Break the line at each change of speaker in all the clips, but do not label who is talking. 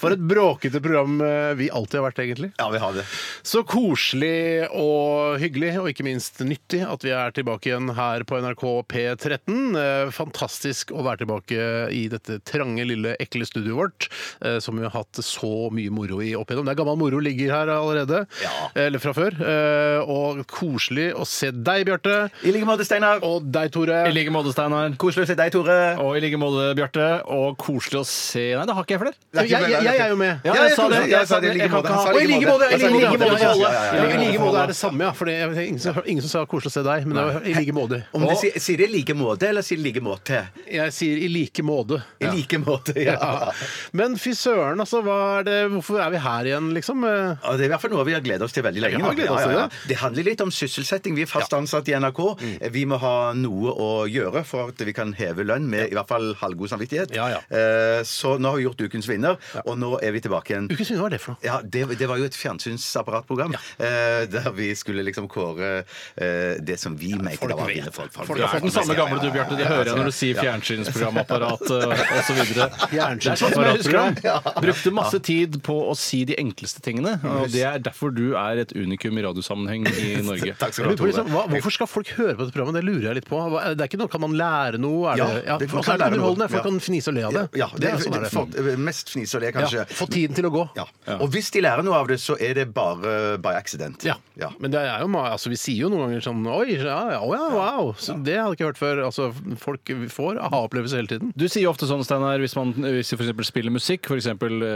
For et bråkete program eh, vi alltid har vært, egentlig.
Ja, vi har det.
Så koselig og hyggelig, og ikke minst nyttig, at vi er tilbake igjen her på NRK P13. Eh, Fantastisk å være tilbake i dette trange, lille, ekle studioet vårt, eh, som vi har hatt så mye moro i opp igjennom. Det er gammel moro ligger her allerede,
Ja.
eller fra før. Eh, Og koselig å se deg, Bjarte,
I like måte, Steinar.
og deg, Tore.
I like måte, Steinar.
Koselig å se deg, Tore.
Og i like måte, Bjarte. Og koselig å se Nei, det har ikke jeg flere.
Jeg, jeg, jeg er jo med.
Ja,
Ja, jeg sa det. Jeg sa det i like
Jeg kan
måte.
ikke ha-
Han sa
Og i like måte! I
Jeg sa
like måte
måte.
alle. Ja, I
Ja, ja, ja, ja.
like måte er det samme, ja. For det er ingen, som- ingen som sa 'koselig å se deg', men det var i like måte.
Om de sier, sier de like måte, eller sier de like måte?
Jeg sier 'i like måte'.
I like måte, ja.
Ja. Men fy søren, altså. Hva er det, hvorfor er vi her igjen, liksom? Eh,
Ja, det er i hvert fall noe vi har gledet oss til veldig lenge.
Vi har
nå.
gledet oss til det.
Det handler litt om sysselsetting. Vi er fast ansatt i NRK. Vi må ha noe å gjøre for at vi kan heve lønn med i hvert fall halvgod samvittighet.
Ja, ja.
Eh, Så nå har vi gjort Ukens vinner, og nå er vi tilbake igjen.
Ukens vinner, hva er det for noe?
Ja, det, det var jo et fjernsynsapparatprogram eh, der vi skulle liksom kåre eh, det som vi mente det var
vet.
vinner. Folk, folk,
Du er på den samme gamle du, Bjarte. Det hører jeg når du sier fjernsynsprogramapparat eh, osv. sånn
Fjernsynsapparatprogram.
Brukte masse tid på å si de enkleste tingene. Og det er derfor du er et unikum i radiosammenheng i Norge.
Takk skal
Jeg lurer
du
på,
ha,
liksom,
Tore.
hva, hvorfor skal folk høre på dette programmet? Det lurer jeg litt på. Hva- er Det er ikke noe, Kan man lære noe? Er
Ja,
det, ja,
det-
og så er det
man kan lære noe.
underholdende. Folk
Ja.
kan fnise og le av det.
Ja, det,
er
er
sånn er det.
for, mest fnis og le,
Ja,
kanskje.
få tiden til å gå.
Ja. Og hvis de lærer noe av det, så er det bare by accident.
Ja. men det er jo, ma- altså, vi sier jo noen ganger sånn Oi, ja, ja, å ja, wow! Så det hadde jeg ikke hørt før. Altså, folk får aha-opplevelser hele tiden.
Du sier jo ofte sånn, Steinar, hvis man hvis du for eksempel spiller musikk, f.eks.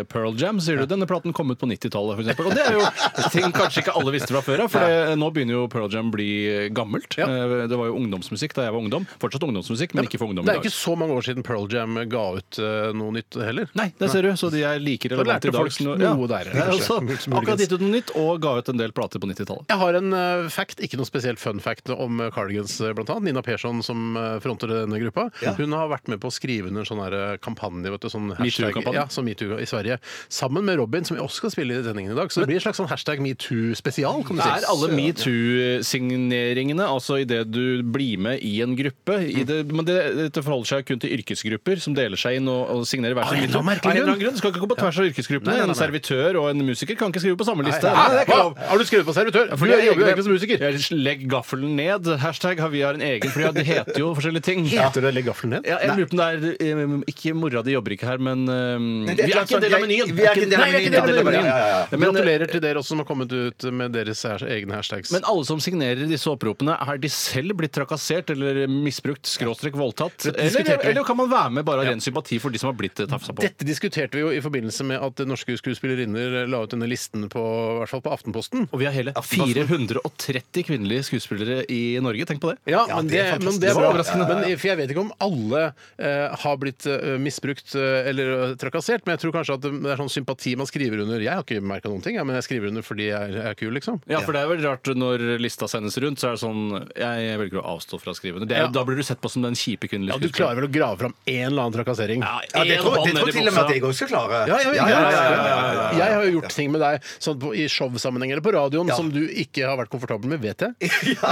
Pearl Jam, sier du denne platen kom ut på 90-tallet, for eksempel. Og det er jo ting kanskje ikke alle visste fra før av, for det, nå begynner jo Pearl Jam å bli gammelt. Eh, Det var jo ungdomsmusikk da jeg var ungdom. Fortsatt ungdomsmusikk, men ikke for ungdom
Det
i
er
dag.
ikke så mange år siden Pearl Jam ga ut eh, noe nytt heller.
Nei, det ser du, så de er like
lærte
relevante i dag.
folk
som-
noe der,
Det er
kanskje.
også akkurat gitt ut noe nytt, og ga ut en del plater på 90-tallet.
Jeg har en eh, fact, ikke noe spesielt fun fact om eh, Cardigans eh, blant annet. Nina Persson som eh, fronter denne gruppa. Hun har vært med på å skrive under sånn her, eh, kampanje, vet du, sånn hashtag-
Metoo-kampanje?
Ja, som metoo i Sverige. Sammen med Robin, som vi også skal spille i sendingen i dag. Så det blir en slags sånn hashtag metoo-spesial, kan du
Det
si.
er alle metoo-signeringene, altså idet du blir med i en gruppe. I det, men det, dette forholder seg kun til yrkesgrupper som deler seg inn og, og signerer hver
Av en
sin
eller annen merkelig
Ah, Av en eller
grunn.
annen grunn. Det skal ikke gå på tvers av yrkesgruppene.
Nei, nei, nei,
En servitør og en musiker kan ikke skrive på samme
Nei,
liste.
nei,
Nei, det er ikke
hva?
lov.
Har du skrevet på servitør?
Ja,
Du
for det er
jobber jo
egne-
egentlig som musiker.
Ja, Legg gaffelen ned. Hashtag har vi har en egen, for det heter jo forskjellige ting.
det 'legg gaffelen ned'?
Ja, jeg lurer på om det er eh, Ikke mora di jobber ikke her, men eh,
det er
Vi er
klart
ikke en del av
sånn,
menyen!
jeg- vi er ikke en del av
Nei, vi
menyen.
er ikke en del av
Ja,
menyen.
ja, ja, ja.
Men, eh,
Gratulerer til dere også som har kommet ut med deres her- egne hashtags.
Men alle som signerer disse oppropene, er de selv blitt trakassert eller misbrukt, skråstrek voldtatt?
Det diskuterte
Eller,
vi.
eller kan man være med bare av ren sympati for de som har blitt eh, tafsa på?
Dette diskuterte vi jo i forbindelse med at norske skuespillerinner la ut denne listen på, i hvert fall på Aftenposten.
Og vi har hele 430 kvinnelige skuespillere i Norge, tenk på det.
Ja,
Ja,
men det,
det er fantastisk.
men det er
Det var
bra.
overraskende.
Men, for jeg vet ikke om alle eh, har blitt eh, misbrukt eh, eller eh, trakassert, men jeg tror kanskje at det er sånn sympati man skriver under. Jeg har ikke merka noen ting, ja, men jeg skriver under fordi jeg er, er kul, liksom.
Ja, for det er vel rart når lista sendes rundt, så er det sånn Jeg velger å avstå fra å skrive under. Det er
Ja.
jo- Da blir du sett på som den kjipe kvinnelige
Ja, du klarer vel å grave fram en eller annen trakassering?
Ja, det tror, det tror til og med at jeg òg skal klare.
Ja, jeg, jeg,
ja, ja, ja, ja, ja.
jeg har jo gjort ting med deg sånn på, i showsammenheng eller på radioen som du ikke har vært komfortabel med, vet jeg.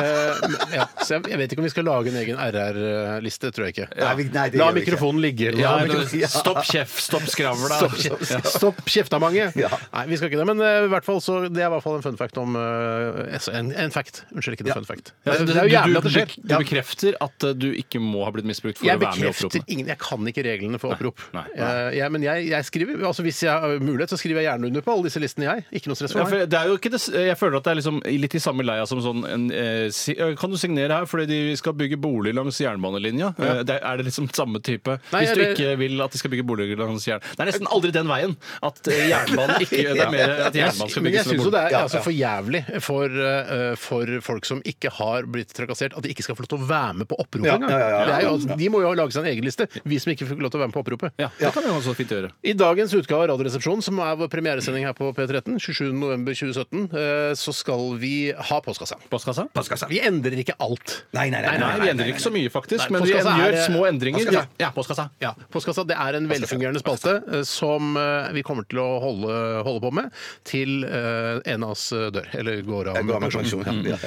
Eh, men- ja. Så jeg, jeg vet ikke om vi skal lage en egen RR-liste, tror jeg ikke.
Nei, vi- nei, det
La
gjør vi ikke.
mikrofonen ligge. eller
Ja,
noe.
men, stopp kjeft, stopp skravla.
Stopp, ja. Stopp kjefta mange!
Ja.
Nei, vi skal ikke det. Men eh, i hvert fall så, det er i hvert fall en fun fact om eh, altså, en, en fact. Unnskyld, ikke en
Ja.
fun fact. Altså,
Ja, så
det, er jo jævlig at det skjer.
Du, du bekrefter at eh, du ikke må ha blitt misbrukt for
Jeg
å være med i oppropene.
bekrefter ingen Jeg kan ikke reglene for opprop.
nei,
Eh, jeg, men jeg, jeg skriver, altså Hvis jeg har mulighet, så skriver jeg gjerne under på alle disse listene, jeg. Ikke noe stress for
Ja,
meg.
for det er jo ikke det, jeg føler at det er liksom litt i samme leia som sånn en, eh, si, eh, Kan du signere her fordi de skal bygge bolig langs jernbanelinja? Eh, det, er det liksom samme type?
Nei,
Hvis du
det-
ikke vil at de skal bygge bolig langs jern... Det er nesten aldri den veien at eh, jernbanen ikke Det er mer at jernbanen skal
Men jeg
bygges
syns
med
jo det
bolig.
er altså, for jævlig for, eh, for folk som ikke har blitt trakassert, at de ikke skal få lov til å være med på oppropet
Ja,
engang.
ja, ja, ja, ja.
Det er jo- altså, De må jo lage seg en egen liste, vi som ikke fikk lov til å være med på oppropet.
Ja, det kan vi jo så fint gjøre.
I dagens utgave av Radioresepsjonen, som er vår premiere premieresending her på P13 27.11.2017, eh, så skal vi ha postkassa.
Postkassa?
Postkassa.
Vi endrer ikke alt.
altså. Nei, nei,
Nei,
nei.
vi endrer ikke så mye, faktisk,
Nei,
men vi
postkassa
gjør
er- eh,
små endringer.
Postkassa.
Ja, postkassa.
Ja, Postkassa det er en velfungerende spalte eh, som eh, vi kommer til å holde, holde på med til eh, en av oss eh, dør. Eller går av
Jeg går av med
pensjon.
pensjon. Ja.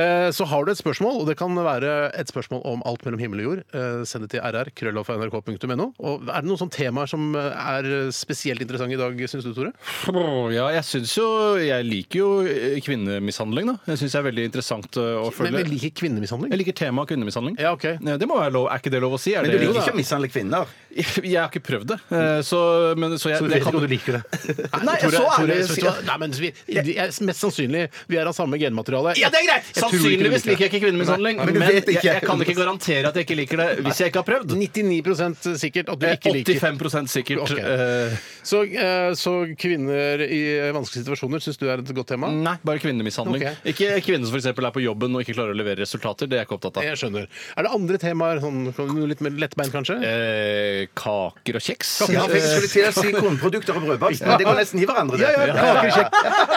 Eh, Så har du et spørsmål, og det kan være et spørsmål om alt mellom himmel og jord. eh, Send det til rr. krøllalfa.nrk.no. Og er det noen sånne temaer som eh, er spesielt interessante i dag, syns du, Tore?
Ja, jeg syns jo Jeg liker jo eh, kvinnemishandling, da. Jeg syns det er veldig interessant eh, å
Men
følge
vi liker kvinnemishandling.
Jeg liker temaet kvinnemishandling.
Ja, ok.
Ja, Det må være lov. Er ikke det lov å si? Er
Men du
det,
liker ikke å mishandle kvinner?
Jeg har ikke prøvd det. eh, Så, men, så jeg,
Så du
det
vet ikke om du liker det?
Nei,
Tore,
så
Tore,
ærlig
vet du hva? Nei, men vi, de er mest sannsynlig vi er av samme genmateriale.
Ja, det er greit!
Jeg tror ikke du
Sannsynligvis
liker
liker
det.
jeg ikke kvinnemishandling,
Nei, men
men,
du vet
jeg,
ikke.
jeg kan ikke garantere at jeg ikke liker det hvis jeg ikke har prøvd.
99 sikkert
Eh,
at du ikke liker
85 sikkert.
Ok.
eh,
Så, eh, så kvinner i vanskelige situasjoner syns du er et godt tema?
Nei, bare kvinnemishandling.
Ok.
Ikke kvinner som for eksempel er på jobben og ikke klarer å levere resultater. Det er jeg ikke opptatt av.
Jeg skjønner. Er det andre temaer? Sånn, noe litt mer lettbeint, kanskje?
Eh, kaker og kjeks.
Ja, for jeg skulle til å si kornprodukter og brødbakst, men det går nesten i hverandre. det.
Ja, kaker, kjekk,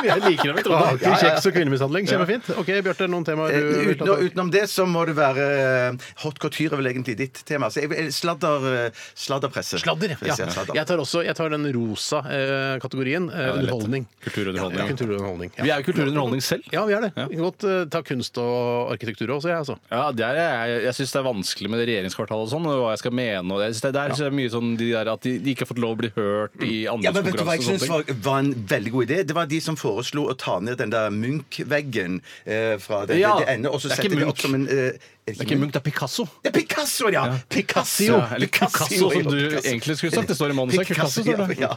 Jeg liker det, vet du.
kaker, kjeks og kvinnemishandling. Kjempefint. Ok, Bjarte, noen temaer du
Eh,
vil ta
Utenom,
tak i?
utenom det så må det være eh, hot couture er vel egentlig ditt tema. Så jeg, vil- sladder, eh, sladderpresse.
Sladder, ja.
Jeg sier sladder.
Jeg tar også jeg tar den rosa eh, kategorien. Eh,
det er lett.
underholdning.
Kulturunderholdning,
Ja,
ja.
kulturunderholdning, ja.
Vi er jo kulturunderholdning selv.
Ja, vi er det. Vi kan godt eh, ta kunst og arkitektur også, jeg, altså.
Ja, det er, jeg jeg syns det er vanskelig med det regjeringskvartalet og sånn, og hva jeg skal mene. Og jeg synes det, der synes jeg er mye sånn de der at de, de ikke har fått lov å bli hørt i
Ja, men vet du hva jeg
anbudskonkurranser og
synes
sånne ting.
var, var en veldig god idé? Det var de som foreslo å ta ned den der Munch-veggen eh, fra det,
Ja,
det, det ende, og så
det er ikke
sette det opp
Munch.
som en eh, er det
Det er ikke Munch, det er Picasso.
Det er Picasso, ja! Picasso!
Ja, eller Picasso, som du egentlig skulle sagt. Det står i manuset. Picasso, står
ja,
det.
ja.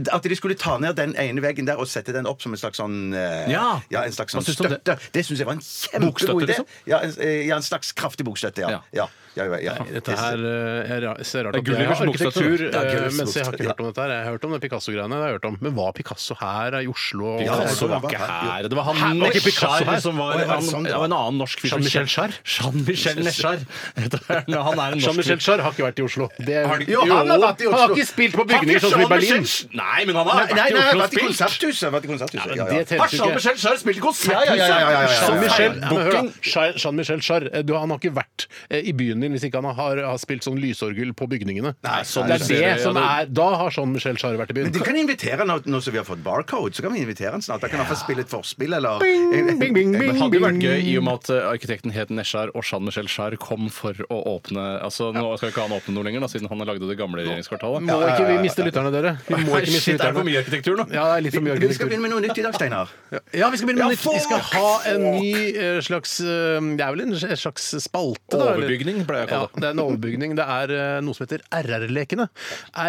Det- At de skulle ta ned den ene veggen der og sette den opp som en slags sånn eh,
Ja.
ja en slags
Hva
sånn
syns du om det?
støtte. Det syns jeg var en
Bokstøtte,
kjempegod idé.
liksom?
Ja, en, eh, ja, en slags kraftig bokstøtte, ja.
Ja.
ja. ja, ja, ja,
Dette her eh, er ra- ser rart
Det
ut.
er
Jeg har
Gullivers bokstøtte,
arkitektur,
da.
Det er
eh,
Gullivers
mens jeg har ikke
bokstøtte,
hørt om dette her. Jeg har hørt om det Picasso-greiene. det har jeg hørt om. Men var Picasso her i Oslo? og-
det
Picasso var
var-
ikke her. Det var
Hæ,
han
var ikke Picasso
Nesjar
her?
som
Å,
var
ja, var det
han,
sånn det
det
var?
var en annen norsk fyr. som-
Jean-Michel Jarre?
Jean-Michel Nesjar. Heter han. Han er en norsk
Jean-Michel
fyr.
Jarre har ikke vært i Oslo. Det,
Jo, han har vært i
Han har
Oslo.
ikke spilt på
Har ikke
bygninger sånn som i Berlin.
Jean-Michel- Nei, men han har
Nei,
vært
nei,
i
nei, jeg har
Oslo og
vært i
spilt.
konserthuset! jeg har vært i konserthuset,
men
ja,
det
ja.
teller
Har
jo ikke.
Jean-Michel Jarre spilt i
Ja, ja,
konserthuset?
ja, ja, ja, ja, ja.
Jean-Michel
Jean-Michel
ja, men hør da.
Booking.
Jean- Jean-Michel Jarre, eh, du- han har ikke vært eh, i byen din hvis ikke han har, har spilt sånn lysorgel på bygningene.
Nei, sånn
det
du
er
ser
det
det, ja,
som
det-
er Da har Jean-Michel Jarre vært i byen.
Men de kan invitere han nå, nå som vi har fått barcode. så kan vi invitere han snart. Da kan han få spille et forspill, eller
bing, bing, bing.
Men hadde jo vært gøy i og
Mm.
med at eh, arkitekten het Nesjar og Jean-Michel Jarre kom for å åpne Altså, Nå skal ikke han åpne noe lenger, da, siden han har lagde det gamle regjeringskvartalet.
Må ikke vi miste lytterne, dere. Vi må ikke miste
Shit, er det for
lytterne.
mye arkitektur nå?
Ja, det er litt for mye
Vi skal
arkitektur.
begynne med noe nytt i dag, Steinar.
Ja, vi skal begynne med
Ja,
nytt. Vi skal
fuck,
ha en ny eh, slags eh, Det er vel en en slags spalte, da? eller?
Overbygning, pleier jeg å kalle det.
Ja, det er en overbygning. Det er eh, noe som heter RR-lekene.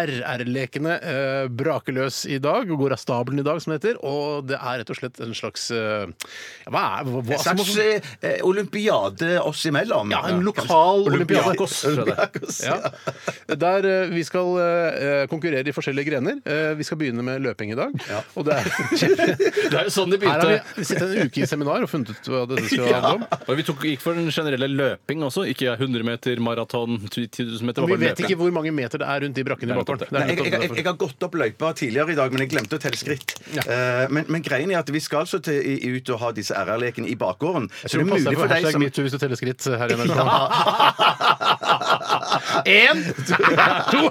RR-lekene eh, braker løs i dag, og går av stabelen i dag, som det heter. Og det er rett og slett en slags eh, ja, Hva er hva, hva,
En slags eh, olympiade oss imellom.
ja, en lokal olympiade.
Olympiakos, tror jeg det er.
Ja. Der eh, vi skal eh, konkurrere i forskjellige grener. Eh, vi skal begynne med løping i dag. Og det er
Det er jo sånn de
Her har
begynte.
vi sittet en uke i seminar og funnet ut hva dette skal handle om.
Og vi tok, gikk for den generelle løping også, ikke 100 meter, maraton, 10 000 meter.
Og
det var
vi
bare
vet
løping.
ikke hvor mange meter det er rundt de brakkene i
Nei, nettopp
Bakkholm.
det.
Det er
Nei, jeg,
nettopp
jeg, jeg,
derfor.
jeg har gått opp løypa tidligere i dag, men jeg glemte å telle skritt. Eh, men, men greien er at vi skal altså til, i, ut og ha disse RR-lekene i bakgården.
Jeg tror du passer deg for hashtag metoo hvis du teller skritt her i NRK. Én, to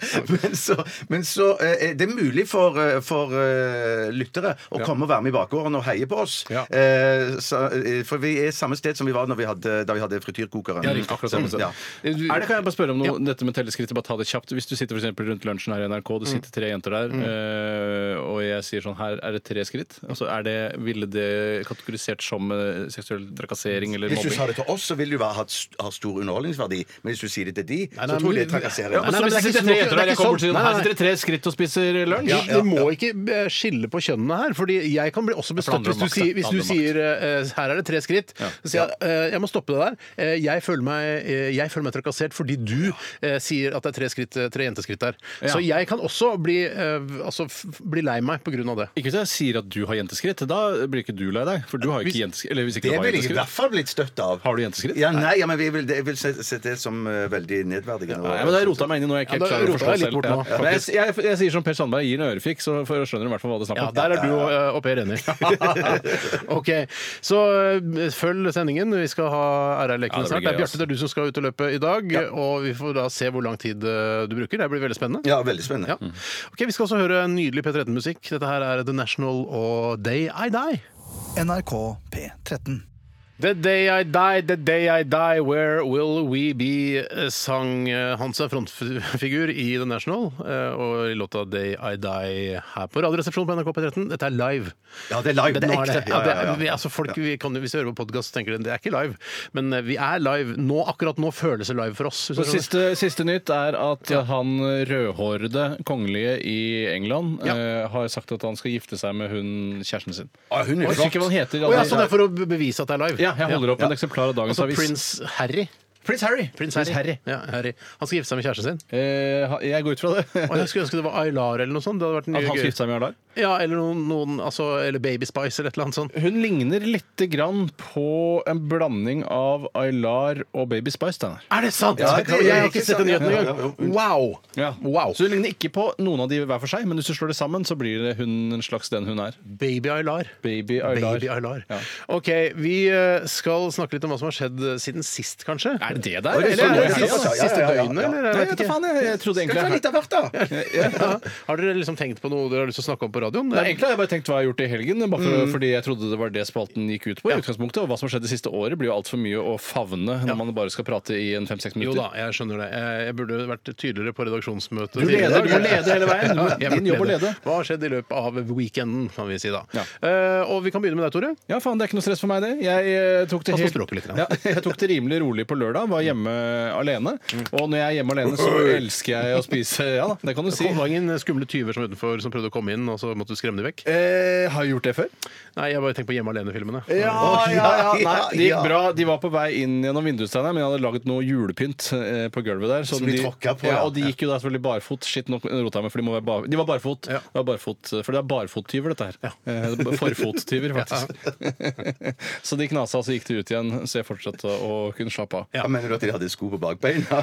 men så, men så eh, det er mulig for, eh, for eh, lyttere å komme og være med i bakgården og heie på oss.
Ja.
Eh, så, eh, for vi er samme sted som vi var når vi hadde, da vi hadde frityrkokeren.
Ja, riktig, akkurat samme sted.
Ja.
Er det, kan jeg bare spørre om noe, dette med telleskrittet? Bare ta det kjapt. Hvis du sitter for eksempel rundt lunsjen her i NRK, det sitter tre jenter der,
Mm.
eh, og jeg sier sånn Her er det tre skritt. Altså, er det, ville det kategorisert som eh, seksuell trakassering eller
Hvis du sa
mobbing?
det til oss, så vil du ha, ha, ha stor underholdningsverdi. Men hvis du sier det til de,
nei,
så tror de
men-
det trakasserer.
Ja,
deg.
men- Nei,
Så
det er
det
ikke
sitter
sånn-
tre jenter
det
der,
er
jeg
ikke
kommer til
sånn.
sånn,
Nei,
Her
nei.
sitter det tre skritt og spiser lunsj.
Ja, du må ikke eh, skille på kjønnene her. Fordi jeg kan bli også bestøtt
handler
hvis
om
du
makt,
sier,
det
hvis du
handler om
sier eh, her er det tre skritt. Så sier jeg eh, jeg må stoppe det der. Eh, Jeg føler meg, eh, jeg føler meg trakassert fordi du eh, sier at det er tre, skritt, eh, tre jenteskritt der. Så
Ja.
jeg kan også bli, eh, altså, f- bli lei meg på grunn av det.
Ikke hvis jeg sier at du har jenteskritt, da blir ikke du lei deg. For du har jo ikke jenteskritt. Eller hvis ikke
Det
du har
ville jeg i
jenteskritt.
hvert fall blitt støtt av.
Har du jenteskritt?
Ja, nei, ja, men vi vil, jeg vil se, se det som eh, veldig nedverdigende.
Nei, men det rota meg inn i noe jeg ikke
Ja,
helt
da
klarer å
roter
forstå.
er litt
selv.
bort nå,
Ja. Men jeg, jeg, jeg sier som Per Sandberg, gir en ørefik, så for- skjønner du i hvert fall hva det er snakk
Ja,
om.
der er du og, eh, og Per enig. ok, så eh, følg sendingen. Vi skal ha
Ja,
RR-leken
det blir
snart. Det er
gøy, ass.
Bjarte, det er du som skal ut og løpe i dag. Og vi får da se hvor lang tid eh, du bruker. Det blir veldig spennende.
Ja, veldig spennende.
Ja. Ok, Vi skal også høre nydelig P13-musikk. Dette her er The National og Day I Die.
NRK P13.
The Day I Die, The Day I Die, Where Will We Be? eh, sang eh, Hans er frontfigur i The National, eh, og i låta Day I Die her på Radioresepsjonen på NRK P13. Dette er live.
Ja, det er live. Det
Nå
er
er
ekte.
det-
Ja,
ja,
ja,
det er- vi-
ja.
altså, folk, vi kan, jo- hvis du hører på podkast, tenker de det er ikke live, men eh, vi er live. Nå, akkurat nå føles det live for oss. hvis
Og
du skjønner.
siste, siste nytt er at han rødhårede kongelige i England eh, har sagt at han skal gifte seg med hun kjæresten sin.
Ah, hun er
Jeg husker ikke hva han
flott.
heter.
Å ja, så det er for å be- bevise at det er live?
Ja, jeg holder opp
Ja.
en eksemplar av dagens
Altså
avis.
Prince Harry.
Prince Harry.
Prins Harry. Ja, Harry. Han skal gifte seg med kjæresten sin.
Eh, ha- jeg går ut fra det.
Og jeg skulle ønske det var Aylar eller noe sånt. Det hadde vært en
At han skal
gøy-
gifte seg med Arlar.
Ja, eller noen, noen altså, Eller Baby Spice eller et eller annet sånt.
Hun ligner lite grann på en blanding av Aylar og Baby Spice. Denne.
Er det sant?!
Ja, det-
jeg har ikke sett den nyheten
Ja, ja,
engang. Wow! wow.
Så hun ligner ikke på noen av de hver for seg, men hvis du slår det sammen, så blir det hun en slags den hun er.
Baby Aylar.
Baby Aylar.
Baby Aylar.
Ja.
OK, vi eh, skal snakke litt om hva som har skjedd eh, siden sist, kanskje.
Er det det
Oi,
der?
det er
Eller er det
sånn,
siste-
ja, ja, ja.
siste døgnet, eller?
Nei,
Jeg
jeg
vet
vet da
ikke.
faen, jeg, jeg trodde
Skal vi ta
egentlig
litt av hvert, da?
Ja. Har dere liksom tenkt på noe dere har lyst til å snakke om på radioen?
Nei, egentlig har jeg bare tenkt hva jeg har gjort i helgen, bare for,
Mm.
fordi jeg trodde det var det spalten gikk ut på. i utgangspunktet, Og hva som har skjedd det siste året, blir jo altfor mye å favne når man bare skal prate i en fem-seks
Jo da,
minutter.
jeg skjønner det. Eh, Jeg jeg burde vært tydeligere på redaksjonsmøtet.
Du leder,
tidligere.
du leder hele veien.
Ja, jeg
Din
burde
jobb å lede.
Hva har skjedd i løpet av weekenden, kan vi si da.
Ja.
Eh, og vi kan begynne med deg, Tore.
Ja, faen, det er ikke noe stress for meg, det. Jeg eh, tok det,
Pass på
helt,
språket litt, grann.
ja, jeg tok det rimelig rolig på lørdag. Var hjemme alene. Og når jeg er hjemme alene, så elsker jeg å spise Ja da, det kan du si.
Mm. Det var ingen eh, skumle tyver som var utenfor som prøvde å komme inn, og så måtte du skremme dem vekk?
Eh, har jeg gjort det før?
Nei, jeg bare tenker på Hjemme alene-filmene.
Ja, ja, ja. Nei,
ja,
det
ja.
gikk bra. De var på vei inn gjennom vindussteina, men jeg hadde laget noe julepynt eh, på gulvet der. så
Som de tråkka på,
ja.
ja.
Og de gikk jo da selvfølgelig barfot. Shit, nå rota jeg meg, for de, må være bar, de var barfot.
Ja.
Det var barfot. For det er barfottyver, dette her. Eh, Forfottyver, faktisk. så de knasa, så gikk de ut igjen. Så jeg fortsatte å kunne slappe av.
Ja, Mener du at de hadde sko på bakbeina?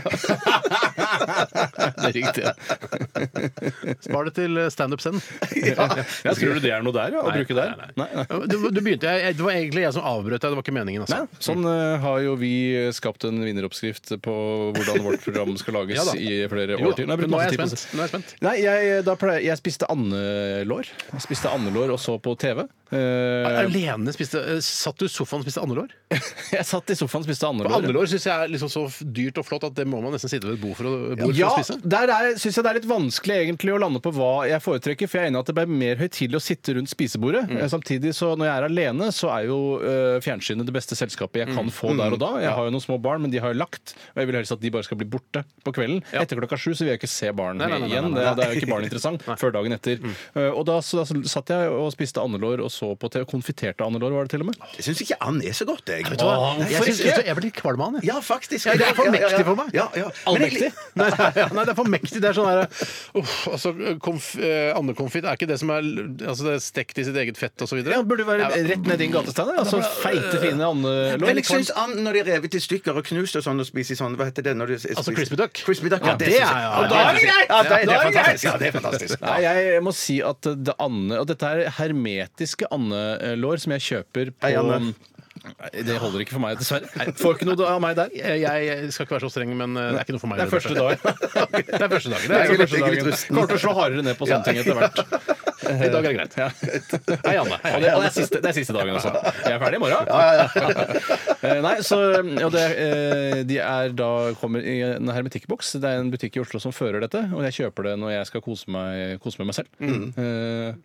det er riktig. Spar det til standup-scenen.
Ja, tror du det er noe der, ja? Å bruke der?
Nei,
Nei, nei.
Du, du begynte, jeg, det var egentlig jeg som avbrøt deg, det var ikke meningen.
Nei,
Altså.
sånn eh, har jo vi skapt en vinneroppskrift på hvordan vårt program skal lages
Ja da.
i flere
Jo
år
da,
til.
men
jeg brukte
nå er
masse
jeg
tid på-
spent. Nå er jeg spent.
Nei, jeg, da pleier, jeg spiste andelår. Jeg spiste andelår og så på TV. Eh,
Mm. Alene spiste eh, Satt du i sofaen og spiste andelår?
jeg satt i sofaen og spiste andelår.
Andelår syns jeg er liksom så f- dyrt og flott at det må man nesten sitte ved et bord for å, bord
Ja,
for å spise.
der er- syns jeg det er litt vanskelig egentlig å lande på hva jeg foretrekker. For jeg er enig i at det blir mer høytidelig å sitte rundt spisebordet. Eh, Samtidig så når jeg er alene, så er jo eh, fjernsynet det beste selskapet jeg kan få der og da. Jeg har jo noen små barn, men de har jo lagt. Og jeg vil helst at de bare skal bli borte på kvelden. Etter klokka sju så vil jeg ikke se barn
Nei, nei, nei, nei,
igjen.
nei,
Det, det er jo ikke barn interessant før dagen etter. Eh, og da, så, da satt jeg og spiste andelår og så på TV. Konfiterte andelår var det til og med.
Jeg syns ikke and er så godt, jeg.
Vet du hva?
Åh,
Jeg
hvorfor
synes-
ikke?
vet du, Jeg blir litt kvalm av den. jeg.
Ja, faktisk.
Ja, det er for
Ja, ja, ja.
mektig for meg.
Ja, ja. Men jeg-
Allmektig.
Nei, nei, nei, det er for mektig. Det er sånn her uff, altså, konf, eh, Andekonfitt er ikke det som er altså, det er stekt i sitt eget fett osv.
Ja, det burde være rett ned i din gatestein. Altså feite, fine andelår.
Men jeg syns and når de er revet i stykker og knust og sånn og spiser sånn Hva heter det? Når de
Altså
spiser-
crispy duck.
Crispy duck,
Ja,
ja,
det
synes
er-
jeg-
ja,
Ja, da er det greit! Ja, det,
Da
det er
er det greit!
fantastisk. Ja, det er fantastisk.
Nei, jeg må si at det ande Og dette er hermetiske andelår som jeg kjøper på
Hei, Anne.
Nei, Det holder ikke for meg, dessverre. Nei, Får ikke noe av meg der.
Jeg, jeg skal ikke være så streng, men eh, det er ikke noe for meg.
Det er første dagen.
Det er første dagen. Det er
Det er
liksom
første
første
dagen.
dagen.
Kommer til å slå hardere ned på sånne ting etter hvert.
I dag er det greit.
Ja.
Hei, Anne. Hei,
Og det, og det, er siste, det er siste dagen også. Jeg er ferdig i morgen. Eh, Nei, så og det, eh, De er da kommer i en hermetikkboks. Det er en butikk i Oslo som fører dette, og jeg kjøper det når jeg skal kose meg, kose med meg selv.
Mm.
Eh,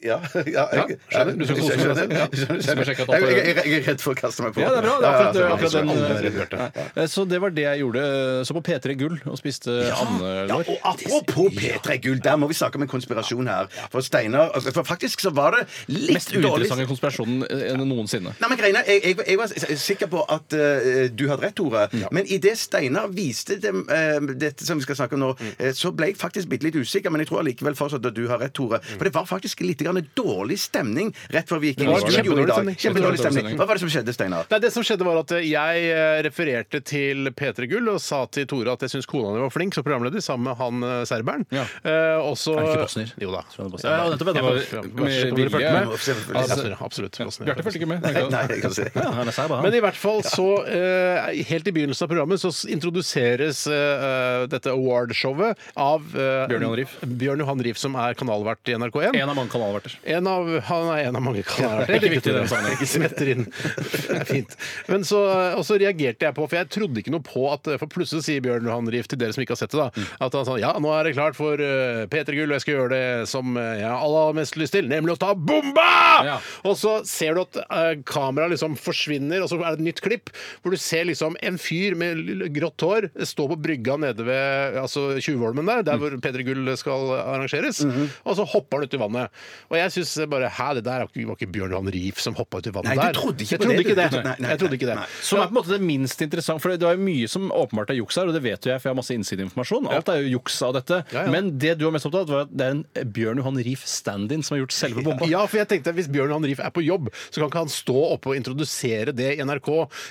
Ja, ja, jeg,
skjønner. Du skal kose deg.
skjønner.
Ja.
Jeg skjønner.
Du skal sjekke at alt er
Jeg- jeg- jeg er redd for å kaste meg på.
Ja, det er bra. Det er akkurat,
Ja, ja,
akkurat
ja.
den,
Alle er rørte.
Nei. Eh, Så det var det jeg gjorde. Så på P3 Gull og spiste
Ja,
andelår.
og Apropos P3 Gull, der må vi snakke om en konspirasjon her. For Steinar altså, For faktisk så var det litt
Mest
dårlig
uinteressante konspirasjonen eh, noensinne.
Nei, men greiene, jeg, jeg, jeg var s- sikker på at eh, du hadde rett, Tore. Men idet Steinar viste dem, eh,
Mm.
dette som vi skal snakke om nå, eh, så ble jeg faktisk bitte litt usikker. Men jeg tror allikevel fortsatt at du har rett, Tore. For det var faktisk litt grann avgjørende dårlig stemning rett før vi gikk inn
Mm. Det
i
var
studio i
kjempedårlig
dag.
stemning.
Kjempedårlig
Kjempedårlig
stemning.
stemning.
Hva var det som skjedde, Steinar?
Nei, det som skjedde var at Jeg eh, refererte til P3 Gull og sa til Tore at jeg syns kona di var flink som programleder, sammen med han eh, serberen.
Ja.
Eh, og så-
Er det ikke bosnier?
Jo da.
Tror han er bosnier. Ja, nettopp, ja, det var- med
Dere fulgte med?
vilje.
Ja, Absolutt. absolutt bosnier.
Bjarte fulgte ikke med.
Nei, jeg kan se.
Ja, han er serb, han.
Men i hvert fall så eh, Helt i begynnelsen av programmet så s- introduseres eh, dette awardshowet av eh,
Bjørn Johan Rief.
Bjørn Johan Rief, som er kanalvert i NRK1.
En av mange kanalverter.
En av, han er en av mange kanaler.
det er ikke viktig i den sammenhengen.
Ikke smetter inn. Det er fint. Men så, og så reagerte jeg på, for jeg trodde ikke noe på at eh, For plutselig sier Bjørn Johan Rief til dere som ikke har sett det, da,
Mm.
at han sa ja, nå er det klart for eh, P3 Gull, og jeg skal gjøre det som eh, jeg har aller mest lyst til, nemlig å ta bomba!
Ja.
Og så ser du at eh, kameraet liksom forsvinner, og så er det et nytt klipp hvor du ser liksom en fyr med l- l- grått hår stå på brygga nede ved altså Tjuvholmen der,
Mm.
der hvor P3 Gull skal arrangeres,
Mhm.
og så hopper han ut i vannet. Og jeg syns bare hæ, det der var ikke- var ikke Bjørn Johan Rief som hoppa ut i vannet
Nei, du
der.
trodde
jeg
ikke på
trodde
det,
ikke
du.
det.
Nei, nei,
jeg trodde ikke det.
nei.
Som er på en måte det minst interessante, for det er jo mye som åpenbart er juks her, og det vet jo jeg, for jeg har masse innsideinformasjon. Alt er jo juks av dette.
Ja, ja.
Men det du var mest opptatt av, var at det er en eh, Bjørn Johan Rief stand-in som har gjort selve bomba.
Ja, for jeg tenkte at Hvis Bjørn Johan Rief er på jobb, så kan ikke han stå oppe og introdusere det i NRK.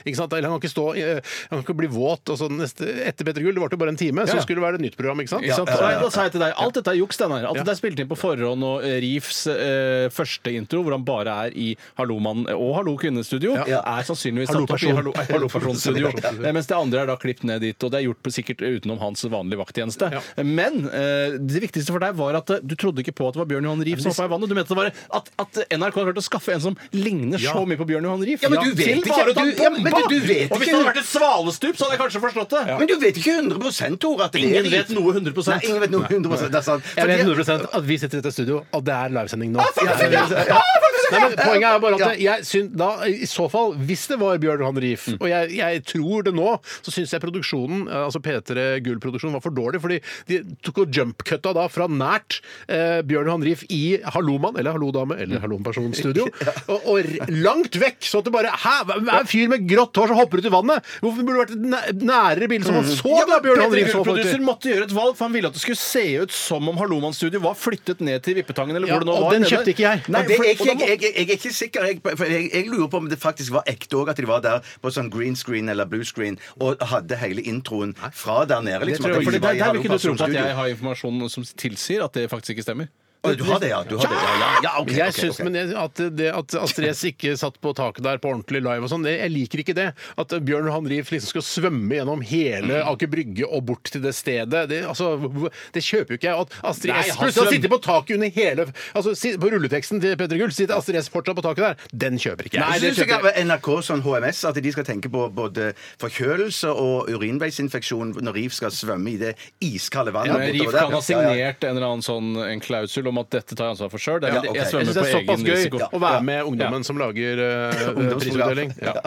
Ikke sant? Eller han kan ikke, stå, eh, han kan ikke bli våt. Og så neste, etter Petter Gull, det varte jo bare en time,
Ja.
så skulle det være et nytt program. ikke sant?
Ikke sant?
Så-
Nei, da sa jeg til deg, Alt dette er juks. Denne. her. Alt dette er spilt inn på forhånd, og eh, Riefs eh, første intro, hvor han bare er i Hallo mann og Hallo kvinne-studio, er sannsynligvis
Hallo
satt opp i
person.
Hallo, eh, hallo person-studio. Eh, Mens det andre er da klippet ned dit, og det er gjort på, sikkert utenom hans vanlige vakttjeneste.
Ja.
Men eh, det viktigste for deg var at eh, du trodde ikke på at det var Bjørn Johan Rief som hoppa i vannet. Du mente det var at, at NRK har klart å skaffe en som ligner så mye på Bjørn Johan Rief.
Ja, men du vet
til
ikke.
bare å ta
Du- ja, men
bomba!
du vet
og hvis
ikke.
det hadde vært et svalestup, så hadde jeg kanskje forstått det.
Men du vet ikke 100 Tore at det
Ingen
er-
vet noe 100%.
Nei, ingen vet noe 100 Det er sant.
Jeg vet
Fordi-
100 at vi sitter i dette studio, og Ah, det er livesending nå.
ja, ja, ja.
Nei, men poenget er bare at jeg syn- da, I så fall, hvis det var Bjørn Johan Rief, og jeg, jeg tror det nå, så syns jeg produksjonen, eh, altså P3 Gull-produksjonen, var for dårlig. Fordi de tok og jump-cutta da fra nært eh, Bjørn Johan Rief i Hallomann, eller Hallodame, eller Halloperson-studio, og, og r- langt vekk. Så at det bare Hæ, hvem er en fyr med grått hår som hopper ut i vannet? Hvorfor burde det vært et næ- nærere bilde som man så da Bjørn Johan
Petter
Rief? så opp
Gull-produser
til?
måtte gjøre et valg, for han ville at det skulle se ut som om Halloman-studio var flyttet ned til Vippetangen. eller
Ja,
hvor det nå
og
var.
den
nede.
kjøpte ikke jeg.
Nei,
Og det er
for-
ikke,
og da
jeg,
må-
jeg, jeg er ikke sikker. Jeg, for jeg, jeg lurer på om det faktisk var ekte òg, at de var der på sånn green screen eller blue screen og hadde hele introen fra der nede. Liksom,
For
at
det-
de
for det-
var i
Der der vil ikke du tro
Hallo
på at jeg
Personstudio.
har informasjon som tilsier at det faktisk ikke stemmer.
Å, Du har det, ja? Du har det, ja, ja, ja ok,
jeg
ok,
syns,
ok.
men jeg, at, det, at Astrid S ikke satt på taket der på ordentlig live og sånn, det- jeg liker ikke det. At Bjørn Johan Rief liksom skal svømme gjennom hele
Mm.
Aker Brygge og bort til det stedet. Det, altså, hvor- det kjøper jo ikke jeg. Og At Astrid
Nei,
S
han
plutselig har
svøm-
sittet på taket under hele Altså si- på rulleteksten til Petter Gull sitter Astrid S fortsatt på taket der. Den kjøper ikke jeg.
Nei,
Jeg
det
synes
kjøper
ikke at NRK sånn HMS at de skal tenke på både forkjølelse og urinveisinfeksjon når Riif skal svømme i det iskalde vannet.
Ja,
bortover
men Rief
der.
kan
Ja,
ha
ja.
signert en eller annen sånn en klausul om at dette tar jeg ansvar for sjøl.
Ja, ok.
Jeg
jeg
svømmer
syns det er
på
såpass
egen
gøy
risiko.
å være med ungdommen som lager eh, prisutdeling. Ja.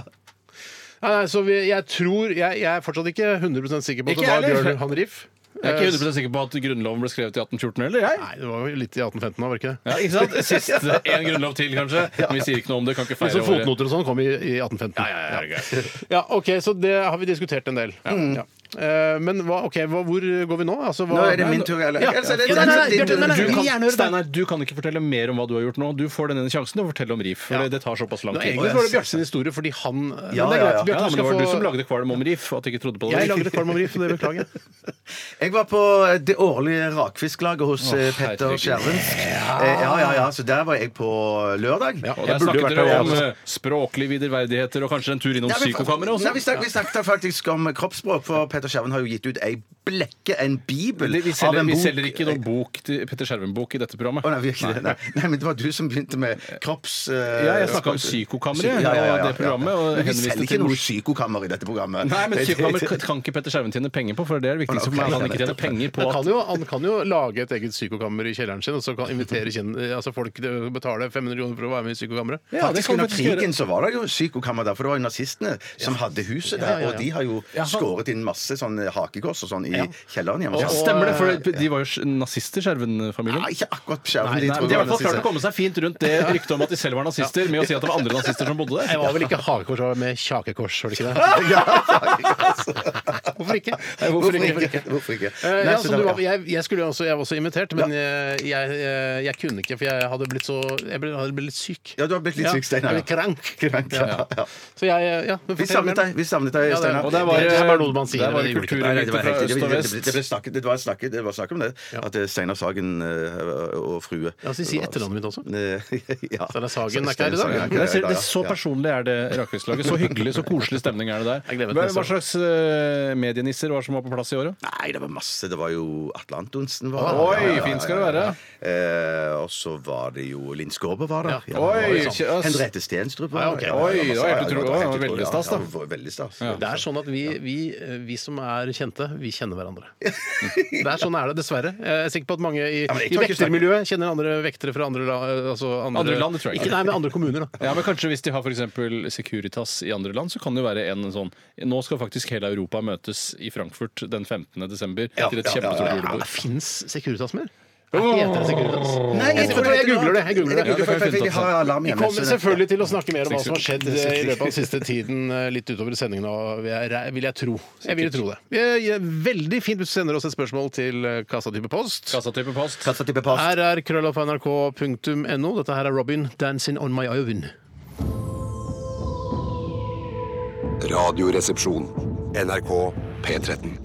Nei, nei, så vi, jeg tror jeg, jeg er fortsatt ikke 100 sikker på at
Ikke
det var
jeg heller.
Bjørn Johan Rief.
Jeg er ikke 100 sikker på at Grunnloven ble skrevet i 1814 heller, jeg.
Nei, det var jo litt i 1815 da, var det ikke det?
Ja, ikke sant? Siste en grunnlov til, kanskje. Men vi sier ikke noe om det. Kan ikke
Men så
feire året.
fotnoter og sånn kom i, i 1815.
Ja, ja, ja, det er greit.
Ja, ok, Så det har vi diskutert en del. Ja. Eh, Men hva, ok, hva, hvor går vi nå? Altså, hva,
Nå er det min tur, eller?
Ja.
Eller så er det-
Ja, nei, nei, nei, Bjarte, nei, nei,
Du
vi vil
kan,
gjerne høre det.
Steinar, du kan ikke fortelle mer om hva du har gjort nå. Du får denne sjansen til å fortelle om Rif. For
Ja.
det- det tar såpass lang
Nå,
tid.
egentlig så var det Bjarte sin historie fordi han Men det er
Ja, ja,
greit.
ja.
Bjarte,
Ja,
du
men det
skal
var
få
du som lagde kvalm om Rif, og at du ikke trodde på det.
Jeg lagde Kvalm og Vri, for det beklager jeg.
Jeg var på det årlige rakfisklaget hos eh, Petter
herregud.
Skjervensk. Eh, Ja, ja, ja. Så der var jeg på lørdag.
Ja, og
Jeg
der
burde jo
snakket
vært
dere
der,
om
jeg
eh, språklige viderverdigheter og kanskje en tur innom
Nei, vi-
psykokammeret også.
Nei, vi snakket, vi snakket faktisk om kroppsspråk, for Petter Skjerven har jo gitt ut ei blekke, en bibel,
Vi vi
av
selger,
en
vi
bok.
selger ikke noen bok til Petter Skjerven-bok i dette programmet.
Å, nei, vi gjør ikke det. Nei. nei, men det var du som begynte med kropps... eh,
Ja, jeg snakket om
språk-
psykokammeret, og det programmet, og
men vi
henviste
selger
til
ikke noe
mors-
psykokammer i dette programmet.
Nei, men
Det- det-
psykokammer kan- kan ikke Petter Skjerven tjene penger på, for det er det viktigste for meg. at Han ikke tjener penger på
Han
at
kan, jo, han kan jo lage et eget psykokammer i kjelleren sin, og så kan invitere kjenn, altså folk til å betale 500 kroner for å være med i psykokammeret.
Ja,
Faktisk
det kan
Under
faktisk gjøre.
krigen så var det jo psykokammer der, for det var jo nazistene som hadde huset
ja,
der.
ja.
Og de har jo
Ja, han-
skåret inn masse masse sånn hakekors og sånn i kjelleren hjemme.
Ja, stemmer det, for de var jo sj- nazister, Skjerven-familien.
Nei, ikke akkurat på
Nei,
skjermen.
nei, men de har i hvert fall klart å
det.
komme seg fint rundt det ryktet om at de selv var nazister, med å si at det var andre nazister som bodde
Jeg
der.
var vel ikke hakekors, jeg var med kjakekors, var det ikke det? Hvorfor ikke? Nei,
Hvorfor ikke? Hvorfor ikke?
Eh,
Nei,
ja,
så
så
det
du
var-
var, jeg, jeg, skulle jo også, jeg var også invitert, men eh, jeg, eh, jeg kunne ikke, for jeg hadde blitt så Jeg ble, hadde blitt litt syk.
Ja, du har blitt litt syk, Steinar.
Jeg ble krank.
Krank, ja, ja.
Så jeg eh, Ja, men
Vi
fortell
savnet
mer.
deg, vi savnet deg,
Ja, det-
Steinar.
og der var- eh,
Det-
det er bare noe man sier,
Der var
det
det
gjorde ikke
Nei, nei, det
kulturrykte
var
fra
helt- det
øst
ble- det
og
ble- det
vest.
ble snakket- det var snakket- det var snakk om det. At eh, Steinar Sagen eh, og frue
Ja, så si etternavnet mitt også.
Eh, ja.
Steinar Sagen er ikke
Steinar
her i dag.
Sagen er ikke
Jeg
her i
ser, det
dag,
er så
ja.
personlig er det Rakettslaget. Så hyggelig, så koselig stemning er det
Jeg
der.
gleder meg
Hva,
til neste
hva slags eh, medienisser var det som var på plass i året?
Nei, det var masse. Det var jo Atle Antonsen. Var
Ah,
der.
Oi,
Ja, ja, ja,
fin skal
ja,
det
ja.
være.
Eh, og så var det jo Linn Skåber var der.
Ja.
Ja, det var
Oi,
jo sånn.
kjøss.
Henriette Stenstrup var
Ah, Ja, ok.
Oi,
masse-
det var helt
ja,
utrolig. Det var
helt utrolig.
veldig stas, da.
Ja, det var veldig stas.
Det er sånn at vi, vi, vi som er kjente, vi kjenner hverandre. Det er sånn er det, dessverre. Jeg er sikker på at mange i,
men jeg
i
tror ikke
vektermiljøet kjenner andre vektere fra andre, la- altså
Andre land, det tror jeg ikke.
ikke. Nei, men andre kommuner, da.
Ja, men Kanskje hvis de har for eksempel Securitas i andre land, så kan det jo være en sånn Nå skal faktisk hele Europa møtes i Frankfurt den 15. desember
Ja,
til et
ja, ja, ja,
kjempestort
ja.
julebord.
Fins Securitas mer? Hva heter det Securitas?
Nei,
Jeg tror jeg googler det. Jeg googler det.
Ja, det kan vi
for- for- for-
finne
Vi har alarm
Vi
hjemme.
kommer
så-
selvfølgelig til å snakke mer om hva som har skjedd eh, i løpet av den siste tiden, eh, litt utover sendingen, og vil jeg re- vil jeg tro. Jeg vil tro det. Vi er Veldig fint hvis du sender oss et spørsmål til eh, kassatype post.
Kassatype post.
Kassa til Peppa.
Her er krøllalfa.nrk.no. Dette her er Robin, 'Dancing on my oven'.
Radioresepsjon. NRK P13.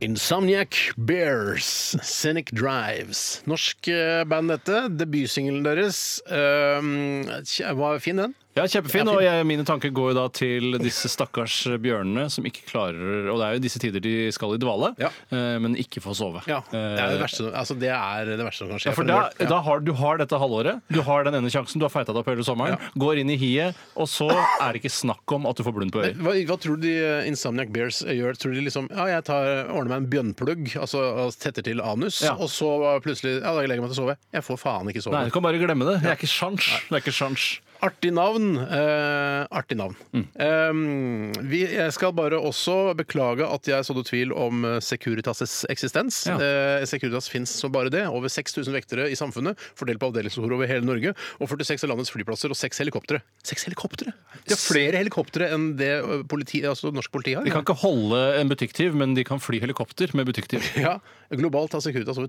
Insomniac Bears, Scenic Drives. Norsk eh, band, dette. Debutsingelen deres. Um, tja, var fin, den.
Ja, kjempefin. Og jeg, mine tanker går jo da til disse stakkars bjørnene som ikke klarer Og det er jo disse tider de skal i dvale,
Ja.
eh, men ikke får sove.
Ja, det er det
Eh,
verste, altså, det er det verste som kan skje.
Ja, for
en
da,
bjørn.
da har, Du har dette halvåret, du har den ene sjansen, du har fighta deg opp hele sommeren, går inn i hiet, og så er det ikke snakk om at du får blund på øyet.
Hva, hva tror du de eh, Insomniac Bears gjør? Tror de liksom ja, jeg tar, ordner meg en bjønnplugg, altså altså tetter til anus,
Ja.
og så plutselig ja, da legger jeg meg til å sove? Jeg får faen ikke sove.
Nei, du kan bare glemme det. Det er ikke sjans. Det er ikke sjans.
Artig navn. Eh, artig navn.
Mm.
Eh, vi, jeg skal bare også beklage at jeg sådde tvil om eh, Securitas' eksistens.
Ja.
Eh, Securitas fins som bare det. Over 6000 vektere i samfunnet, fordelt på avdelingskontor over hele Norge. Og 46 av landets flyplasser og seks helikoptre. Seks helikoptre! De har flere helikoptre enn det eh, politi, altså norsk politi har.
De kan ikke holde en butikktyv, men de kan fly helikopter med butikktyv.
Ja, Globalt har Securitas over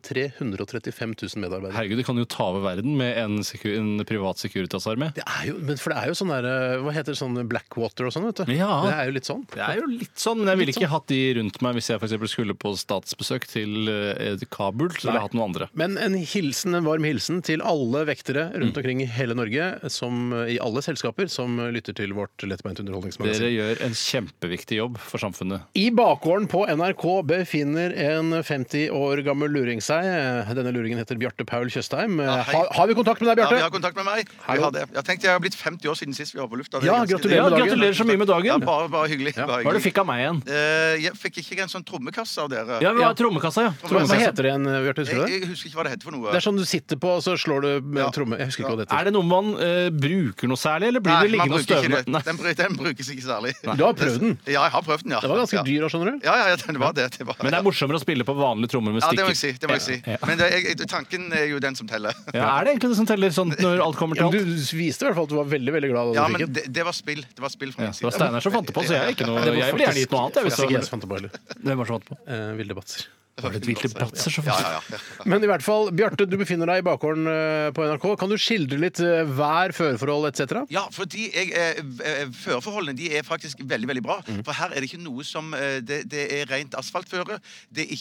335 000 medarbeidere.
Herregud, de kan jo ta over verden med en, seku- en privat Securitas-armé.
Det er jo, men for det er jo sånn der, eh, hva heter det, sånn Blackwater og sånn, vet du.
Ja.
Det er jo litt sånn.
Det er jo litt sånn, men jeg ville ikke hatt de rundt meg hvis jeg for eksempel skulle på statsbesøk til eh, Kabul. Så ville jeg hatt noen andre.
Men en, hilsen, en varm hilsen til alle vektere
Mm.
rundt omkring i hele Norge, som, i alle selskaper, som lytter til vårt lettbeint
Dere
underholdningsmagasin.
gjør en kjempeviktig jobb for samfunnet.
I bakgården på NRK befinner en 50 år gammel luring seg. Denne luringen heter Bjarte Paul Tjøstheim.
hei.
har, har vi kontakt med deg,
Ja, vi har
Bjarte?
kontakt med meg. Vi
Hallo.
har det. Jeg tenkte jeg har blitt 50 år siden sist vi var på lufta. Det er
Ja,
ganske-
gratulerer med dagen.
gratulerer så mye med
Ja,
dagen!
bare, bare hyggelig. Bare
Hva er det du
hyggelig.
fikk av meg igjen?
Eh, jeg fikk ikke en sånn trommekasse av dere.
Ja, vi
Ja.
var trommekassa, ja.
hva
Trommekassa.
heter det igjen, Bjarte? Husker du det?
Jeg, jeg husker ikke hva det heter for noe.
Det er sånn du sitter på, og så slår du med
Ja.
tromme. Jeg husker ikke hva det heter.
Er det noe man eh, bruker noe særlig, eller blir
Nei,
det
man
liggende og
bruker ikke
støvende?
det. Den, bru- den brukes ikke særlig.
Du har prøvd den.
Ja, jeg har prøvd den, ja.
Det var ganske dyr, skjønner du.
Ja, ja, ja det var det. det var,
Men det er morsommere å spille på vanlige trommer med
ja, det må
stikker.
jeg si. Det må jeg si.
Ja.
Men det, jeg, jeg- tanken er jo den som teller.
Ja, er det egentlig det som teller, sånn når alt kommer til
Men
alt?
du viste i hvert fall at du var veldig veldig glad da
Ja,
du fikk den.
men det, det var spill. Det var spill fra
Ja,
min
det var
side.
Steinar som fant det på, så jeg er ikke noe
Det var
Jeg ville gjerne
faktisk-
gitt noe annet. Jeg, hvis
faktisk ikke jeg
det
som fant det på heller.
var- Hvem var det som fant på?
Eh, Vilde Batzer.
Var det et Wilter Batzer som
Ja,
fant det?
ja, ja.
Men i hvert fall, Bjarte, du befinner deg i bakgården eh, på NRK. Kan du skildre litt eh, vær, føreforhold etc.?
Ja, fordi jeg, eh, eh, føreforholdene de er faktisk veldig veldig bra.
Mhm.
For her er det ikke noe som eh, Det, det er rent asfaltføre. Det er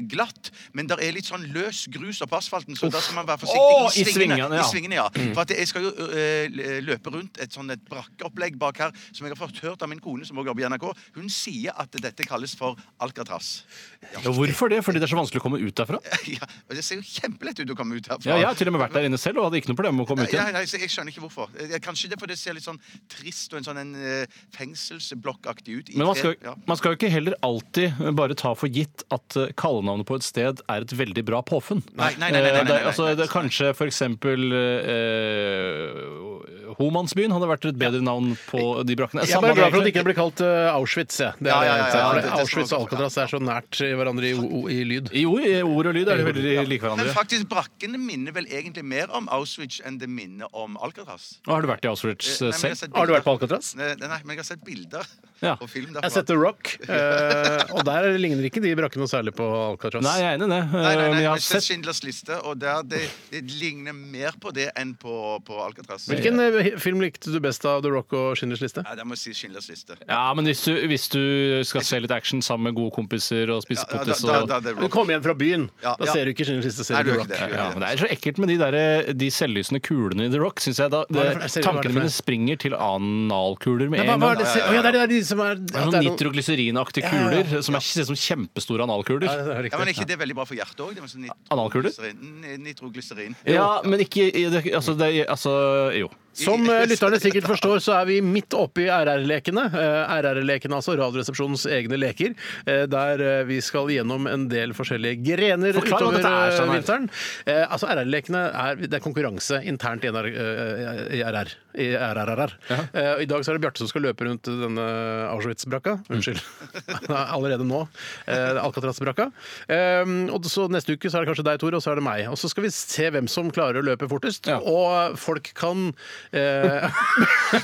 ikke glatt, men det er litt sånn løs grus oppå asfalten, så da skal man være forsiktig
Åh, i svingene, ja. Mhm.
I svingene, ja. For at jeg skal jo eh, løpe rundt et sånn et brakkeopplegg bak her, som jeg har fått hørt av min kone, som også jobber i NRK. Hun sier at dette kalles for Alcatraz.
Ja, hvorfor det? Fordi det er så vanskelig å komme ut derfra?
Ja, og Det ser jo kjempelett ut å komme ut herfra.
Ja, jeg har til og med vært der inne selv og hadde ikke noe problem med å komme ut
Nei,
igjen.
nei, så jeg skjønner ikke hvorfor. Eh, Kanskje det er fordi det ser litt sånn trist og en sånn en eh, fengselsblokkaktig ut. i
Men man
tre-
skal,
ja.
man skal jo ikke heller alltid bare ta for gitt at eh, kallenavnet på et sted er et veldig bra påfunn.
Nei, nei, nei, nei, nei, nei, nei,
Eh, det er- altså,
nei.
det er kanskje for eksempel eh, Homansbyen hadde vært et bedre navn på de brakkene.
Jeg er bare glad for at det
egentlig.
ikke blir kalt eh, Auschwitz. Jeg. Det er
Ja, ja,
det jeg
ja,
ser for meg.
ja, det- det-
Auschwitz og Alcatraz er så nært i hverandre i, o- i lyd.
I ord, i ord og lyd er de veldig like
Men
hverandre.
faktisk, brakkene minner vel egentlig mer om Auschwitz enn det minner om Alcatraz.
Har du vært i Auschwitz
Eh, nei, men
selv?
jeg har sett
Har du
bilder.
vært på Alcatraz?
Nei, nei, men jeg har sett bilder
Ja.
og film
Jeg
derfra.
har sett The Rock, eh, og der ligner ikke de brakkene noe særlig på Alcatraz.
Nei, jeg er enig i det.
altså-
Eh,
Nei, nei, nei,
Men jeg
jeg
har
har sett
sett
Schindlers liste, og der det, det ligner mer på det enn på, på Alcatraz.
Hvilken eh, film likte du best av The Rock og Schindlers liste?
Ja, der må jeg si Schindlers liste.
Ja, men hvis du, hvis du skal se litt action sammen med gode kompiser og spise
Ja,
potis
da-
og
da- da- det er
Du kom hjem fra byen.
Ja,
Da
ja.
ser du ikke Schindlers liste,
Nei,
ser du The
du gjør
Rock.
ikke det.
ja, men Det er så ekkelt med de, der, de selvlysende kulene i The Rock. Synes jeg da,
er
det,
det for- jeg ser ikke hva det er
Tankene
for
mine
noe.
springer til analkuler med
Nei, hva,
en
hva er
gang.
det, se- Å ja, det er det er de som er
Det er
det
Noen
er noen-
nitroglyserinaktige
Ja, ja, ja.
kuler som er, ser ut som kjempestore
Ja,
analkuler.
det er
Ja, men er
riktig.
ikke det sånn veldig bra for hjertet òg?
Analkuler?
Nitroglyserin.
Ja, men ikke i det, altså, det, altså Jo.
Som eh, lytterne sikkert forstår, så er vi midt oppe i RR-lekene. Eh, RR-lekene, altså Radioresepsjonens egne leker, eh, der eh, vi skal gjennom en del forskjellige grener
Forklar hva
utover
dette er,
eh,
Steinar.
vinteren. Eh, Altså RR-lekene er, det er konkurranse internt i, NR, eh, i RR. I RRR. Eh, og I dag så er det Bjarte som skal løpe rundt denne Auschwitz-brakka. Unnskyld. Allerede nå. Eh, Alcatraz-brakka. Eh, og så neste uke så er det kanskje deg, Tore, og så er det meg. Og så skal vi se hvem som klarer å løpe fortest.
Ja.
Og folk kan eh,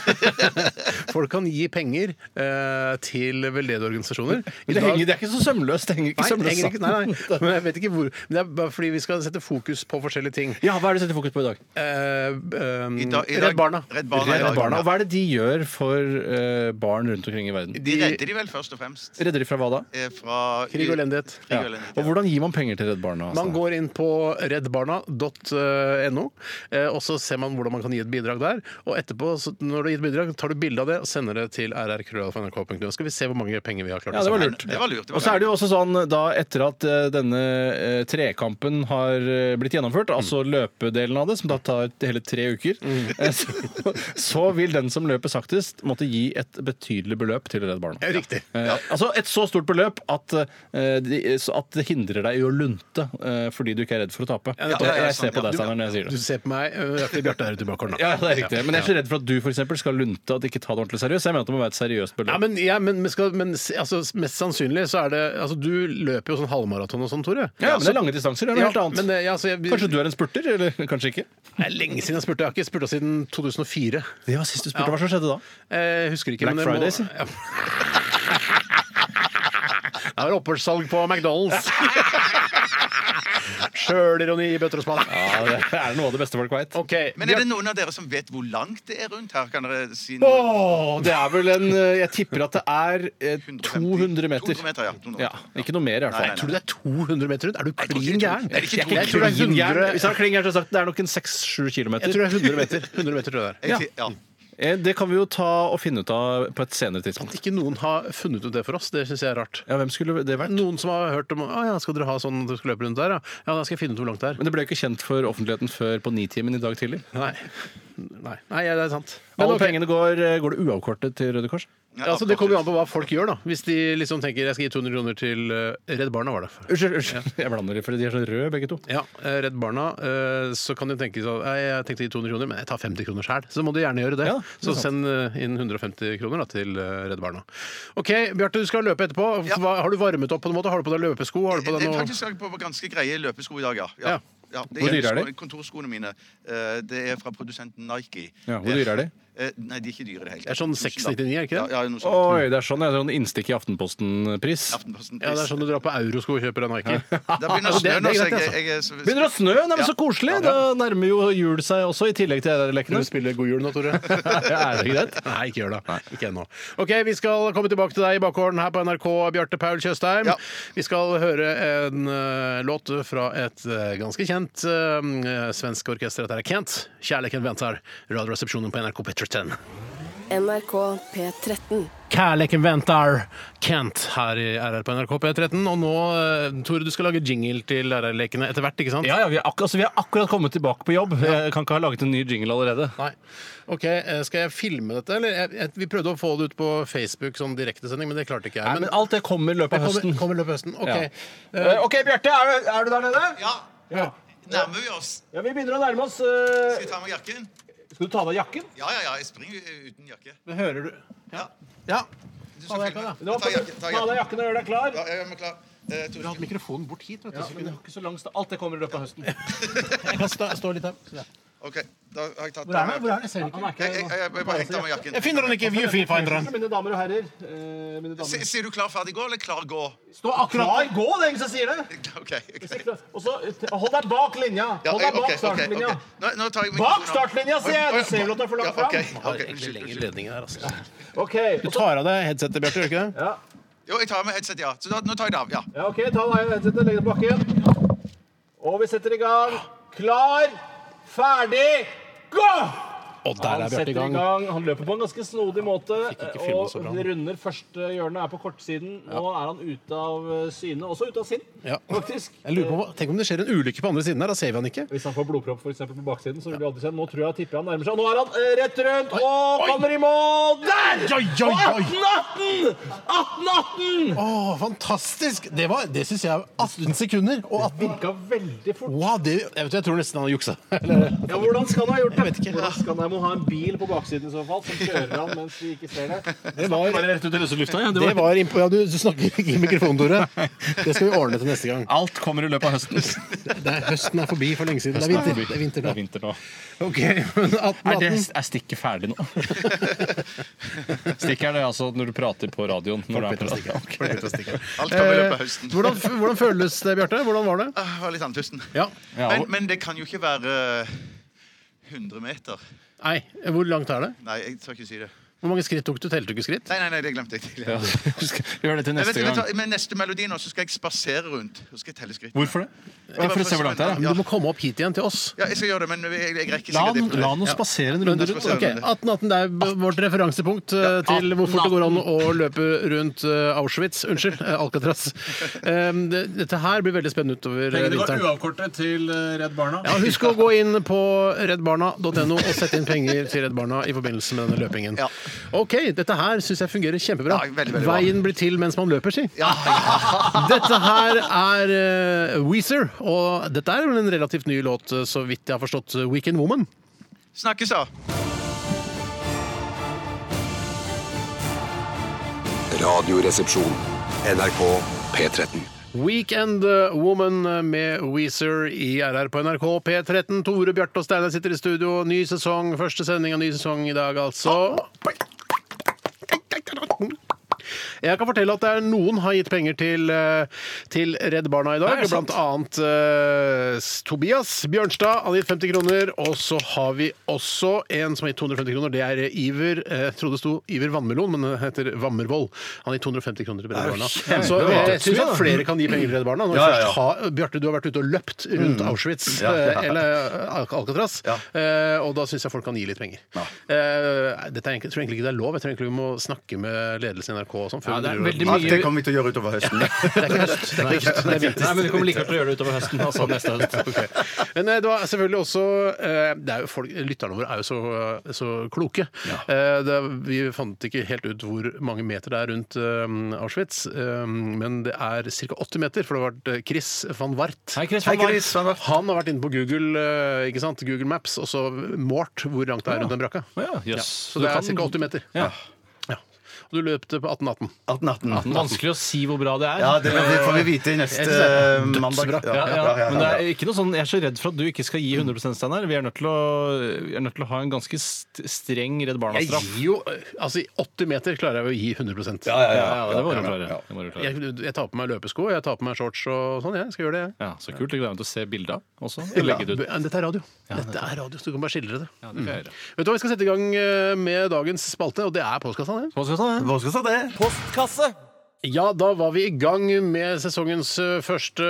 Folk kan gi penger eh, til veldedige organisasjoner. I
Det,
dag-
henger, det er ikke så sømløst. Det henger ikke
Nei, det
sømløst
henger ikke, nei,
sammen.
nei. Men jeg vet ikke hvor. Men det er bare fordi vi skal sette fokus på forskjellige ting.
Ja, Hva er det du setter fokus på i dag?
Eh, eh,
I dag- i dag-
Redd Barna.
Redd Barna, ja.
Redd Barna.
Og hva er det de gjør for eh, barn rundt omkring i verden?
De redder de vel først og fremst
Redder de fra hva da?
eh, fra
Krig og elendighet.
Krig og
Ja.
elendighet,
Og hvordan gir man penger til Redd Barna? altså?
Man går inn på reddbarna.no, eh, og så ser man hvordan man kan gi et bidrag der. Og etterpå, så når du har gitt bidrag, tar du bilde av det og sender det til rrkrøllalfa.nrk.no. Så skal vi se hvor mange penger vi har klart
Ja, det var
samle.
lurt.
Det var lurt, det var
og så er det jo også sånn da etter at eh, denne eh, trekampen har eh, blitt gjennomført, altså løpedelen av det, som da tar hele tre uker, eh, så, så vil den som løper saktest, måtte gi et betydelig beløp til Redd Barna.
Ja, Riktig.
Eh, Altså et så stort beløp at, eh, de, så at det hindrer deg i å lunte eh, fordi du ikke er redd for å tape.
Ja,
ja, ja,
jeg ser
sånn,
på
ja.
deg, Steinar, når jeg sier
Du
det.
ser på meg, eh, det er fordi Bjarte er i tilbakeholden. da.
Ja, det er riktig. Men jeg er så redd for at du for eksempel, skal lunte og ikke ta det ordentlig seriøst. Jeg mener at det må være et seriøst beløp.
Ja, men, ja, men, men, skal, men s- altså, mest sannsynlig så er det altså, Du løper jo sånn halvmaraton og sånn, Tore.
Ja, men det er lange distanser. Det er noe helt annet.
Men, eh, ja, så jeg,
Kanskje du er en spurter? Eller kanskje ikke?
Det er lenge siden jeg spurte. Jeg har ikke spurta siden 2004.
Det var sist du spurte. Hva som skjedde da?
Eh, husker ikke.
Black
men det
Friday, si.
Ja. Det var opphørssalg på McDonald's. Sjølironi i bøtter og spann.
Ja, Det er noe av det beste folk veit.
OK.
Men er det noen av dere som vet hvor langt det er rundt her? Kan dere si noe?
Åh, det er vel en eh, Jeg tipper at det er eh, 200 meter.
200 meter, ja. 200
Ja, ikke noe mer, i hvert
Nei,
fall.
nei, nei.
Tror du det er 200 meter rundt? Er du
tror ikke
klin
det er
gæren?
200. Er det ikke
Jeg tror det er 100
Hvis han klinger, så har jeg sagt det er nok en 6-7
jeg
kilometer.
tror det er 100 meter. 100 meter tror jeg det er.
Jeg sier- ja.
Eh, Det kan vi jo ta og finne ut av på et senere
At
tidspunkt.
ikke noen har funnet ut det for oss, det syns jeg er rart.
Ja, hvem skulle det vært?
Noen som har hørt om Å ja, skal dere ha sånn dere skal løpe rundt der? Ja, ja da skal jeg finne ut hvor langt det er.
Men det ble jo ikke kjent for offentligheten før på Nitimen i dag tidlig.
Nei. Nei, Nei ja, det er sant.
Alle
ok.
pengene går, eh, går det uavkortet til Røde Kors?
Ja,
altså, det kommer jo an på hva folk gjør, da. Hvis de liksom tenker jeg skal gi 200 kroner til eh, Redd Barna, var det.
Unnskyld, unnskyld. Jeg blander dem, for de er så røde begge to.
Ja, eh, Redd Barna, eh, så kan de tenke sånn «Nei, Jeg tenkte å gi 200 kroner, men jeg tar 50 kroner sjøl. Så må du gjerne gjøre det.
Ja, det er
så
sant.
send eh, inn 150 kroner da, til eh, Redd Barna. OK, Bjarte, du skal løpe etterpå.
Ja.
Hva, har du varmet opp på noen måte? Har du på deg løpesko? Har du på
Det
deg
er
noe
faktisk jeg er på, på ganske greie løpesko i dag, ja. ja.
Ja.
Ja, det
Hvor dyre er
sko-
de?
Kontorskoene mine. Eh, Det er fra produsenten Nike.
Ja, hvor dyre er de?
Eh, Nei, de er ikke dyre i det hele
Det er sånn 699, er det ikke det?
Ja, ja, noe sånt.
Oi, det er sånn, det er sånn innstikk i Aftenposten-pris.
Aftenposten.
Ja, det er sånn du drar på Eurosko og kjøper deg Nike.
Da begynner
det-
snøen,
det er
altså.
greit,
Jeg,
altså.
jeg, er så-
Begynner å snø! Nei, men Så koselig! Da nærmer jo jul seg også, i tillegg til
Kan
lekene.
du spille God jul nå, Tore?
Er det greit?
Nei, ikke gjør det. Ikke ennå. OK, vi skal komme tilbake til deg i bakgården her på NRK, Bjarte Paul Tjøstheim.
Ja.
Vi skal høre en eh, låt fra et eh, ganske kjent eh, svensk orkester. Dette er Kent. 'Kjærligheten venter'. Radioresepsjonen på NRK Petterton.
NRK P13.
Kærleken venter Kent her i RR på NRK P13. Og nå, eh, Tore, du skal lage jingle til RR-lekene etter hvert, ikke sant?
Ja, ja, vi, er ak altså, vi er akkurat kommet tilbake på jobb. Jeg kan ikke ha laget en ny jingle allerede.
Nei. OK, eh, skal jeg filme dette, eller? Jeg, jeg, vi prøvde å få det ut på Facebook som direktesending, men det klarte ikke jeg.
Nei, men alt det kommer i løpet av høsten.
Kommer, kommer i løpet av høsten. OK.
Ja. Eh, OK, Bjarte, er, du- er du der nede?
Ja,
Ja.
nærmer vi oss.
Ja, Vi begynner å nærme oss. eh,
Skal jeg ta med jakken?
Skal du ta av deg jakken?
Ja, ja, ja. Jeg springer eh, uten jakke.
Det hører du.
Ja.
Ja. Ta
Du skal
av deg
filme.
jakka, da.
Ta jakken. Ta jakken.
jakken og gjør deg klar.
Ja, jeg er klar. Eh,
Du
to
har hatt
sekunder.
mikrofonen bort hit. vet du, så kunne... ikke så lang sta- Alt det kommer i løpet av høsten. Jeg kan stå, stå litt her. Se der.
OK, da har jeg tatt
Hvor er han?
av meg
Hvor
jakken.
er han? Jeg ser ikke.
Jeg, jeg, jeg, jeg bare hengte av meg jakken.
Jeg finner han ikke i viewfinderen.
Mine damer og herrer. eh, mine damer.
Si- Sier du klar, ferdig, gå, eller klar, gå?
Stå akkurat
Nei, gå, det er ingen som sier det!
OK. ok.
Og så eh, Hold deg bak linja!
Ja, eh,
Hold deg
ok,
bak
ok,
startlinja.
ok. Nå, nå tar jeg
Bak
mikrofonen av.
startlinja, sier
Oi,
jeg!
oi,
Du ser vel at det er for
ja,
langt fram.
ok, ok,
der.
unnskyld, unnskyld.
ledningen her, altså.
Ok,
Du
og så-
tar av deg headsetet, Bjarte. Gjør du ikke det?
ja,
Jo, jeg tar med headset, ja. Så da, nå tar jeg det av. ja.
ja, ok, ta deg headsetet, legg det på bakken. Og vi setter i gang. Klar, ferdig, gå!
Og der
Han
er Bjarte
setter
i gang.
Han løper på en ganske snodig måte.
Fikk ikke filmet
Og
så bra, men-
runder første hjørne, er på kortsiden. Nå er han ute av eh, syne. Også ute av sinn,
Ja.
faktisk.
Jeg lurer på, Tenk om det skjer en ulykke på andre siden her. Da ser vi han ikke.
Hvis han får blodpropp for eksempel, på baksiden, så vil vi aldri se ham. Nå tror jeg tipper han nærmer seg. Nå er han eh, rett rundt og kommer i mål! Der!
Oi, oi, oi.
18-18! 18-18!
Å, fantastisk! Det var, det syns jeg er 18 sekunder. Og 18
Virka veldig fort.
Wow, det, jeg, vet, jeg tror nesten han har juksa.
Ja, hvordan skal han ha gjort det?
Jeg vet ikke.
Hvordan skal han, jeg må ha en bil på baksiden i så fall, som kjører han mens vi ikke ser det.
Det var,
Rett ut i løse lufta, ja. Det
det
var...
var imp- ja, du, du snakker ikke i mikrofonen, Tore. Det skal vi ordne til neste gang.
Alt kommer i løpet av høsten.
Det er, høsten er forbi for lenge siden. Det er vinter, det er vinter nå.
Det er vinter nå.
Ok, men 18,
Er, det,
18.
er stikket ferdig nå? Stikk er det altså når du prater på radioen. Når du er på radioen.
Alt kommer i løpet av høsten.
Eh, hvordan, f- hvordan føles det, Bjarte? Hvordan var det?
Ah, jeg var litt andpusten.
Ja.
Ja,
Men,
og-
men det kan jo ikke være eh, 100 meter.
Nei, hvor langt er det?
Nei, jeg tør ikke si det.
Hvor mange skritt tok du? Telte du ikke skritt?
Nei, nei, nei, det glemte jeg. Det
Ja,
glemte jeg.
Gjør det til
Men vet
neste
du, vet du
gang.
hva, Med neste melodi nå så skal jeg spasere rundt. Så skal jeg telle skritt.
Hvorfor det? Ja, for å se hvor langt det er.
Men Du må komme opp hit igjen til oss.
Ja, jeg skal gjøre det, men jeg, jeg rekker
La,
sikkert
den- la
det.
den spasere en runde
Men du,
rundt.
spasere
ok, 1818 det er b- vårt referansepunkt eh, til hvor fort det går an å løpe rundt eh, Auschwitz. Unnskyld, eh, Alcatraz. Um, det, dette her blir veldig spennende utover eh, vinteren.
uavkortet til eh, Redd Barna.
Ja, husk å gå inn på reddbarna.no og sette inn penger til Redd Barna i forbindelse med denne løpingen.
Ja.
Ok, dette her syns jeg fungerer kjempebra.
Ja, veldig, veldig bra.
Veien blir til mens man løper, si.
Ja,
Dette her er eh, Weezer, og dette er vel en relativt ny låt, eh, så vidt jeg har forstått, eh, Weekend Woman.
Snakkes, da.
Radioresepsjon. NRK P13.
Weekend eh, Woman med Weezer i RR på NRK P13. Tore, Bjarte og Steinar sitter i studio. Ny sesong, første sending av ny sesong i dag, altså. Jeg kan fortelle at det er noen har gitt penger til, eh, til Redd Barna i dag. Blant annet eh, Tobias Bjørnstad har gitt 50 kroner. Og så har vi også en som har gitt 250 kroner. Det er Iver. eh, Jeg trodde det sto Iver Vannmelon, men det heter Vammervoll. Han har gitt 250 kroner til Redd Barna. Så eh, jeg syns at flere kan gi penger til Redd Barna. Når
Ja,
vi
ja, ja.
først har- Bjarte, du har vært ute og løpt rundt Auschwitz
Ja, ja.
eh, eller Al- Alcatraz,
Ja.
eh, og da syns jeg folk kan gi litt penger. Eh, Dette er, egentlig- jeg tror egentlig ikke det er lov. Jeg tror egentlig vi må snakke med ledelsen i NRK og sånn. før vi
det er
driver og-
veldig
Alt det kommer vi til å gjøre utover høsten.
Det er ikke høst. Det er ikke høst. Det er vinter.
Nei, men Du kommer likevel til å gjøre det utover høsten. Altså neste høst.
Men eh, det var selvfølgelig også eh, det er jo folk, Lytterne våre er jo så, eh, så kloke. Eh, Det, vi fant ikke helt ut hvor mange meter det er rundt eh, Auschwitz, eh, men det er ca. 80 meter, for det har vært eh, Chris van Wart.
Hei, Chris.
Hei,
Van Wart.
Chris. Van Wart.
Han har vært inne på Google, eh, ikke sant? Google Maps og så målt hvor langt det er rundt den brakka.
Å ja, jøss.
Så det er ca. 80 meter. Ja.
Ja.
Og du løp det på 1818.
18-18.
Vanskelig å si hvor bra det er.
Ja, det, det får vi vite i neste eh, mandag.
dødsbra.
Ja, ja,
ja,
Men det
ja.
er ikke noe sånn, jeg er så redd for at du ikke skal gi 100 Steinar. Vi er nødt til å, vi er nødt til å ha en ganske st streng Redd
Jeg
Barna-straff.
gir jo Altså, i 80 meter klarer jeg å gi 100
Ja, ja,
Ja,
ja.
ja, det må du klare.
ja.
Det må du klare.
Jeg, jeg tar på meg løpesko, jeg tar på meg shorts og sånn. Jeg skal gjøre det, jeg.
Ja, så kult. Jeg gleder meg til å se bildet av også. og Legge det ut.
Men Dette er radio. Dette er radio, så du kan bare skildre det.
Ja, det kan
Mm.
jeg gjøre.
Vet du hva, Vi skal sette i gang eh, med dagens spalte, og det er postkassa. det.
Hva skal jeg ta, jeg?
Hva skal så det?
Postkasse.
Ja, da var vi i gang med sesongens eh, første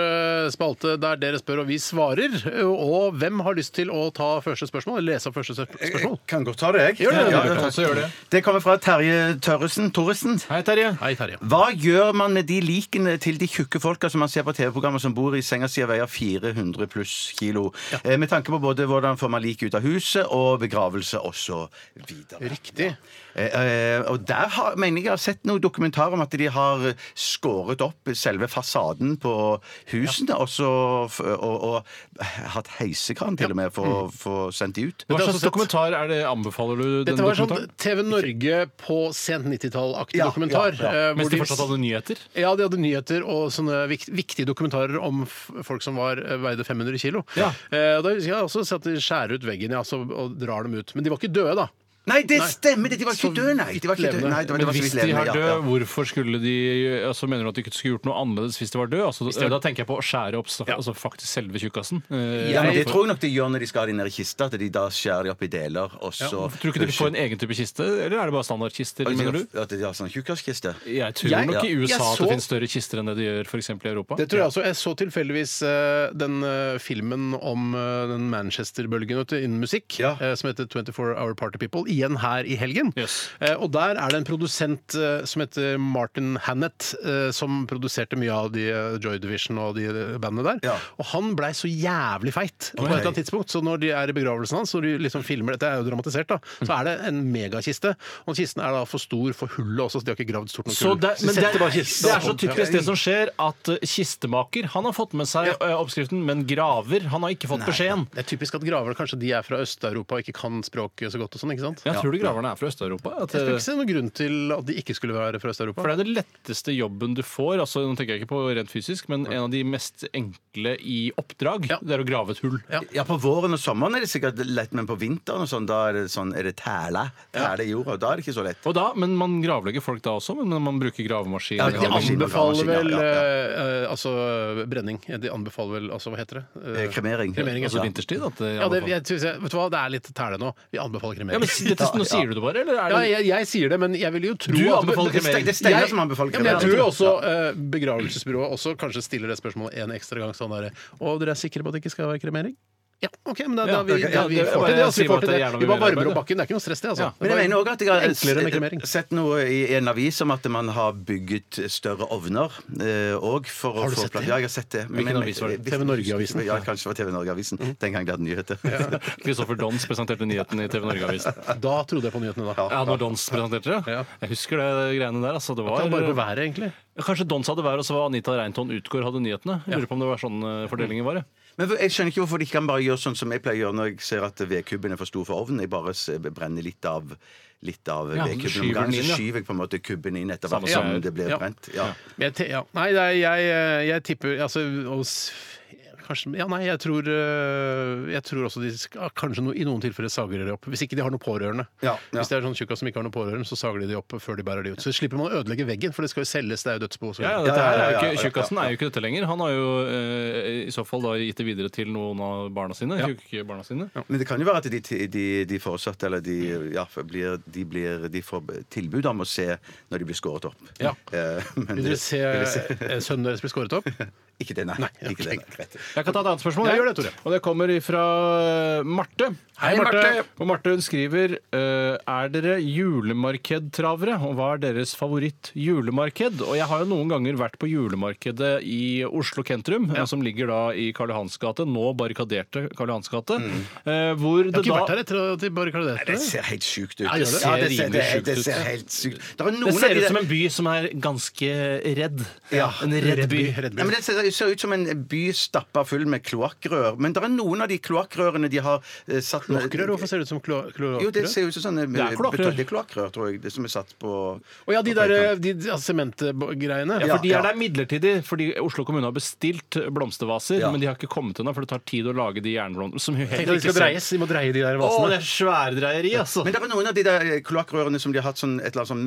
spalte, der dere spør og vi svarer. Eh, Og hvem har lyst til å ta første spørsmål? Eller lese opp første sp- spørsmål?
Eh,
Kan godt ta det, jeg.
Gjør det,
Ja,
du
ja,
kan
takk.
også gjøre det.
det kommer fra Terje Tørresen. Torresen.
Hei, Terje.
Hei, Terje.
Hva gjør man med de likene til de tjukke folka som man ser på TV-programmer som bor i senga si og veier 400 pluss kilo? Eh, Med tanke på både hvordan får man liket ut av huset, og begravelse osv. Riktig.
Riktig.
Eh, eh, og der har, mener jeg jeg har sett noen dokumentar om at de har
har skåret opp selve fasaden på husene, og, så, f- og, og hatt heisekran til og med for å få sendt de ut.
Dette
Hva
har jeg
slags
også sett.
dokumentar er det anbefaler du
Dette
denne
var sånn
dokumentaren?
TV Norge på sent 90-tall-aktig
Ja,
dokumentar.
ja,
eh, hvor
Mens de fortsatt hadde nyheter?
Ja, de hadde nyheter og sånne vikt, viktige dokumentarer om f folk som var, eh, veide 500 kilo.
Ja.
Eh, og da husker jeg også at de skjærer ut veggen ja, så, og drar dem ut. Men de var ikke døde, da.
Nei, det stemmer! Det. De var
Så
ikke døde, nei. De var ikke
levende.
døde. Nei, det var,
Men
det var så
hvis
vidt
de
levende,
er
ja,
døde,
ja.
hvorfor skulle de altså Mener du at de ikke skulle gjort noe annerledes hvis de var døde? Altså,
de var-
Da tenker jeg på å skjære opp staff- altså, faktisk selve tjukkasen. Eh,
Ja, men
hvorfor-
Det tror jeg nok de gjør når de skal ha de ned i kista. At de da skjærer de opp i deler, og så
Tror du ikke de får en egen type kiste, eller er det bare standardkister? mener du?
At de har sånn tjukkaskiste?
Jeg tror
Jeg-
nok i
jeg
USA at
så-
det finnes større kister enn det de gjør for eksempel i Europa.
Det tror jeg også. Jeg så tilfeldigvis eh, den eh, filmen om eh, den Manchester-bølgen vet du, innen musikk,
Ja.
eh, som heter 24 Hour Party People, igjen her i helgen.
Yes.
Eh, og der er det en produsent eh, som heter Martin Hannett, eh, som produserte mye av de eh, Joy Division og de eh, bandene der.
Ja.
Og han blei så jævlig feit på et eller annet tidspunkt, så når de er i begravelsen hans, når de liksom filmer dette, er jo dramatisert, da, så er det en megakiste. Og kisten er da for stor for hullet også, så de har ikke gravd stort nok
Så
hull.
det,
Så de
men det,
setter bare
det
kisten
er så
opp. Ja.
typisk det som skjer, at eh, kistemaker han har fått med seg eh, oppskriften, men graver han har ikke fått beskjeden.
Det er typisk at graver kanskje de er fra Øst-Europa og ikke kan språket så godt. og sånn, ikke sant?
Jeg tror du graverne er fra Øst-Europa. at,
Jeg tror
eh,
ikke se noen grunn til at de ikke skulle være fra Øst-Europa.
For det er den letteste jobben du får, altså nå tenker jeg ikke på rent fysisk, men en av de mest enkle i oppdrag,
Ja.
det er å grave et hull.
Ja, På våren og sommeren er det sikkert lett, men på vinteren og sånn, da er det sånn, er det tæle, tæle i jorda. og Da er det ikke så lett.
Og da, men man gravlegger folk da også, men man bruker gravemaskin.
Ja,
De
gravemaskin.
anbefaler
Ja,
vel
ja, ja.
eh, eh, altså brenning. De anbefaler vel altså hva heter det? Eh,
Eh, Kremering.
Kremering,
Altså
altså.
vinterstid. At det,
Ja, det, jeg, synes jeg, vet du hva, det er litt tæle nå. Vi anbefaler kremering.
ja, men si- dette, Nå sier du det bare, eller er
Ja,
det
jeg, jeg sier det, men jeg vil jo tro
Du
at- Det-
anbefaler
det-
kremering.
Det er Steinar
jeg-
som anbefaler
ja, men jeg
kremering.
tror jo også eh, begravelsesbyrået også kanskje stiller det spørsmålet en ekstra gang. sånn der, Og dere er sikre på at det ikke skal være kremering? Ja, OK, men da, da,
Ja,
vi,
ok,
da
ja,
vi
det-
får til det. Altså, vi, får
sier bare
til det.
at det er jævla
vi bare
mye arbeid,
varmer opp
da.
bakken. Det er ikke noe stress, det. altså.
Ja.
Men jeg mener også at jeg
Enklere med
har
kremering.
s- sett noe i en avis om at man har bygget større ovner eh, og for å
Har du
få
sett
plass-
det?
Ja, jeg har sett det. eh,
Hvilken avis var det?
TV Norge-avisen?
Ja, kanskje det var TV Norge-avisen. Den gang de hadde nyheter.
Kristoffer Dons presenterte nyheten i TV Norge-avisen.
Da trodde jeg på nyhetene, da.
Ja, når Dons presenterte det?
Ja.
Jeg husker det greiene der. Altså, det
Det er bare på
var,
været, egentlig.
kanskje Dons hadde været, og så var Anita Reinton Utgård hadde nyhetene. Jeg lurer på om det var sånn eh, fordelingen var. jeg.
Men jeg skjønner ikke hvorfor de ikke kan bare gjøre sånn som jeg pleier å gjøre når jeg ser at vedkubben er for stor for ovnen. Jeg bare s- brenner litt av litt av
Ja, så
vedkubben
skyver
om gangen.
den inn,
Så
ja.
skyver jeg på en måte kubben inn etter
Samme
hvert som
som-
det blir
ja.
brent. Ja.
Jeg, te- ja. Nei, det er, jeg, eh, jeg tipper altså, og, s- Kanskje, ja, nei, jeg tror, eh, jeg tror også de skal, kanskje no, i noen tilfeller sager de opp. Hvis ikke de har noen pårørende.
Ja, ja.
Hvis det er sånn tjukkas som ikke har noen pårørende, så sager de de opp før de bærer de ut. Så slipper man å ødelegge veggen, for det skal jo selges, det er jo dødsbo. og så
Ja, ja,
videre.
Ja,
dette
ja,
her er
ja,
jo
ja,
ikke,
ja,
Tjukkasen
ja,
er jo ikke dette lenger. Han har jo eh, i så fall da gitt det videre til noen av barna sine. Tjukkebarna sine.
Men det kan jo være at de, de, de foresatte eller de, ja, blir, de, blir, de får tilbud om å se når de blir skåret opp.
Ja.
Eh, men
Vil dere se
vil dere
eh, sønnen deres bli skåret opp?
Ikke det, nei. ikke det, nei. Greit.
Jeg kan ta et annet spørsmål.
Ja,
jeg.
gjør det, Tore.
Og det kommer fra Marte.
Hei, Marte.
Og Marte hun skriver eh, Er dere julemarkedtravere, og hva er deres favoritt-julemarked? Og jeg har jo noen ganger vært på julemarkedet i Oslo Kentrum, eh, som ligger da i Karl Johans gate, nå barrikaderte Karl Johans gate, eh, hvor
Jeg har ikke
det da
vært her etter at de bare kaller
Det
det
ser helt sjukt ut.
Ja, det ser
det, ser, det,
rimelig sjukt
det
ut.
ser helt sykt Det er noen
det
av
ser
de
ut
der-
som en by som er ganske redd.
Ja.
En redd by.
Ja, men det ser, det ser ut som en by stappa full med kloakkrør. Men det er noen av de kloakkrørene de har eh, satt
Kloakkrør? Hvorfor ser det ut som klo- kloakkrør?
Jo, det ser ut som sånne
Det er kloakkrør.
betong- det er kloakkrør, tror jeg. Det som er satt på
Å ja, de der eh, de- de- altså, sementgreiene.
Ja, for de
ja.
er der midlertidig, fordi Oslo kommune har bestilt blomstervaser,
Ja.
men de har ikke kommet ennå, for det tar tid å lage de jernblomstene. Som jo
Tenk
heller
at de skal
ikke ser-
dreies. De må dreie de der
Å,
vasene.
det er sværdreieri, altså!
Men det er noen av de der eh, kloakkrørene som de har hatt sånn, et eller annet sånn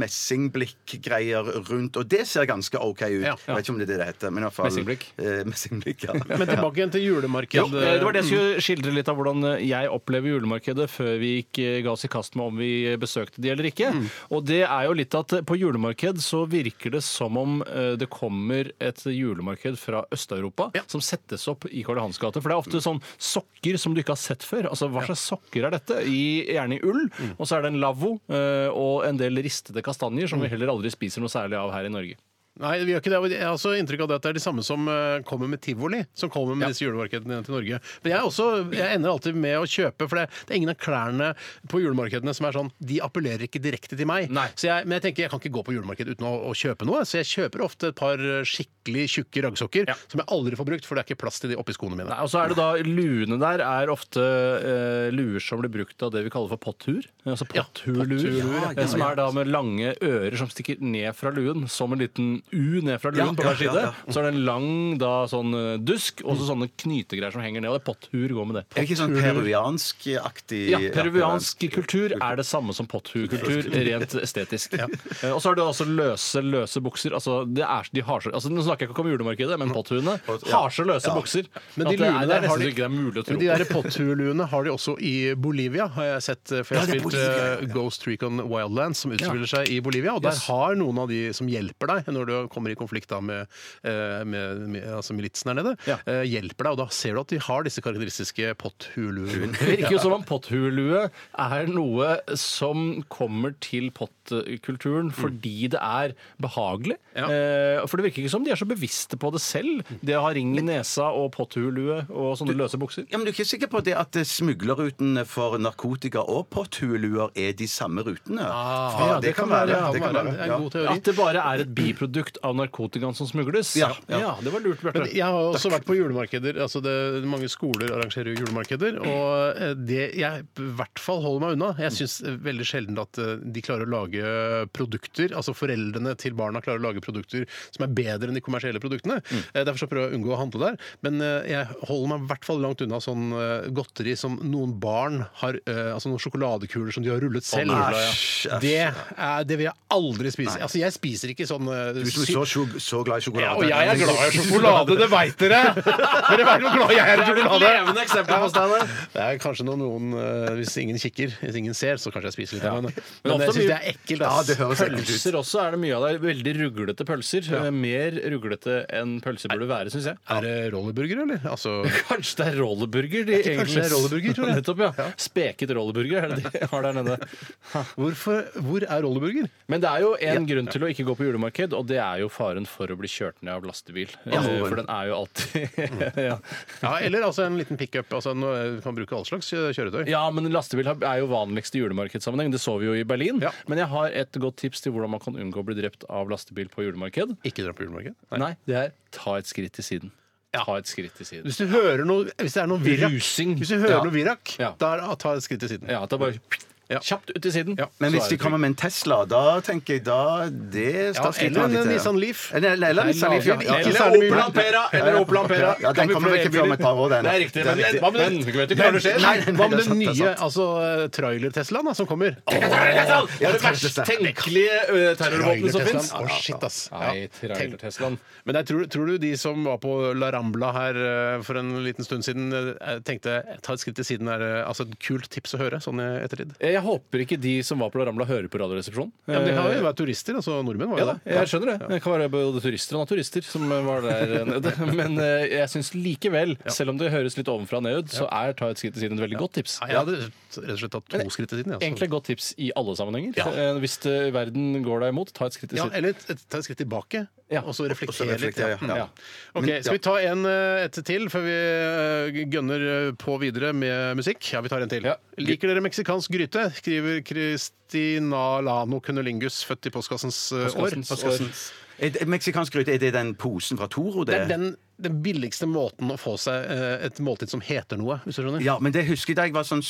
messingblikk-greier rundt, og det ser ganske OK ut.
Ja.
Jeg vet ikke om det er det det heter. Men i hvert fall,
Messingblikk?
Eh, messingblikk, ja.
Men tilbake igjen til
Jo,
julemarkedet.
eh, det var det jeg skulle skildre litt av hvordan eh, jeg opplever julemarkedet før vi gikk, eh, ga oss i kast med om vi besøkte de eller ikke. Og det er jo litt at eh, på julemarked så virker det som om eh, det kommer et julemarked fra Øst-Europa som settes opp i Karl Johans gate. For det er ofte sånn sokker som du ikke har sett før. Altså hva slags sokker er dette? I, gjerne i ull. Og så er det en lavvo eh, og en del ristede kastanjer som vi heller aldri spiser noe særlig av her i Norge.
Nei, vi gjør ikke det. Og Jeg har også inntrykk av det at det er de samme som eh, kommer med tivoli. Som kommer med disse julemarkedene til Norge. Men jeg, er også, jeg ender alltid med å kjøpe, for det, det er ingen av klærne på julemarkedene som er sånn De appellerer ikke direkte til meg.
Nei.
Så jeg, men jeg tenker jeg kan ikke gå på julemarked uten å, å kjøpe noe. Så jeg kjøper ofte et par eh, skikkelig tjukke raggsokker
Ja.
som jeg aldri får brukt, for det er ikke plass til de oppi skoene mine.
Nei, og så er det da Luene der er ofte eh, luer som blir brukt av det vi kaller for potthur. Altså
Ja,
potthurluer.
potthurluer, ja,
eh, som er da med lange ører som stikker ned fra luen, som en liten U ned fra luen
Ja,
på
ja,
hver side.
ja,
Så er det en lang da sånn eh, dusk, og så sånne knytegreier som henger ned. Og det er potthur går med det.
Er ikke sånn peruviansk-aktig
Ja, Peruviansk kultur er det samme som potthurkultur, rent estetisk. Eh, Og så er det også løse, løse bukser. Altså, det er, de har så, altså, nå snakker jeg ikke om julemarkedet,
Mm.
men potthuene har så løse bukser.
Men de
at det er,
luene
det
der har
er nesten
de-
så ikke det er mulig
Men
å tro
de
på.
der potthuluene har de også i Bolivia, har jeg sett. eh, For jeg har spilt eh, Ghost Recon Wildlands, som utspiller seg i Bolivia. Og der
Yes.
har noen av de som hjelper deg når du kommer i konflikt da med, eh, med, med altså militsen der nede,
Ja.
eh, hjelper deg. Og da ser du at de har disse karakteristiske potthuluene.
Det virker jo som om potthulue er noe som kommer til pottkulturen fordi det er behagelig.
Mm. Ja.
Eh, For det virker ikke som de er så bevisste på det selv, det å ha ring i nesa og potthulue og sånne løse bukser.
Ja, men Du er ikke sikker på det at eh, smuglerrutene for narkotika og potthueluer er de samme rutene? Fra-
Ah. ja, det kan være, ja, det kan være. Det er en god teori.
At det bare er et biprodukt av narkotikaen som smugles.
Ja, ja.
det var lurt, Bjarte.
Men jeg har også vært på julemarkeder. altså det, Mange skoler arrangerer jo julemarkeder. Og eh, det jeg i hvert fall holder meg unna Jeg syns veldig sjelden at eh, de klarer å lage produkter, altså foreldrene til barna klarer å lage produkter som er bedre enn de kommersielle produktene.
Mm.
Eh, Derfor så prøver jeg å unngå å handle der. Men eh, jeg holder meg i hvert fall langt unna sånn eh, godteri som noen barn har eh, Altså noen sjokoladekuler som de har rullet selv.
nei, æsj, æsj.
det, er, det vil jeg aldri spise. Altså, jeg spiser ikke sånn eh,
Du som er så, sjog- så glad i sjokolade.
ja, og jeg er glad i sjokolade, det veit dere! Dere vet hvor glad jeg er i sjokolade!
levende eksempel på Steinar.
Det er kanskje når noen eh, Hvis ingen kikker, hvis ingen ser, så kanskje jeg spiser litt av den.
Men
Men
ofte
jeg syns
mye-
det er ekkelt.
Ja,
ass.
det høres ekkelt ut.
Pølser også er det mye av. Det er veldig ruglete pølser. Eh, Mer ruglete enn pølser burde være, syns jeg.
Er det rollerburger, eller? Altså
Kanskje det er rolleburger? De
ikke kanskje det er rolleburger, tror jeg.
Nettopp, ja. Speket rolleburger er det de har der nede.
Hvorfor, hvor er rollerburger?
Men det er jo en grunn til å ikke gå på julemarked, og det er jo faren for å bli kjørt ned av lastebil. Eh, For den er jo alltid ja.
Ja, Eller altså en liten pickup. Altså, en- du kan bruke all slags eh, kjøretøy.
ja, men lastebil er jo vanligst i julemarkedssammenheng. Det så vi jo i Berlin.
Ja.
Men jeg har et godt tips til hvordan man kan unngå å bli drept av lastebil på julemarked.
Ikke dra på julemarked.
Nei, det er ta et skritt til siden. Ta et skritt til siden.
Hvis du hører noe Hvis det er noe virak,
Rusing.
hvis du hører
Ja.
noe virak
Ja.
da er det- ah, ta et skritt til siden.
Ja, at det er bare
Ja.
kjapt ut til siden.
Ja.
Men
så
hvis
er
de
det
kommer med en Tesla, da tenker jeg da det
Ja, eller en Nissan Leaf.
Eller, eller, eller Nissan Leaf, ja.
Eller
ja.
Opel Ampera,
eller Opel Ampera.
Ja, den kommer vel ikke fram et par år, den.
Det er riktig,
Det er
men
riktig.
hva med den? Vi vet ikke hva det skjer.
Nei, nei, nei,
Hva med
det
den
er sant, det er
nye altså, eh, trailer-Teslaen da, som kommer?
Det er det verst tenkelige ø, terrorvåpenet som fins.
Å, shit, ass.
Nei,
Ja. Tenk.
trailer-Teslaen.
Men jeg tror, tror du de som var på La Rambla her eh, for en liten stund siden, eh, tenkte ta et skritt til siden? Er, eh, altså et kult tips å høre sånn i ettertid?
Jeg håper ikke de som var på La Ramla, hører på Radioresepsjonen.
Ja, men det kan jo være turister. altså Nordmenn var jo
Eh, Ja, da,
det.
jeg skjønner det. Det kan være både turister og naturister som var der nede. Men eh, jeg syns likevel, selv om det høres litt ovenfra og ned ut, så er Ta et skritt til siden et veldig godt tips.
Nei, jeg hadde rett og slett tatt to skritt til siden. jeg,
Egentlig
Altså.
et godt tips i alle sammenhenger.
Ja.
Eh, Hvis eh, verden går deg imot, ta et skritt til
Ja,
siden.
eller et- et- ta et skritt tilbake,
Ja.
og så reflektere litt.
reflektere, ja.
Ja.
Ok, Skal vi ta en eh, et til før vi eh, gønner på videre med musikk? Ja, vi tar en til.
Ja.
Liker dere meksikansk gryte? Skriver Kristina Lano Kunolingus, født i postkassens eh, år.
Postkassens
Er det- Meksikansk gryte, er det den posen fra Toro,
Det er
det?
den, eh, den billigste måten å få seg eh, et måltid som heter noe, hvis du skjønner.
Ja, men det husker jeg da jeg var sånn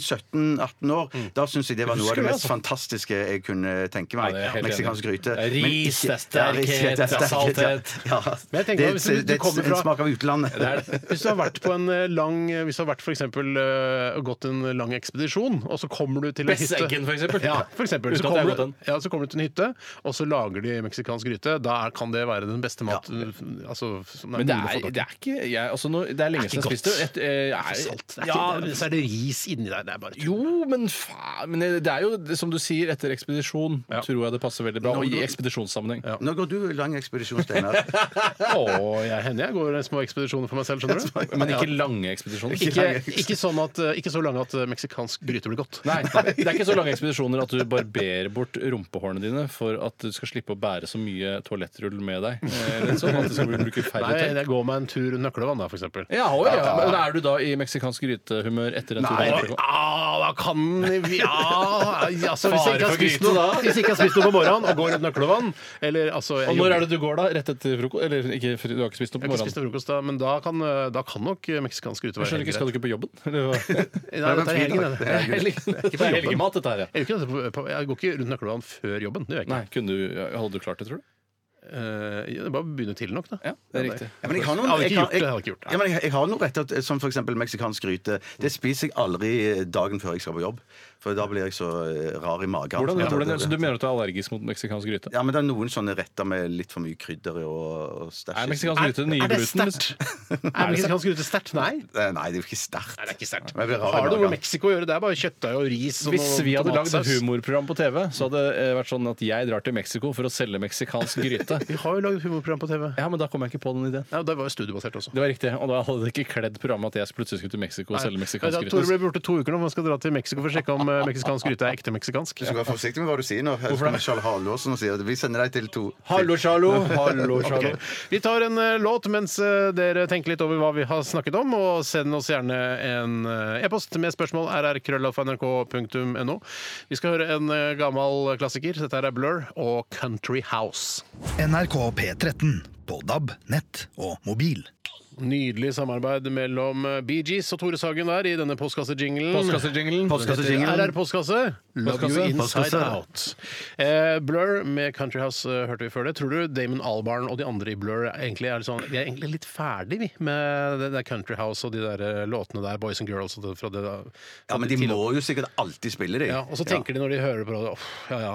16-17-18 år. Da syns jeg det var noe av
Husker
det
du,
mest
altså?
fantastiske jeg kunne tenke meg.
Ja, det er jeg helt
Meksikansk
enig.
gryte.
Ris,
Men ikke-
det er sterkhet,
Ja,
det er
sterkhet,
salthet.
Ja. Ja.
Men jeg tenker
det
da, hvis du-
er, et- det er
du kommer
et- en
fra-
smak av utlandet.
Hvis du har vært på en eh, lang Hvis du har vært for eksempel, eh, gått en lang ekspedisjon, og så kommer du til en hytte
Besseggen, for eksempel.
Ja, for eksempel. Så
Uten at jeg har
kommer,
gått den.
du, ja, så kommer du til en hytte, og så lager de meksikansk gryte. Da er, kan det være den beste maten altså, som er
Men
mulig
det
å få
er,
tak i.
det er ikke jeg, altså, nå,
det er lenge
ikke
siden jeg spiste
godt.
det. Et, eh,
er for
jeg-
salt. Det er
Ja,
ikke, det er, så er det ris inni der. Det er bare tull.
Jo, men faen men Det er jo, det- som du sier, etter ekspedisjon
Ja.
tror jeg det passer veldig bra.
Nå,
Og i
nå-
ekspedisjonssammenheng.
Ja.
Nå går du lang ekspedisjon, Steinar.
Å, jeg, hender jeg går små ekspedisjoner for meg selv, skjønner du.
Men ikke lange ekspedisjoner.
Ikke, ikke, sånn at, ikke så lange at eh, meksikansk gryte blir godt.
Nei, Det er ikke så lange ekspedisjoner at du barberer bort rumpehårene dine for at du skal slippe å bære så mye toalettrull med deg. Eh, litt Sånn at du skal bruke færre
Nei,
tenner.
jeg går meg en tur rundt Nøklevann, da, for eksempel.
Ja, oi, ja. Men er du da i meksikansk grytehumør etter en tur?
Nei, ah, da kan Ja, altså, hvis jeg ikke
Fare
har
for
spist
gryte,
noe,
da.
hvis jeg ikke har spist noe på morgenen og går rundt Nøklevann eller, altså, jeg
Og når
jobber-
er det du går, da? Rett etter frokost? Eller ikke, fr- du har ikke spist noe
jeg
på
har ikke spist
morgenen?
noe frokost, da, men da kan, eh, da kan nok meksikansk gryte
Jeg
være
skjønner ikke, Skal du ikke på jobben? Eller hva?
Nei, dette er helgen, det.
Det er helg- det er helgemat, dette her. ja.
Jeg, gjør ikke dette på- på- jeg går ikke rundt Nøklevann før jobben. Det gjør jeg ikke.
Nei, kunne du, Hadde du klart det, tror du?
Eh, det er bare å begynne tidlig nok, da.
Ja, det er riktig.
Ja, men jeg har
Jeg
noen,
hadde ikke
jeg
gjort det, jeg hadde ikke gjort det.
Ja, men jeg, jeg har noen retter t- eh, som f.eks. meksikansk gryte. Det spiser jeg aldri eh, dagen før jeg skal på jobb. For da blir jeg så eh, rar i magen.
Hvordan,
Ja,
hvordan,
det-
så du mener at du er allergisk mot meksikansk gryte?
ja, men det er noen sånne retter med litt for mye krydder og, og stæsj. i
Er
seg.
meksikansk gryte den nye
er det
gluten?
sterkt? Er meksikansk gryte sterkt? Nei.
Eh, Nei, det er jo ikke sterkt.
det er ikke sterkt.
Men vi har
Har
en
det noe
annen.
med Mexico å gjøre? Det er bare kjøttdeig og ris og
Hvis
noe
vi hadde lagd
tomatsaus.
humorprogram på TV, så hadde det eh, vært sånn at jeg drar til Mexico for å selge meksikansk gryte.
Vi har jo lagd humorprogram på TV.
Ja, men da kom jeg ikke på den ideen.
Ja, det var jo studiobasert også.
Det var riktig, og da hadde det ikke kledd programmet at jeg plutselig skulle til Mexico og selge meksikansk
Nei, da, Tore
gryte.
ble borte to uker nå, man skal dra til Mexico for å sjekke om eh, meksikansk gryte er ekte meksikansk.
Du skal være forsiktig med hva du sier nå. Her kommer Charles Halvorsen og sier at vi sender deg til to
Hallo, Charlo! Hallo, Charlo.
Ok. Vi tar en eh, låt mens eh, dere tenker litt over hva vi har snakket om, og send oss gjerne en eh, e-post med spørsmål rrkrøllalfa.nrk.no. Vi skal høre en eh, gammel klassiker. Dette her er Blur og Country House.
NRK P13. På DAB, nett og mobil.
Nydelig samarbeid mellom eh, Bee Gees og Tore Sagen der i denne postkassejinglen.
Postkassejinglen.
Postkassejinglen. RR Postkasse. Love
Postkasse.
you inside
Postkasse.
out. Eh, Blur med Country House eh, hørte vi før det. Tror du Damon Albarn og de andre i Blur er egentlig er litt sånn Vi er egentlig litt ferdig, vi, med det der Country House og de der eh, låtene der, Boys and Girls og det, fra det da.
Ja, men de må jo sikkert alltid spille, de.
Ja, og så tenker de når de hører på det «Åh, Ja ja,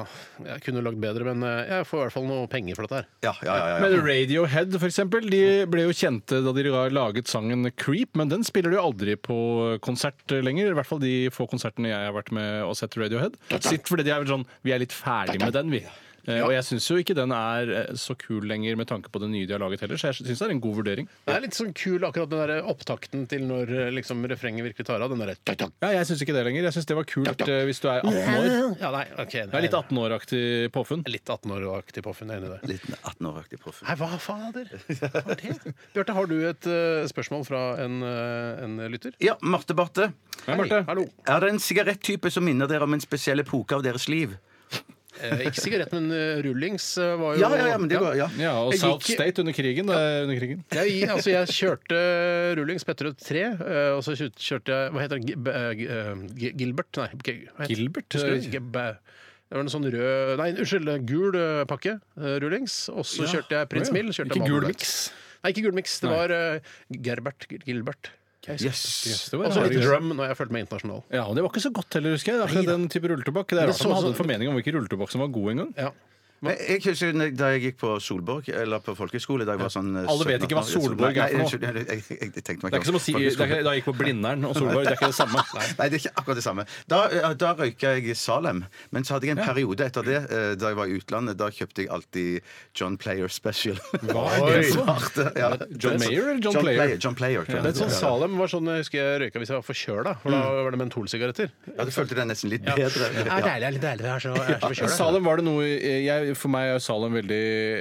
jeg kunne lagd bedre, men eh, jeg får i hvert fall noe penger for dette her.
Ja, ja, ja, ja,
Men
ja.
Radiohead for eksempel, de ble jo kjente da de laget sangen Creep, men den spiller de jo aldri på konsert lenger. I hvert fall de få konsertene jeg har vært med og sett Radiohead. Sitt fordi de er vel sånn Vi er litt ferdig med den, vi. Eh, Og jeg syns jo ikke den er eh, så kul lenger med tanke på det nye de har laget heller, så jeg syns det er en god vurdering.
Det er litt sånn kul akkurat den der opptakten til når eh, liksom refrenget virkelig tar av. Den derre «Takk, takk».
Ja, jeg syns ikke det lenger. Jeg syns det var kult eh, hvis du er 18 år.
Ja, nei, ok.
Det er litt 18 år-aktig påfunn.
Litt 18-åraktig påfunn, jeg er enig i det.
Litt 18-åraktig proff.
Nei, hva fader? Hva var det? Bjarte, har du et eh, spørsmål fra en, eh, en lytter?
Ja, Marte Barthe.
Hei, Marte.
Hallo.
Er det en sigarettype som minner dere om en spesiell epoke av deres liv?
Eh, ikke sigarett, men eh, rullings eh, var jo
Ja, ja, ja, men det går, ja.
Ja, og
Jeg
South
gikk-
State under krigen. Det er under krigen.
Jeg, altså, jeg kjørte rullings Petterud 3, eh, og så kjø- kjørte jeg Hva heter han? Gi- b- eh, g- eh, G- Gilbert? Nei, G- hva heter
Gilbert?
Husker du? G- b- Det var en sånn rød Nei, unnskyld, gul eh, pakke eh, rullings. Og så kjørte jeg Prins
Å, ja.
Mill. kjørte
Ikke
vanlig.
gul miks?
Nei, ikke gul miks. Det
Nei.
var eh, Gerbert G- Gilbert.
Yes.
Det var
Og så litt
rare-
drum når jeg følte meg internasjonal.
Ja, og Det var ikke så godt heller, husker jeg. Akkurat den type rulletobakk. Det
Men
er
det
rart at man
så-
hadde en formening om hvilken rulletobakk som var god engang.
Ja.
Jeg, jeg husker når- da jeg gikk på Solborg, eller på folkehøyskole da jeg var sånn eh,
Alle vet
17-18
ikke hva
år.
Solborg er
Nei,
for noe.
unnskyld, Jeg, jeg, jeg, jeg tenkte meg
Det er ikke som å si det er, ikke- da jeg gikk på Blindern og Solborg. Det er ikke det samme.
Nei, det er ikke akkurat det samme. Da, eh, da røyka jeg i Salem. Men så hadde jeg en periode etter det, eh, da jeg var i utlandet, da kjøpte jeg alltid John Player Special.
Hva er det for noe?
Svarte, ja.
John Mayer eller John Player?
John Player tror jeg.
Ja,
Det er et sånn
Ja,
Salem var sånn jeg husker jeg røyka hvis jeg var forkjøla. For da var det mentolsigaretter.
ja, du følte deg nesten litt bedre. Ja.
deilig, litt deilig. Jeg Mm. er så, jeg er så
Men Salem var det noe jeg, For meg er Salem veldig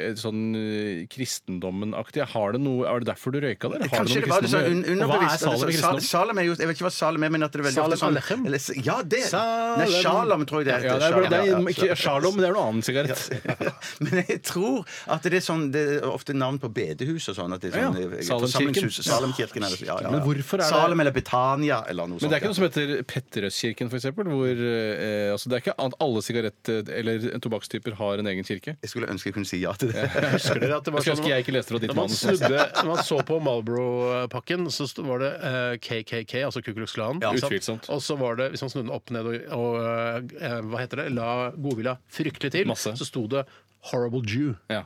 eh, sånn eh, kristendommen-aktig. Har det noe, Er det derfor du røyka det? eller Har
Kanskje
det
det
noe
var det sånn un
kristendom å gjøre? Og Hva er
underbevisst.
Salem
altså, Sa-
i kristendom?
Salem er jo, jeg vet ikke hva Salem er, men at det er veldig
Salem
ofte sånn
Alechem?
Eller s- Ja, det!
Salem.
Nei, Shalom tror jeg det heter.
Ja, det er,
Shalom,
det
ja,
er, ikke
ja.
Shalom, det er noe annen sigarett.
Men jeg tror at det er sånn Det er ofte navn på bedehus og sånn. At det er
Ja, ja.
sånn eh,
Salemkirken.
forsamlingshus. Salemkirken. eller- ja, ja, ja.
Men hvorfor er det-
Salem eller Betania eller noe
Men
sånt.
det er ikke noe som heter Petterøeskirken, f.eks.? Eh, altså, det er ikke at alle sigarett-
eh,
eller tobakkstyper har en egen kirke?
Jeg skulle ønske jeg kunne si ja til det.
Husker dere at det var
Altså,
Jeg skulle
sånn
ønske jeg ikke leste fra ditt
Når man,
manus.
snudde, når man så på Marlboro-pakken, så sto- var det eh, KKK, altså Ku Klux Klan. ikke sant?
Utvilsomt.
Og så var det, hvis man snudde den opp ned og, eh, og eh, hva heter det, la godvilja fryktelig til,
Masse.
så sto det Horrible Jew.
Ja.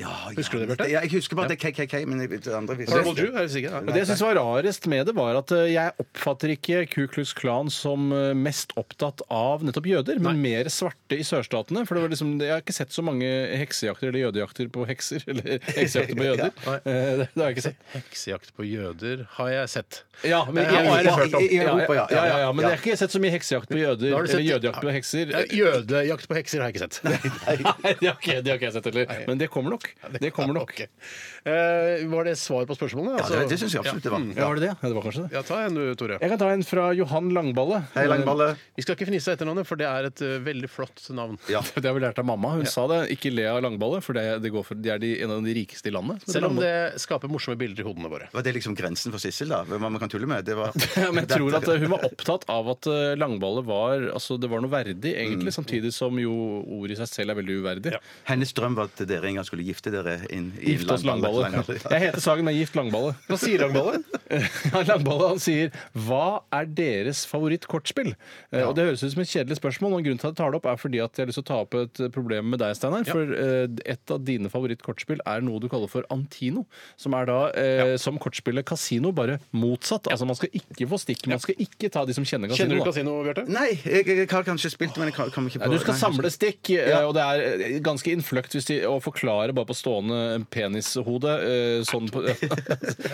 Ja, ja.
Husker du det, Bjarte?
Ja, jeg husker bare at det er KKK, men jeg vet det andre visste
Purple Jew, er du sikker?
Det jeg syns var rarest med det, var at eh, jeg oppfatter ikke Ku Klux Klan som eh, mest opptatt av nettopp jøder, men mer svarte i sørstatene. For det var liksom, jeg har ikke sett så mange heksejakter eller jødejakter på hekser. Eller heksejakter på jøder.
Nei.
Eh, det, det har jeg ikke sett.
Heksejakt på jøder har jeg sett.
Ja, men
Ja, har jeg hørt om.
Ja,
I Europa, ja.
ja, ja, ja, men jeg har ikke sett så mye heksejakt på jøder.
Da har du sett-
Eller jødejakt på hekser.
Eh, Jødejakt på hekser har jeg ikke sett.
Nei, det har ikke, det har ikke jeg sett heller. Men det kommer nok. Det kommer nok.
Ok. Eh, var det svar på spørsmålet? altså?
Ja, det, det syns jeg absolutt det var.
Ja, var det det? Ja, det var kanskje det.
Ja, ta en du, Tore.
Jeg kan ta en fra Johan Langballe.
Hei, Langballe.
Vi skal ikke fnise av etternavnet, for det er et eh, veldig flott navn.
Det har vi lært av mamma. Hun sa det. Ikke le av langballe, for det, det går for, de er de, en av de rikeste i landet.
Selv om det skaper morsomme bilder i hodene våre.
Var det liksom grensen for Sissel, da? Hva man kan tulle med? Det var
ja, men jeg tror at eh, Hun var opptatt av at eh, langballe var altså det var noe verdig, egentlig. Samtidig som jo ordet i seg selv er veldig uverdig.
Hennes drøm var at dere en gang skulle gifte dere inn i
Gift oss langballe.
Ja.
Jeg heter Sagen, men gift langballe.
Hva sier Langballe?
Ja, Langballe han sier 'Hva er deres favorittkortspill?' Eh, Og Det høres ut som et kjedelig spørsmål, og grunnen til at jeg tar det opp, er fordi at jeg har lyst til å ta opp et eh, problem med deg, Steinar. For eh, et av dine favorittkortspill er noe du kaller for Antino. Som er da eh, som kortspillet Casino, bare motsatt. Altså man skal ikke få stikk, man skal ikke ta de som kjenner kasino.
Kjenner du
da.
kasino, Bjarte?
Nei, jeg, jeg har kanskje spilt, men jeg kan- kommer ikke på
Nei, Du skal
Nei,
samle stikk, eh, og det er eh, ganske innfløkt hvis de, å forklare bare på stående penishode eh, sånn på Det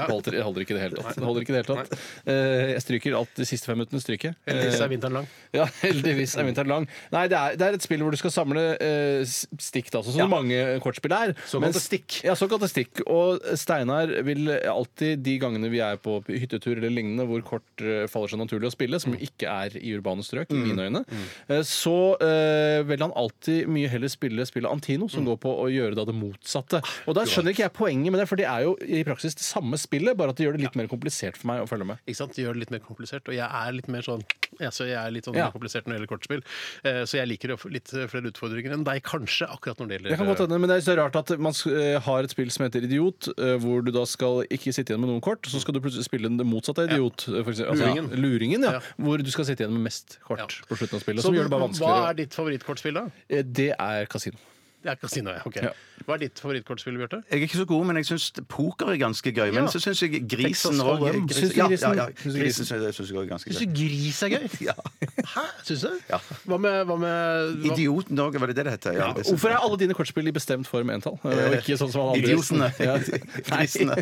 holder, det holder ikke i det hele tatt. Det holder ikke i det hele tatt. Eh, Jeg stryker alt de siste fem minuttene. stryker jeg.
Heldigvis er
Eh,
vinteren lang.
Ja, heldigvis er vinteren lang. Nei, det er, det er et spill hvor du skal samle eh, s- stikk, da, sånn som mange kortspill er.
Såkalte
Men-
stikk.
Ja, såkalte stikk. Og Steinar vil alltid, de gangene vi er på hyttetur eller lignende, hvor kort eh, faller seg naturlig å spille,
Mm.
som ikke er i urbane strøk, i mine øyne, eh, så eh, vil han alltid mye heller spille spillet Antino, som går på å gjøre da det motsatte. Og da skjønner ikke jeg poenget med det, for det er jo i praksis det samme spillet, bare at det gjør det litt mer komplisert for meg å følge med.
Ikke sant? Det gjør det litt mer komplisert. Og jeg er litt mer sånn ja, så jeg er litt sånn
Ja.
komplisert når det gjelder kortspill. Eh, Så jeg liker å få litt eh, flere utfordringer enn deg, kanskje, akkurat når det gjelder eh,
Det kan godt hende, men det er så rart at man eh, har et spill som heter Idiot, eh, hvor du da skal ikke sitte igjen med noen kort, så skal du plutselig spille det motsatte av Idiot. eh, For eksempel, altså,
Luringen.
Luringen, ja.
Ja.
Hvor du skal sitte igjen med mest kort
Ja.
på slutten av spillet.
Så
Som gjør det bare
hva
vanskeligere.
er ditt favorittkortspill, da?
Eh, Det er kasino.
Det er kasino, ja. ok.
Ja.
Hva er ditt favorittkortspill, Bjarte?
Jeg er ikke så god, men jeg syns poker er ganske gøy. Men
Ja.
så syns jeg
Texas
grisen òg
Hold'em.
Syns du
Ja,
grisen?
ja, ja.
Syns du grisen?
Grisen syns jeg- syns jeg også er ganske gøy.
gris er gøy?
Ja.
Hæ? Syns du?
Ja.
Hva med, hva med hva?
Idioten òg, var det det det heter? Ja, det syns
Hvorfor
jeg.
er alle dine kortspill i bestemt form entall? eh, Og ikke sånn som alle andre?
Idiotene.
Ja.
Grisene.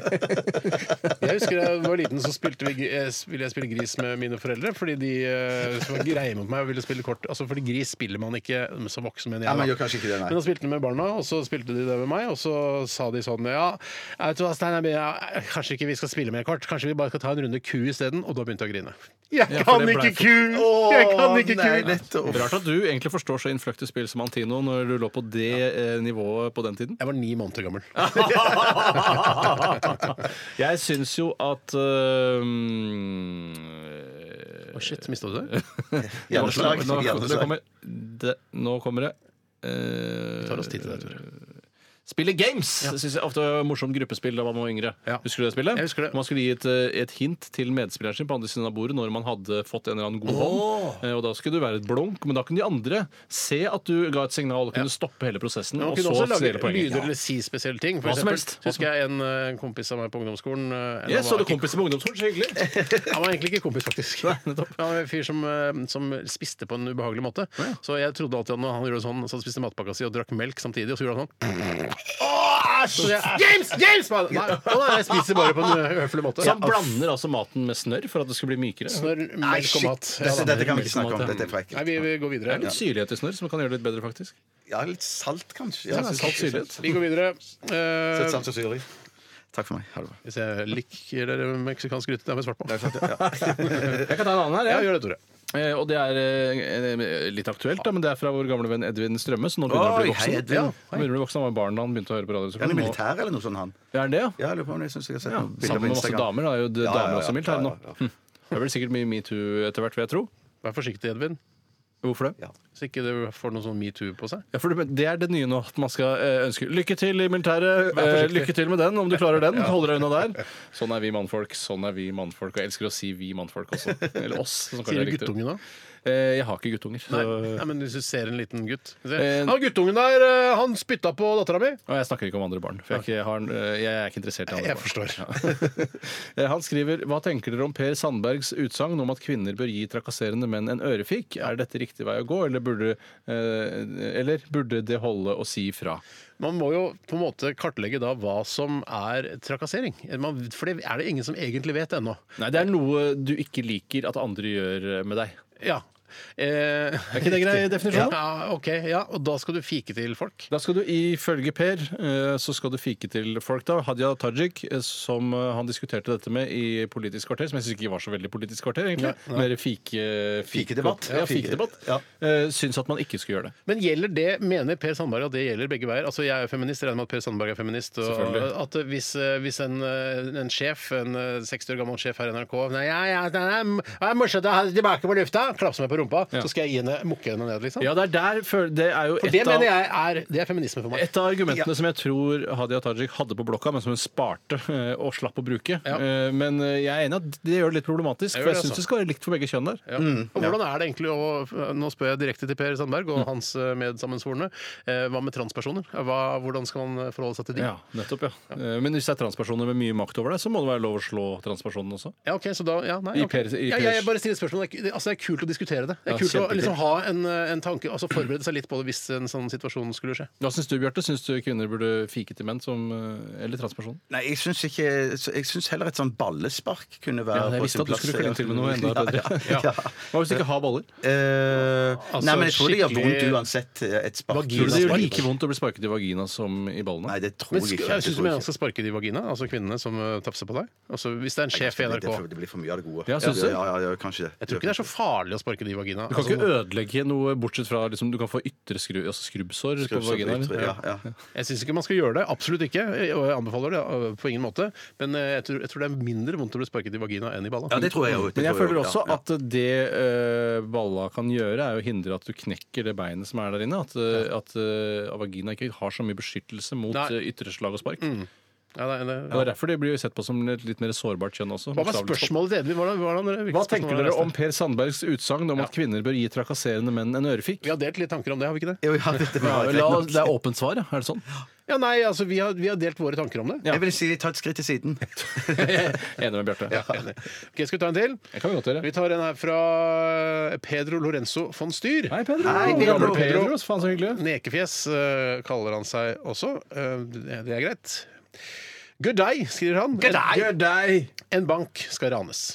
Jeg husker da jeg var liten, så spilte vi, eh, ville jeg spille gris med mine foreldre. Fordi de eh, som var greie mot meg og ville spille kort. Altså, fordi gris spiller man ikke som voksen, mener jeg.
Ja, man
da.
gjør kanskje ikke det, nei.
Men da spilte de med barna, og så spilte de det med meg. Og så sa de sånn Ja, jeg vet du hva, Steinar, men jeg- kanskje ikke vi skal spille mer kort. Kanskje vi bare skal ta en runde ku isteden? Og da begynte jeg å grine. Jeg
Ja, for
kan
det ble
ikke
for-
ku! Jeg kan ikke
nei,
ku!
nettopp.
Rart at du egentlig forstår så innfløkte spill som Antino når du lå på det eh, nivået på den tiden.
Jeg var ni måneder gammel.
Jeg syns jo at Mm, eh,
Å, shit, mista du det?
Hjerneslag.
Nå, det
Hjerneslag.
kommer, det, nå kommer det. eh,
Vi tar oss tid til det, Tore.
Spille games! Det synes jeg ofte var et morsomt gruppespill da man var yngre.
Ja.
Husker du det spillet?
Jeg husker det.
Man skulle gi et, eh, et hint til medspilleren sin på andre siden av bordet når man hadde fått en eller annen god hånd. Eh, Og da skulle du være et blunk, men da kunne de andre se at du ga et signal og kunne stoppe hele prosessen.
Man
Og
kunne
så
også
stjele
lage
poenget.
lyder eller si spesielle ting. For
Hva som
eksempel,
helst.
så husker jeg en, eh, en kompis av meg på ungdomsskolen. eh, en
Jeg
av-
så det kompis med ungdomsskolen, så hyggelig.
Han var egentlig ikke kompis, faktisk. Han var en fyr som, eh, som spiste på en ubehagelig måte. Så jeg trodde alltid at når han gjorde sånn, så han spiste matpakka si og drakk melk samtidig, og så gjorde han sånn. Åh, æsj! James! James! Nei, å nei, jeg spiser bare på en eh, høflig måte.
Så han blander altså maten med snørr for at det skulle bli mykere.
Snørr,
Nei,
melk og
shit.
mat. Ja, da.
Dette, dette kan vi ikke snakke om. Dette er
Nei,
frekk.
vi, vi går
Det er
videre.
litt syrlighet i snørr som kan gjøre det litt bedre, faktisk.
Ja, litt salt, kanskje. Ja,
Salt syrlighet.
Vi går videre.
Sett
Eh,
salt og syre i. Takk for meg. Ha det bra.
hvis jeg liker det meksikanske gryte, det er med svart på.
Jeg kan ta en annen her.
Ja,
jeg.
gjør det, Tore.
Eh, Og det er eh, eh, litt aktuelt, da, men det er fra vår gamle venn Edvin Strømme, som nå begynner å
Oi,
bli
hei,
voksen.
Edvin.
ja, han begynner å bli voksen, han var barn da han begynte å høre på radio. så
Er
kan
han i
nå-
militær eller noe sånt, han?
Ja, er det, ja?
Ja, jeg lurer på om jeg synes jeg har sett noen bilder på
Sammen med masse
Instagram.
damer. da, er jo det
Ja, ja,
damer
ja,
også militære
ja,
nå.
ja, ja.
Hm. Det er vel sikkert mye metoo etter hvert, vil jeg tro.
Vær forsiktig, Edvin.
Hvorfor det?
Ja.
Så ikke det får noe sånn metoo på seg.
Ja, for det- Det er det nye nå. At man skal eh, ønske lykke til i militæret.
Vær
eh,
forsiktig.
Lykke til med den, om du klarer den. Hold deg unna der. Sånn er vi mannfolk. Sånn er vi mannfolk. Og jeg elsker å si vi mannfolk også. Eller oss. som kanskje
Sier
er
du
riktig.
guttungen da?
Eh, Jeg har ikke guttunger. Så...
Nei. Nei, men hvis du ser en liten gutt Du ser,
Eh,
Han guttungen der, eh, han spytta på dattera mi!
Og jeg snakker ikke om andre barn. For jeg, er ikke, har, eh, jeg er ikke interessert i andre
Jeg
barn.
forstår.
Eh, Han skriver Hva tenker dere om Per Sandbergs utsagn om at kvinner bør gi trakasserende menn en ørefik? Er dette riktig vei å gå, eller burde, eh, eller burde det holde å si fra?
Man må jo på en måte kartlegge da hva som er trakassering. Eh, Man, for det er det ingen som egentlig vet ennå.
Nei, det er noe du ikke liker at andre gjør med deg.
Ja. Eh, er
ikke det grei definisjon, da?
Ja, ok, ja, Og da skal du fike til folk?
Da skal du ifølge Per eh, så skal du fike til folk, da. Hadia Tajik, eh, som eh, han diskuterte dette med i Politisk kvarter, som jeg syns ikke var så veldig Politisk kvarter, egentlig. Mer fike...
Fikedebatt.
Ja, fikedebatt.
Ja.
Eh, Syns at man ikke skulle gjøre det.
Men gjelder det, mener Per Sandberg at det gjelder begge veier? Altså, Jeg er jo feminist, jeg regner med at Per Sandberg er feminist. Og
Selvfølgelig.
at hvis, eh, hvis en, eh, en sjef, en eh, 60 år gammel sjef her i NRK Nei, ja, ja, det er, det er morsomt å ha deg tilbake på lufta! Klapse meg på rumpa,
Ja.
så skal jeg gi henne, mukke henne ned, liksom.
Ja, det er der føl- Det er jo
For det mener jeg er, det er feminisme for meg.
Et av argumentene som jeg tror Hadia Tajik hadde på blokka, men som hun sparte eh, og slapp å bruke.
Ja.
Eh, Men eh, jeg er enig at det gjør det litt problematisk,
Jeg
for
gjør
jeg
det,
syns det skal være likt for begge kjønn der.
Ja. Og hvordan er det egentlig å Nå spør jeg direkte til Per Sandberg
Mm.
og hans eh, medsammensvorne. Eh, Hva med transpersoner? Hva, hvordan skal man forholde seg til de?
Ja, nettopp, ja. Eh, Men hvis det er transpersoner med mye makt over deg, så må det være lov å slå transpersonene også.
Ja, ok, så da, ja, nei,
I
ok.
Per- i
ja,
Per-
jeg bare stiller spørsmål. Det er, ku- altså, det er kult å diskutere det. Det
Ja,
er kult å
kjempekult.
liksom, ha en, en tanke, altså forberede seg litt på det hvis en sånn situasjon skulle skje.
Hva syns du, Bjarte? Syns du kvinner burde fike til menn som eh, Eller transpersoner?
Nei, jeg syns, ikke, jeg syns heller et sånn ballespark kunne være
jeg
på
visste
sin
at du
plass. eh,
skulle klemme til med noe enda bedre.
Ja, ja, ja.
Hva hvis du ikke har Altså, baller?
Eh, nei, men jeg tror det gjør
skikkelig-
vondt uansett eh, et spark.
Tror du det gjør
Spark.
like vondt å bli sparket i vagina som i ballene?
Nei, det tror
Men
jeg
sk-
ikke.
jeg syns
Det
du
tror jeg
mener
ikke.
han skal sparke de i vagina? Altså kvinnene som eh, tafser på deg? Altså, hvis det er en sjef i
Det
NRK.
blir for- Det blir for mye av det gode.
Ja, synes du?
Ja, ja, ja, kanskje det.
Jeg tror ikke det er så farlig å sparke de i vagina.
Du kan
Altså,
ikke ødelegge noe bortsett fra liksom, Du kan få ytre skru, altså skrubbsår på vaginaen.
Skrubbsår på ytre,
eller?
ja, ja.
Jeg syns ikke man skal gjøre det. Absolutt ikke. Og jeg anbefaler det øh, på ingen måte. Men øh, jeg tror, jeg tror det er mindre vondt å bli sparket i vagina enn i balla.
Ja, det tror jeg jo. det
Men jeg
tror
føler
jo,
også
ja, ja.
at det eh, balla kan gjøre, er å hindre at du knekker det beinet som er der inne. At, eh, at eh, vagina ikke har så mye beskyttelse mot
Nei.
eh, ytre slag og
Mm.
spark.
Ja, det, det,
Det er derfor de blir jo sett på som et litt mer sårbart kjønn også.
Hva var
bokstavelig talt.
spørsmålet til Edvin? Hvordan, hvordan, hvilket
Hva
spørsmål
tenker
var det
dere
neste?
om Per Sandbergs utsagn om at kvinner bør gi trakasserende menn en ørefik?
Vi har delt litt tanker om det, har vi ikke det?
Jo, ja, dette var
Ja,
greit
la,
nok.
det er åpent svar, ja. Er det sånn?
Ja, nei, altså vi har, vi har delt våre tanker om det.
Ja.
Jeg vil si ta et skritt til siden.
Enig med Bjarte.
Enig. Ok, Skal vi ta en til?
Det kan vi godt gjøre.
Vi tar en her fra Pedro Lorenzo von Styr.
Hei, Pedro.
Hei,
Gamle
Pedro.
Pedro. Faen, så hyggelig.
Nekefjes øh, kaller han seg også. Øh, det det er greit. Good day, skriver han. En-
deg!
En bank skal ranes.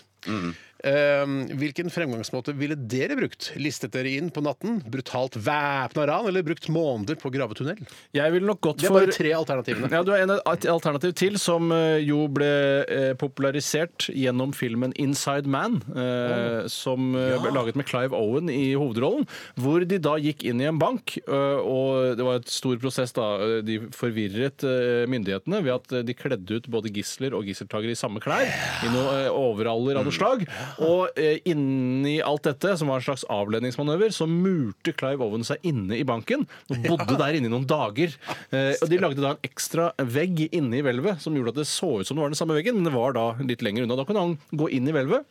Eh, hvilken fremgangsmåte ville dere brukt? Listet dere inn på natten? Brutalt væpna ran, eller brukt måneder på gravetunnel?
Jeg ville nok gått
Det er
for
bare tre alternativene.
Ja, Du har en- et alternativ til, som eh, jo ble eh, popularisert gjennom filmen 'Inside Man', eh, som eh, ble laget med Clive Owen i hovedrollen. Hvor de da gikk inn i en bank, eh, og det var et stor prosess, da. eh, De forvirret eh, myndighetene ved at eh, de kledde ut både gisler og gisseltakere i samme klær. I noe eh, overaller av noe slag. Og eh, inni alt dette, som var en slags avledningsmanøver, så murte Clive Owen seg inne i banken. Og bodde der inne i noen dager. Eh, og de lagde da en ekstra vegg inne i hvelvet som gjorde at det så ut som det var den samme veggen, men det var da litt lenger unna. Da kunne han gå inn i hvelvet.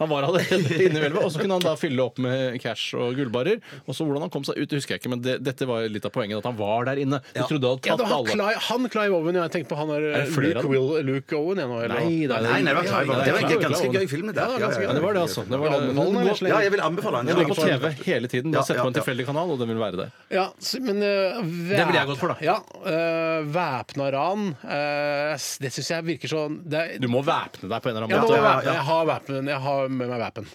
Han var allerede inne i hvelvet, og så kunne han da fylle opp med cash og gullbarer. Og så hvordan han kom seg ut, det husker jeg ikke, men det, dette var litt av poenget, at han var der inne. Du trodde han hadde
Ja, da,
tatt
han,
alle.
Clive, han Clive Owen, ja, jeg tenkte på han der
Er det flere
Luke,
av dem?
Will, Luke Owen. Ja, nå, eller?
Nei, nei,
Nei, nei, det var
Ja,
Clive
ja,
Owen.
ja,
Det var
Clive
en ganske
Owen.
gøy film, det der.
Ja, det var ganske
Ja, det var det, altså. Det var det.
Anbefaler den, eller?
Ja, jeg vil anbefale den.
Den går på TV hele tiden. Bare
Ja,
sett på
ja,
en
ja.
tilfeldig kanal, og den vil være der.
Ja, så- men øh, væp-
Det ville jeg gått for, da.
Ja, øh, væpna ran, øh, det syns jeg virker sånn det er,
Du må væpne deg på en eller
jeg,
annen
må
måte.
væpne, jeg har væpen. Jeg har med meg væpen.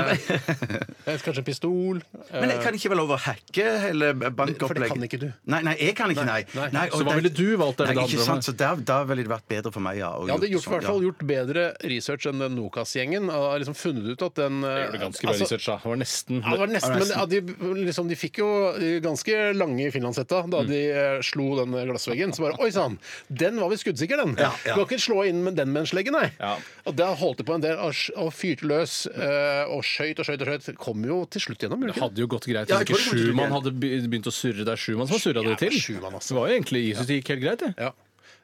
Eh, Kanskje en pistol.
Men jeg kan ikke vel lov å hacke hele bankopplegget?
For det kan ikke du.
Nei, nei, jeg kan ikke, nei.
Nei.
Nei, og
Så hva
det-
ville du valgt?
Nei,
Det
ikke sant, så der, der ville det vært bedre for meg, ja. å
Jeg hadde gjort, i
sånn,
hvert fall gjort bedre research enn den Nokas-gjengen. Jeg har liksom funnet ut at den eh,
gjorde ganske bra
altså,
research, da. Det var nesten
Ja, det var nesten, men ja, de, liksom, de fikk jo eh, ganske lange i finlandshetta da de eh, slo den glassveggen. Så bare Oi sann! Den var visst skuddsikker, den!
Ja, ja.
Du kan ikke slå inn med den med en slegge, nei!
Ja.
Og der holdt de på en del og, sj- og fyrte styrte løs eh, og skøyt og skøyt og skøyt. Kom jo til slutt gjennom. gjorde det
Det
ikke?
hadde jo gått greit
Ja,
hvis
det
ikke
går jo
Schumann hadde be- begynt å surre. Det er Schumann som har surra det
Ja,
til.
Schumann, altså.
Det var jo egentlig Jesus det gikk helt greit, det.
Ja.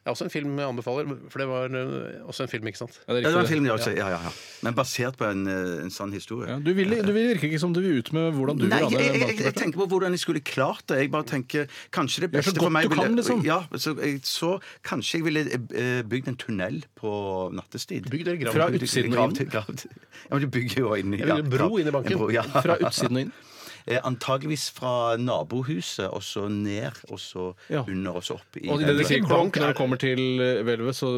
Det er også en film jeg anbefaler, for det var eh, også en film, ikke sant?
Ja, det er
Ja, det var en
riktig, det.
film, ja, også. ja, ja, ja. Men basert på en, eh, en sann historie.
Ja, du, vil, du vil virker ikke som du vil ut med hvordan du
Nei,
vil ha
jeg,
det.
jeg, jeg, jeg
Barbara.
tenker på hvordan jeg skulle klart det. Jeg bare tenker, Kanskje det
Gjør så
beste
godt
for meg
du kan, liksom.
Ja, så, jeg, så kanskje jeg ville eh, bygd en tunnel på nattestid.
Bygd eller gravd?
Fra
Bygd-
utsiden
gravd.
og inn? Gravd. Ja, men du bygger jo inn i
Jeg vil bygge bro inn i banken.
Fra utsiden og inn.
Eh, Antageligvis fra nabohuset, og så ned, og så
Ja.
under, og så opp. I
Og i det de
den-
sier
Blank
klonk når det kommer til eh, hvelvet, så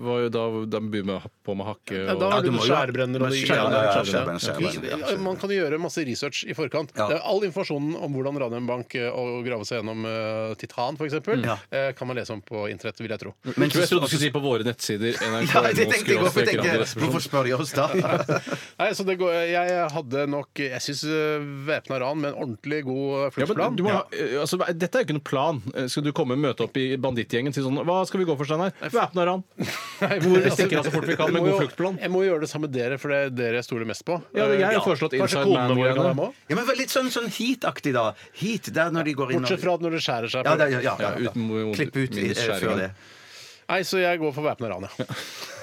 var jo da de begynner med å ha på med hakke
Ja, da
og
har
du
du
må jo-
skjærebrenner og de
Ja, ja, ja,
skjærebrenner.
skjærebrenner, skjærebrenner, ja,
Ja, Man kan jo gjøre masse research i forkant.
Ja.
Det er All informasjonen om hvordan Ranheim Bank eh, å grave seg gjennom eh, titan, f.eks., eksempel
Ja.
eh, kan man lese om på internett, vil jeg tro.
Men jeg trodde du skulle si på våre nettsider
Ja, det tenkte jeg også, for jeg tenker,
nrk.no.
Hvorfor spør de oss da?
Nei, så det går, Jeg hadde nok Jeg syns væpna ran med en ordentlig god eh,
Ja, men
fluktplan.
du må, ha- altså, dette er jo ikke noen plan. Eh, Skal du komme og møte opp i bandittgjengen og si sånn Hva skal vi gå for, Steinar? Væpna ran. Hvor vi stikker av så fort vi kan
Jeg
med
må
god
jo-
fluktplan.
Jeg må jo gjøre det samme med dere, for det er dere jeg stoler mest på.
Ja, jeg har
Eh,
foreslått
Kanskje
Inside Man-greiene.
kodenavn-greiene av dem òg?
Ja, men Litt sånn, sånn heat-aktig, da. Heat, der når de går inn og-
Bortsett fra at når det skjærer seg.
Ja, det, ja, ja,
Ja,
ja, ja.
uten hvor-
Klipp ut
minus
eh, før
skjæringen.
det.
Nei, så jeg går for væpna ran, ja.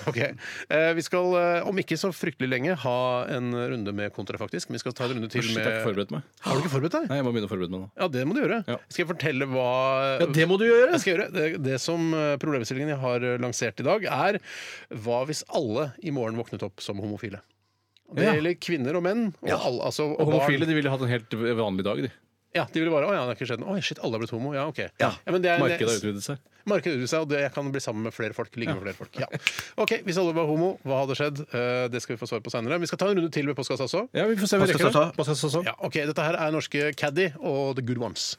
Ok. Eh, vi skal, eh, om ikke så fryktelig lenge, ha en runde med kontra, faktisk. Men vi skal ta en runde til
Shit, jeg
med
har ikke forberedt meg.
Har du ikke forberedt deg?
Nei, jeg må begynne å forberede meg nå.
Ja, det må du gjøre.
Ja.
Skal jeg fortelle hva
Ja, det må du gjøre!
jeg skal gjøre. Det, det som eh, problemstillingen jeg har eh, lansert i dag, er hva hvis alle i morgen våknet opp som homofile? Og Det
Ja.
gjelder kvinner og menn. Og, alle, altså, og,
Og homofile
barn.
de ville hatt en helt vanlig dag, de.
Ja, de ville bare Å ja, det har ikke skjedd noe. Oi, shit, alle har blitt homo. Ja, OK.
Ja.
men det er-
Markedet har utvidet seg.
Markedet utvider seg, og det, jeg kan bli sammen med flere folk. Ligge med flere folk. Ja. OK, hvis alle var homo, hva hadde skjedd? Eh, Det skal vi få svar på seinere. Vi skal ta en runde til med postkassa også.
Ja, vi får se om vi
Pascal
rekker det.
Sasa.
Pascal Sasa.
Ja, ok, Dette her er norske Caddy og The Good Ones.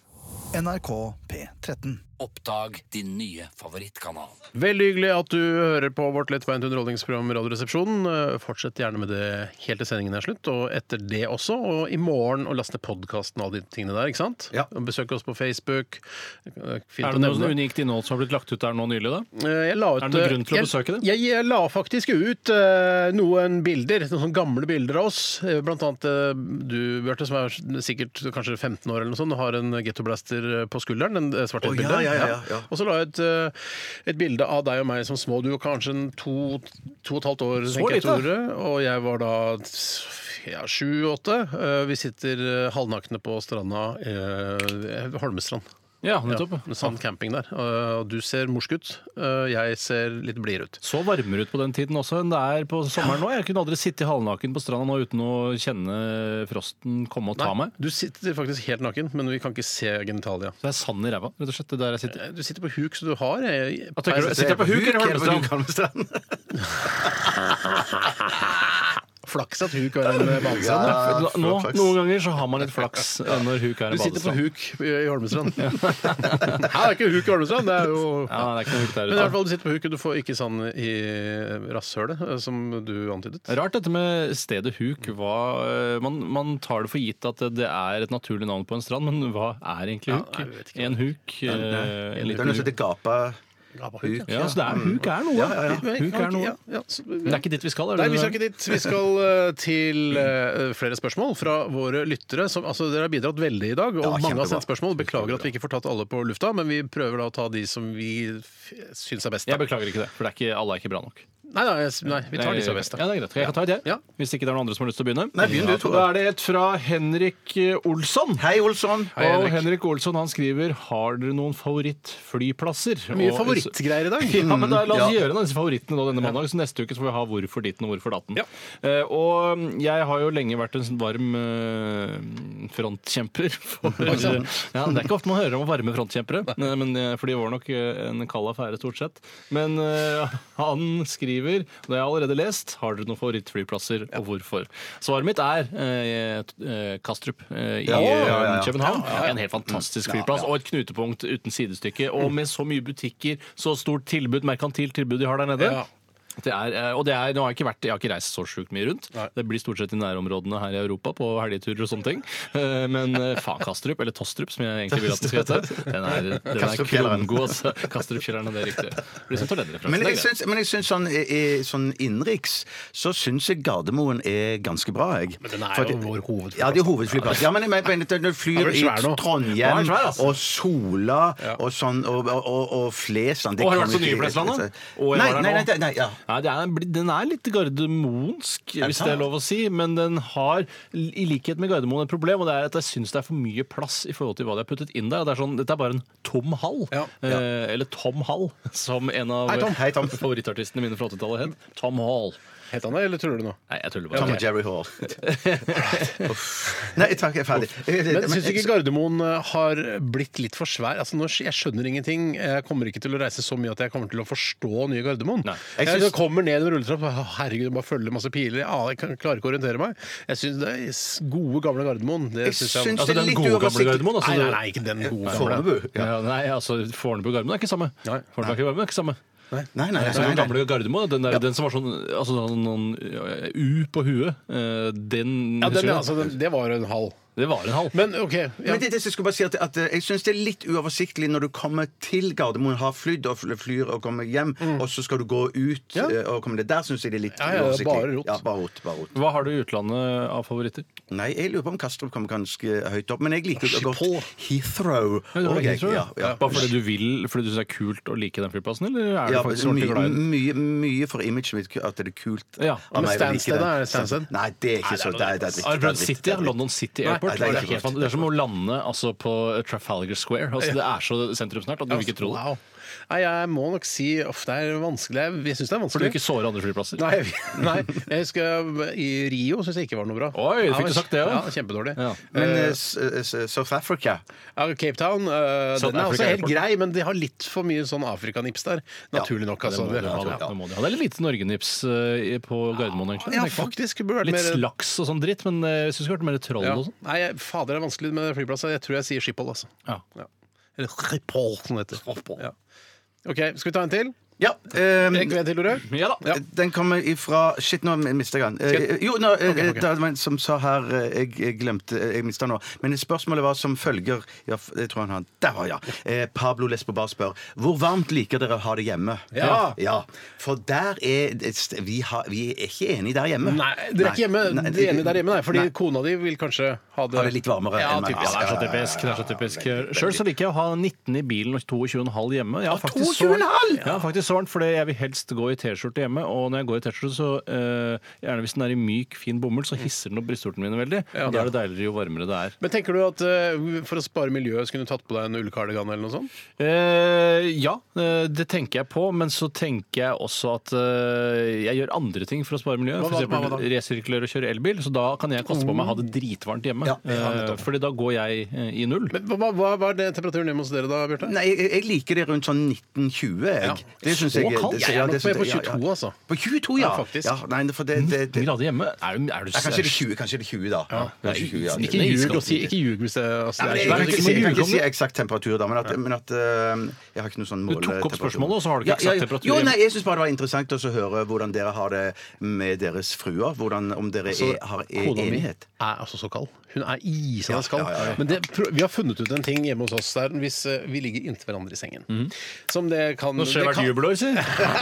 NRK P13.
Oppdag din nye favorittkanal.
Veldig hyggelig at du hører på vårt lettbeint underholdningsprogram Radioresepsjonen. Eh, Fortsett gjerne med det helt til sendingen er slutt, og etter det også. Og i morgen og last ned podkasten og alle de tingene der, ikke sant?
Ja.
Og Besøk oss på Facebook. Eh, Fint å
Er det noe
nevne.
sånn unikt innhold som har blitt lagt ut der nå nylig, da?
Eh, Jeg la ut,
Er det noen grunn til å besøke det?
Jeg, jeg, jeg la faktisk ut eh, noen bilder, noen sånne gamle bilder av oss. Eh, Blant annet eh, du, Bjarte, som er sikkert kanskje 15 år eller noe sånt, har en gettoblaster på skulderen. En eh, svart
Å,
bilde.
ja, ja, ja, ja, ja.
Og så la jeg ut eh, et bilde av deg og meg som små. Du var kanskje en to, to og et halvt år, tenker jeg,
lite?
Tore. Og jeg var da ja, sju-åtte. vi sitter eh, halvnakne på stranda, eh, Holmestrand.
Ja, nettopp.
Ja, en sann sånn camping der. Og du ser morsk ut. og Jeg ser litt blidere ut.
Så varmere ut på den tiden også enn det er på sommeren nå. Jeg kunne aldri sitte halvnaken på stranda nå uten å kjenne frosten komme og ta meg.
Du sitter faktisk helt naken, men vi kan ikke se genitalia.
Så jeg er sand i ræva, rett og slett. Det er der jeg sitter.
Du sitter på huk, så du har eh,
Hva tenker du? Sitter jeg på huk eller Holmestrand?
Flaks at huk er en eh, badestrand. da.
Nå, noen ganger så har man litt flaks eh, når huk er
Du
en
sitter på
badestrand.
huk i Holmestrand. Nei, det er ikke huk i Holmestrand, det er jo
Ja, det er ikke noe huk
Men i
der
hvert
ute.
fall, du sitter på huk, og du får ikke sand i rasshølet, eh, som du antydet.
altså. Rart dette med stedet huk. Hva, eh, man, man tar det for gitt at det er et naturlig navn på en strand, men hva er egentlig huk?
nei, jeg vet ikke.
en huk? eh, En
Det er noe
liten
som
huk?
heter gapa.
Gapahuk,
Ja, så det er, huk er noe. Huk er noe.
Ja, ja, så-
Men det er ikke dit vi skal? Er
Nei,
det
vi
det?
skal ikke dit. Vi skal eh, til eh, flere spørsmål fra våre lyttere. Som, altså, dere har bidratt veldig i dag, og mange har sendt spørsmål. Beklager at vi ikke får tatt alle på lufta, men vi prøver da å ta de som vi f- syns er best. da.
Jeg beklager ikke det, for det er ikke, alle er ikke bra nok.
Nei, nei, jeg- nei, vi tar de som er best. Da.
Ja, det er greit. Jeg kan ta et, jeg.
Ja.
Hvis ikke det er noen andre som har lyst til å begynne.
Nei, begynn du, Tore.
Da er det et fra Henrik eh, Olsson.
Hei, Olsson.
Og Henrik Olsson han skriver Har dere noen favorittflyplasser?
Mye
Og-
favorittgreier i dag.
Ja, men da, La oss
Ja.
gjøre noen av disse favorittene nå denne mandag, så neste uke så får vi ha hvorfor ditten og hvorfor datten.
Ja.
Eh, og mm, jeg har jo lenge vært en sånn varm eh, frontkjemper. For, ja, det er ikke ofte man hører om varme frontkjempere, eh, men, eh, for de var nok eh, en kald affære stort sett. Men eh, han skriver, og det har jeg allerede lest, har dere noen favorittflyplasser, og hvorfor? Svaret mitt er eh, t- eh, Kastrup eh, i
Ja, ja, ja, ja. Mm.
København. København. En helt fantastisk flyplass og et knutepunkt uten sidestykke. Og med så mye butikker, så stort tilbud, merkantilt tilbud de har der nede.
Ja.
Det er, eh, og det er, nå har jeg, ikke vært, jeg har ikke reist så sjukt mye rundt. Det blir stort sett i nærområdene her i Europa på helgeturer og sånne ting. Eh, Men eh, faen, Kastrup, eller Tostrup, som jeg egentlig vil at den skal hete, den er, den er
Kastrup-kjelleren.
krongod. Altså. Kastrup-kjelleren, det er riktig. Blir som Tolleder-referanse,
Men
det er
jeg,
greit.
syns, men jeg syns sånn, i- i- sånn innenriks så syns jeg Gardermoen er ganske bra, jeg.
Men den er
Fordi-
jo vår hovedflyplass.
Ja, det er hovedflyplass. Ja, men jeg mener at når du
Den
flyr
er
i
svær nå.
Trondheim
Den er svær, altså.
og Sola og sånn og, og, og, og Flesland det
Og har du
kan
vært på
ikke-
nye Flesland, da? Og jeg
Nei,
var der
nei, nei,
nå.
nei, nei, ja.
Nei, det er, bli- den er litt gardermonsk,
det
hvis det er
sant?
lov å si. Men den har, i likhet med Gardermoen, et problem. Og det er at jeg syns det er for mye plass i forhold til hva de har puttet inn der. Det er sånn, dette er bare en tom hall.
Ja.
Eh, eller Tom Hall, som en av
Hei, Tom. Hei, Tom.
favorittartistene mine fra 80-tallet het. Tom Hall.
Het han det, eller tuller du nå?
Nei, jeg tuller
Tom
bare.
og Jerry Hall. Uff. Nei, takk, jeg er ferdig.
Men syns ikke Gardermoen eh, har blitt litt for svær? Altså, nå, sk- jeg skjønner ingenting. Jeg kommer ikke til å reise så mye at jeg kommer til å forstå nye Gardermoen.
Nei.
Jeg,
Jeg syns-
jeg kommer ned en rulletrapp og herregud, jeg bare følger masse piler. Ja, jeg kan, klarer ikke å orientere meg. Jeg syns det er s- gode, gamle Gardermoen. Det
Jeg
syns jeg
syns-
Altså
det er
den
litt
gode gamle
uoversiktlig.
Gardermoen? Altså,
Nei, nei, nei, ikke den gode, gamle.
Fornebu.
Ja. nei, altså Fornebu og Gardermoen er ikke samme.
Nei.
Fornebu og Gardermoen er ikke samme.
Nei, nei,
Altså,
nei,
den
nei, nei.
gamle Gardermoen, den, der, den som var sånn altså, den hadde noen ja, U på huet, eh, den,
Ja,
husker
den,
du?
altså, den, det var en halv.
Det var en halv.
Men OK. Ja.
Men det, er det, som jeg skulle bare si at, at eh, jeg syns det er litt uoversiktlig når du kommer til Gardermoen, har flydd og fly- flyr og kommer hjem, og så skal du gå ut
Mm. Ja.
eh, og komme ned. Der syns jeg det er litt
Ja, ja, det er
uoversiktlig.
bare rot.
Ja, bare rot, bare rot.
Hva har du i utlandet av favoritter?
Nei, jeg lurer på om Kastrup kommer ganske høyt opp, men jeg liker jo
Schiphol.
godt Heathrow. Og jeg- ja, ja.
Bare fordi du vil, fordi du syns det er kult å like den flyplassen, eller er du
Ja,
faktisk ordentlig
mye,
glad i den?
mye, mye for imaget mitt at det er kult
Ja,
av
men
meg å like
Stansted,
den.
da? Er det Stansted?
Nei, det er ikke så det er- det er dritt, det
Har du
er
prøvd
dritt,
City?
det er
ja?
dritt.
London City
Nei,
nei,
Airport?
det er
det, er
ikke
helt,
godt.
fan- det er som å lande altså, på Trafalgar Square. Altså, det er så sentrumsnært at du vil ikke tro det.
Wow. Nei, jeg må nok si uff, det er vanskelig. Jeg- Jeg syns det er
For du
vanskelig.
vil ikke såre andre flyplasser.
Nei, jeg- nei, jeg husker i Rio syns jeg ikke var noe bra.
Oi, fikk du sagt det,
ja?
ja?
Kjempedårlig.
Ja.
Men eh, s- eh, South Africa
Ja, Cape Town eh,
South
den er også
Africa
helt
Airport.
grei, men de har litt for mye sånn Afrikanips der. Naturlig nok.
Det
Altså.
må du ha, da.
Ja.
Det må du ha. Det er litt lite Norgenips eh, på Gardermoen, egentlig.
Ja,
tenker jeg.
faktisk, det burde vært
Litt
mer-
slaks og sånn dritt, men eh, jeg syns det skulle vært mer troll
Ja.
og sånn.
Nei, jeg- fader, det er vanskelig med flyplasser. Jeg tror jeg sier Schiphol, altså.
Ja.
Ja. Eller Schiphol, som det heter. Ja. OK, skal vi ta en til?
Ja. ehm,
Rekker vi en til, Tore?
Ja da.
Ja.
Den kommer ifra Shit, nå mister jeg den. Eh, jo, nå, eh, det var en som sa her eh, Jeg, jeg glemte eh, Jeg mista den nå. Men spørsmålet var som følger ja, f- Jeg tror han har Der var ja. Eh, Pablo Lesbobar spør Hvor varmt liker dere å ha det hjemme?
Ja.
For der er det st- Vi, har, vi er ikke enige der hjemme.
Nei, dere er ikke hjemme.
Nei,
det ene der hjemme, nei, fordi
nei.
kona di vil kanskje ha det
Ha det litt varmere
Ja,
enn meg.
typisk.
Ja, det er så typisk. det er så typisk. Sjøl så liker jeg å ha 19 i bilen og 22,5 hjemme. Jeg har faktisk
22,5?
Ja, faktisk sånn, for jeg vil helst gå i T-skjorte hjemme. Og når jeg går i T-skjorte, så eh, gjerne hvis den er i myk, fin bomull, så hisser den opp brystvortene mine veldig. Og da er det deiligere jo varmere det er.
Men tenker du at eh, for å spare miljøet, skulle du tatt på deg en ullkardigan eller noe sånt?
Eh, ja, eh, det tenker jeg på, men så tenker jeg også at eh, jeg gjør andre ting for å spare miljøet.
Hva da,
For
hva da?
eksempel resirkulere og kjøre elbil, så da kan jeg kaste på meg å ha det dritvarmt hjemme.
Ja, ja, nettopp.
Eh, fordi da går jeg eh, i null.
Men hva, hva, hva er det temperaturen hjemme hos dere da, Bjarte?
Nei, jeg, jeg liker det rundt sånn 1920. Jeg. Det syns
Så
jeg
kaldt?
det-
Jeg er
ja,
nok
det syns
på- på
jeg- ja, ja.
22, altså.
På 22, ja.
Ja, faktisk. Mm.
Ja, nei, for det, det, det,
19 grader hjemme? Er du, er du,
Ja, kanskje det er 20, kanskje det er 20 da. Kanskje 20, ja.
Ikke ljug og si ikke ljug hvis det, altså,
Nei,
det er
men Jeg
ikke-
kan
ikke
ikke si-
si-
jeg kan
ikke
ikke si eksakt temperatur, da, men at, men at øh, jeg har ikke noe sånn
Du
mål.
tok opp spørsmålet, og så har du ikke eksakt temperatur
Jo,
igjen.
nei, Jeg syns bare det var interessant også å høre hvordan dere har det med deres fruer. Hvordan, om dere
Altså,
er, har er
Kona mi
enighet.
er altså så kald. Hun er isende kald.
ja, ja, ja.
Men det, pro- vi har funnet ut en ting hjemme hos oss der hvis eh, vi ligger inntil hverandre i sengen. Som det kan
Nå skjer
det
hvert
kan-
jubelår, sier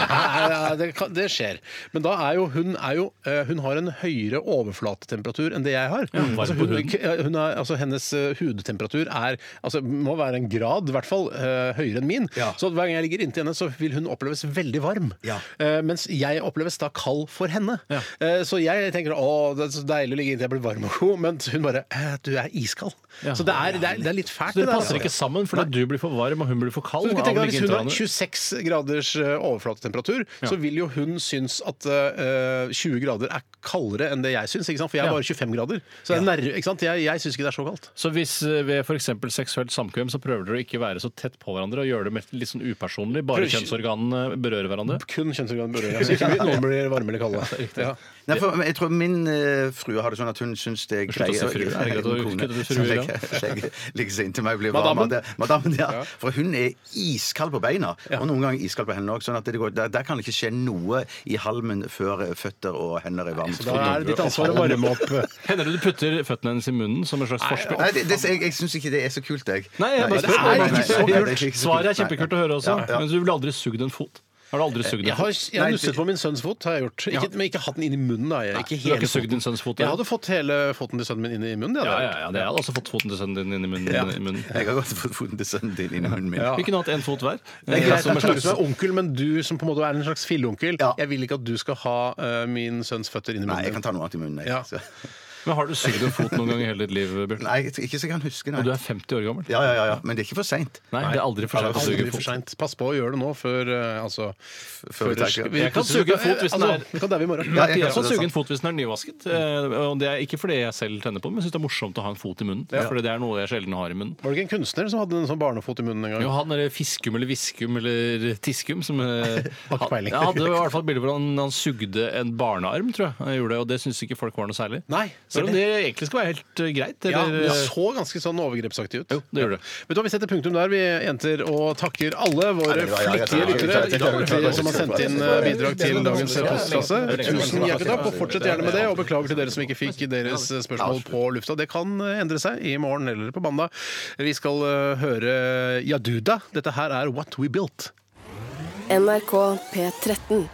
ja, det, kan, det skjer. Men da er jo hun er jo, eh, Hun har en høyere overflatetemperatur enn det jeg har.
Ja, varm
altså,
på
hun,
huden.
k- hun er, altså, hennes eh, hudtemperatur er altså, må være en grad, i hvert fall, eh, høyere enn min.
Ja.
Så hver gang jeg ligger inntil henne, så vil hun oppleves veldig varm.
Ja.
Eh, mens jeg oppleves da kald for henne.
Ja.
Eh, så jeg tenker å, det er så deilig å ligge inntil jeg blir varm og god, mens hun bare «Eh, du er iskald.
Ja.
Så det er, det, er, det er litt fælt.
Så dere
der,
passer
altså.
ikke sammen fordi du blir for varm og hun blir for kald?
Så du kan
av å
tenke deg,
ligge
Hvis hun har
inntil hverandre.
26 graders eh, overflatetemperatur, så vil jo hun synes at eh, 20 grader er kaldere enn det jeg syns. Ikke sant? For jeg er
Ja.
bare 25 grader. Så jeg, er nærmere- ikke sant? jeg, jeg syns ikke det er så kaldt.
Så hvis eh, ved f.eks. seksuelt samkvem så prøver dere å ikke være så tett på hverandre og gjøre det mest- litt sånn upersonlig, bare
Prøv-
kjønnsorganene berører hverandre?
Kun kjønnsorgan berører. Altså, ikke mye- Noen blir varme eller kalde. Ja.
Nei, for jeg tror min eh, frue har det sånn at hun syns det er
Slutt å si frue. Er det greit å
Kone
kutte til
som
frue,
legger- legger- Ligger seg inntil meg og blir varm.
Madammen?
av det. Madammen, ja. For hun er iskald på beina, og noen ganger iskald på hender òg. Sånn at det går, der, der kan det ikke skje noe i halmen før føtter og hender er varme.
Da er det ditt ansvar å varme opp.
Hender det du putter føttene hennes i munnen som et slags forspill?
Nei, det, det, jeg, jeg syns ikke det er så kult, jeg.
Nei, jeg bare
det
spør.
er
Det
ikke
er
så kult.
ikke så
Nei, det er ikke
kult.
så
Svaret
kult.
er kjempekult å høre også.
Ja, ja.
Men du ville aldri sugd en fot. Har du aldri sugd
Jeg
en
har,
fot?
jeg har nusset på min sønns fot, har jeg gjort. Ikke, men ikke hatt den inn i munnen. Da. Jeg, ikke
du har
hele
ikke sugd
foten.
din sønns fot,
Jeg
ja.
hadde fått hele foten til sønnen min inn i munnen. det
Ja,
hadde jeg
ja, ja, det hadde også fått foten til sønnen din inn i munnen. i munnen.
Jeg har godt fått foten til sønnen din i munnen min.
Vi kunne hatt én fot hver.
Det er greit
Som en
at du
slags
som er onkel, men du som på en måte er en slags filleonkel Jeg vil ikke at du skal ha eh, min sønns føtter inn i
Nei, jeg
munnen.
kan ta noe annet i munnen. Jeg.
Ja.
Så-
Men har du sugd en fot noen gang i hele ditt liv, Bjørn?
Nei, jeg- ikke så jeg kan huske, nei.
Og du er 50 år gammel?
Ja, ja, ja, ja. Men det er ikke for seint.
Nei, det er aldri for sent å suge
Aldri
en
for
fot.
sent. Pass på å gjøre det nå før eh, altså,
vi tenker-
vi-
Jeg kan suge en fot hvis den
altså,
er-
Vi kan daue i morgen.
Ja,
Jeg
ja,
kan også
det er
suge en
sant.
fot hvis den er nyvasket. eh, Og det er ikke fordi jeg selv tenner på den, men jeg syns det er morsomt å ha en fot i munnen. Fordi det er noe jeg sjelden har i munnen.
Var det ikke en kunstner som hadde en sånn barnefot i munnen en gang?
Jo, han eller Fiskum eller Viskum eller Tiskum som eh,
Har ikke
han,
peiling.
ja, Det var i hvert fall et bilde hvor han, han sugde en barnearm, tror jeg. Han gjorde det, Og det syns ikke folk var noe særlig.
Nei,
Selv
var
om det
det?
egentlig skal være helt eh, greit.
Ja,
Eller,
det så ganske sånn overgrepsaktig ut.
Jo, det gjør det.
Vet du hva, Vi setter punktum der, vi jenter, og takker alle våre flittige lyttere som har sendt inn eh, bidrag til dagens postkasse. Tusen hjertelig takk, og fortsett gjerne med det. Og beklager til dere som ikke fikk deres eh, spørsmål på lufta. Det kan eh, endre seg i morgen eller på mandag. Vi skal eh, høre Yaduda. Dette her er What We Built.
NRK P13.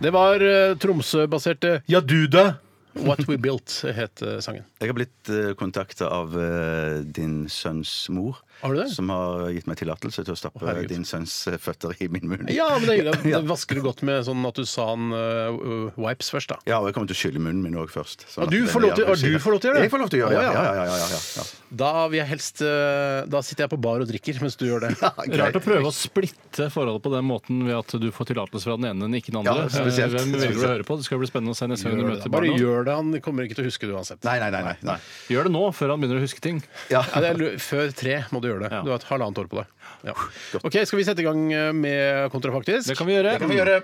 Det var eh, Tromsø-baserte Yaduda. What We Built het eh, sangen.
Jeg har blitt uh, kontakta av eh, din sønns mor.
Har du det?
Som har gitt meg tillatelse til å stappe
herregud.
din sønns eh, føtter i min munn.
Ja, men det, er hyggelig. det vasker du godt med sånn Natusan uh, wipes først, da.
Ja, og jeg kommer til å skylle munnen min òg først. sånn
Og
at
du
den
får lov
er
til- og
jævlig
du får lov til å gjøre det?
Jeg får lov til å gjøre det,
Å, ja.
ja. ja, ja, ja, ja, ja.
Da, vil jeg helst, eh, da sitter jeg på bar og drikker mens du gjør det.
Rart å prøve å splitte forholdet på den måten ved at du får tillatelse fra den ene, men ikke den andre.
Ja, spesielt.
Eh, Hvem velger du å høre på? Det skal bli spennende å se neste gang du
Gjør
møter
det. Bare
barna. Gjør.
gjør det, han kommer ikke til å huske det uansett.
Nei, nei, nei. nei, nei.
det nå, før han begynner å huske ting.
Ja.
Ja, det er, lu- før tre må du gjøre det.
Ja.
Du har et halvannet år på deg. Ja. Ok, Skal vi sette i gang eh, med kontrafaktisk?
Det kan vi gjøre.
Det kan vi gjøre.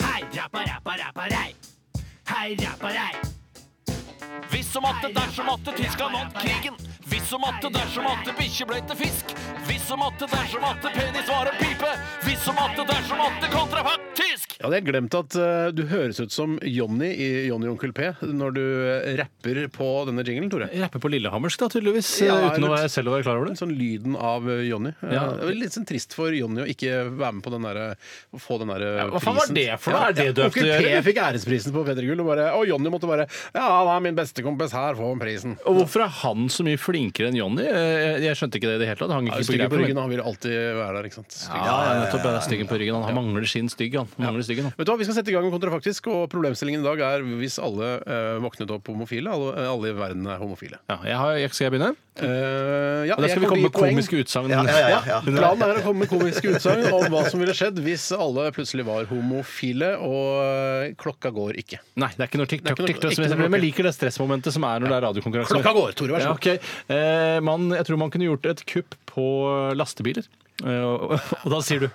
Hei, rappa, rappa, rappa, rei. Hei, rappa, rei. Hvis som atte, dersom atte, Tyskland vant krigen. Hvis som atte, dersom atte, bikkje ble til fisk. Hvis som atte, dersom atte, penis var en pipe. Hvis som atte, dersom atte, kontrafaktisk.
Jeg hadde helt glemt at eh, du høres ut som Jonny i Jonny og Onkel P når du eh, rapper på denne jinglen, Tore.
Jeg Rapper på lillehammersk, da, tydeligvis. eh,
Ja,
uten å
eller-
være selv å være klar over det.
Sånn lyden av eh, Jonny. Eh,
Ja.
Det er litt sånn trist for Jonny å ikke være med på den derre å få den derre
hva faen var det for noe? Er det døpt
Onkel
å
P
gjøre?
fikk æresprisen på P3 Gull, og, bare- og Jonny måtte bare Ja, han er min beste kompis, her får han prisen.
Og hvorfor er han så mye flinkere enn Jonny? Eh, Jeg skjønte ikke det i det hele tatt. Det hang
Ja,
ikke på
Styggen på
greip.
ryggen, han vil alltid være der, ikke sant. Stygg.
Ja, nettopp. det er Styggen på ryggen. Han mangler sin stygg, han. Han Mangler styggen, han.
Vet du hva, Vi skal sette i gang med kontrafaktisk, og problemstillingen i dag er hvis alle eh, våknet opp homofile. Alle, alle i verden er homofile.
Ja, jeg har, jeg- skal jeg begynne?
Eh, ja,
Mm. Og da skal
jeg kan
vi
gi
komme med
poeng.
komiske utsagn.
Ja, ja, ja, ja.
Planen er å komme med komiske utsagn om hva som ville skjedd hvis alle plutselig var homofile, og eh, klokka går ikke.
Nei, det er ikke noe TikTok.
Det er ikke noe-
TikTok som
ikke
jeg
noe
men jeg liker det stressmomentet som er når det er radiokonkurranse.
Klokka går, Tore, vær så
Ja,
god.
ok. eh, man, jeg tror man kunne gjort et kupp på lastebiler. Eh, og, og da sier du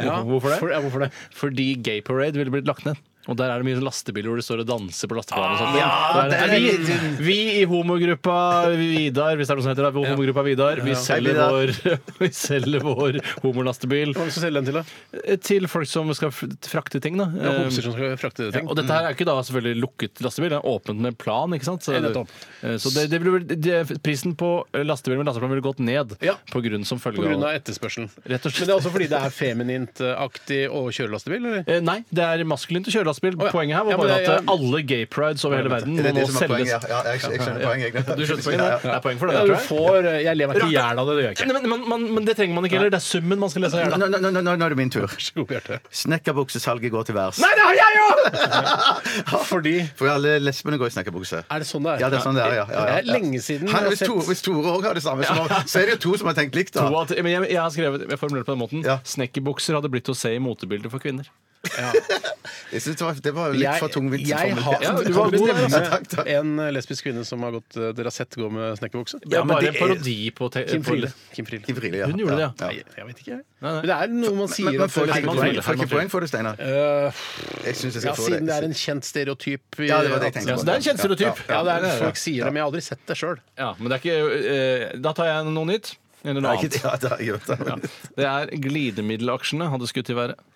Ja,
hvorfor det?
for- ja, hvorfor det?
Fordi Gay Parade ville blitt lagt ned. Og der er det mye sånn lastebiler hvor de står og danser på lasteplanet. og sånt.
Ah,
Der er
det er
vi, vi i homogruppa Vidar, hvis det er noe som heter det, homogruppa Vidar, vi selger
Vidar.
vår, vi selger vår homolastebil
Hva skal vi selge den til, da?
eh, til folk som skal f- frakte ting. da.
Ja,
Eh,
Homser som skal frakte
ja,
ting.
og dette her er ikke da selvfølgelig lukket lastebil, det er åpent med plan. ikke sant? Så,
Nettopp.
eh, så det, det ville vel- det, prisen på lastebil med lasteplan ville gått ned
Ja.
på grunn som følge
På grunn
av
av etterspørselen.
Rett og
Men
slett.
det er også fordi det er feminint-aktig å kjøre lastebil, eller?
Eh, Nei, det er maskulint å kjøre lastebil.
Å, ja.
Poenget
Ja,
her var
men
bare
det-
at eh,
ja.
alle gay prides over hele verden
Det
må
er det
nå
som er poenget.
selges.
Ja, ja, jeg, jeg skjønner poenget. jeg.
Du skjønner poenget?
Ja, ja.
Det er- det er poeng for det,
Ja, du
tror jeg.
får, eh, jeg lever meg ikke i
Rakk-
hjel av det, det gjør jeg ikke.
Nei, Men, men, men, men det trenger man ikke heller. Det er summen man skal lese av
Nå,
hjernen.
nå, nå, nå, nå er det min tur.
Vær så god, Bjarte.
Snekkerbuksesalget går til værs.
det har jeg òg! Fordi
For alle lesbene går i snekkerbukse.
Er det sånn det er?
Ja, det er sånn det er. Ja, ja, ja.
Det er lenge siden
Hæ,
jeg har
hvis,
sett-
Tore, hvis Tore òg har det samme, så, må, så er det jo to som har tenkt likt,
To
da.
av tre- Men jeg, jeg har skrevet, jeg formulerer det på den måten.
Ja.
Snekkerbukser hadde blitt å se i motebilder for kvinner.
Jeg synes det, var, det var litt for tungvint.
Jeg, jeg har
Ja,
ja,
du var god der,
altså. Takk, takk.
en lesbisk kvinne som har gått eh, til rasett gå med snekkerbukse.
Det er
men
bare
det
en
er-
parodi på te-
Kim
på-
Friele. Kim Friele.
Kim Friele, ja.
Hun gjorde det,
Nei,
ja.
Jeg, vet ikke. jeg.
Nei, nei.
Men det er noe man sier
Men, men får
at-
jeg
man
ikke
får det,
poeng- får jeg ikke
man får det.
poeng for det, Steinar?
Øh,
Jeg synes jeg
ja,
skal få det.
siden det er en kjent stereotyp. i-
Ja, det var det jeg tenkte
Ja, så det er en kjent stereotyp.
Ja, det
Ja,
er, folk sier det, men jeg har aldri sett det sjøl.
Ja, men det er ikke eh, Da tar jeg noe nytt. Eller noe
Nei, ikke-
annet.
Ja, det har jeg gjort.
Ja. Det er glidemiddelaksjene hadde skutt i været.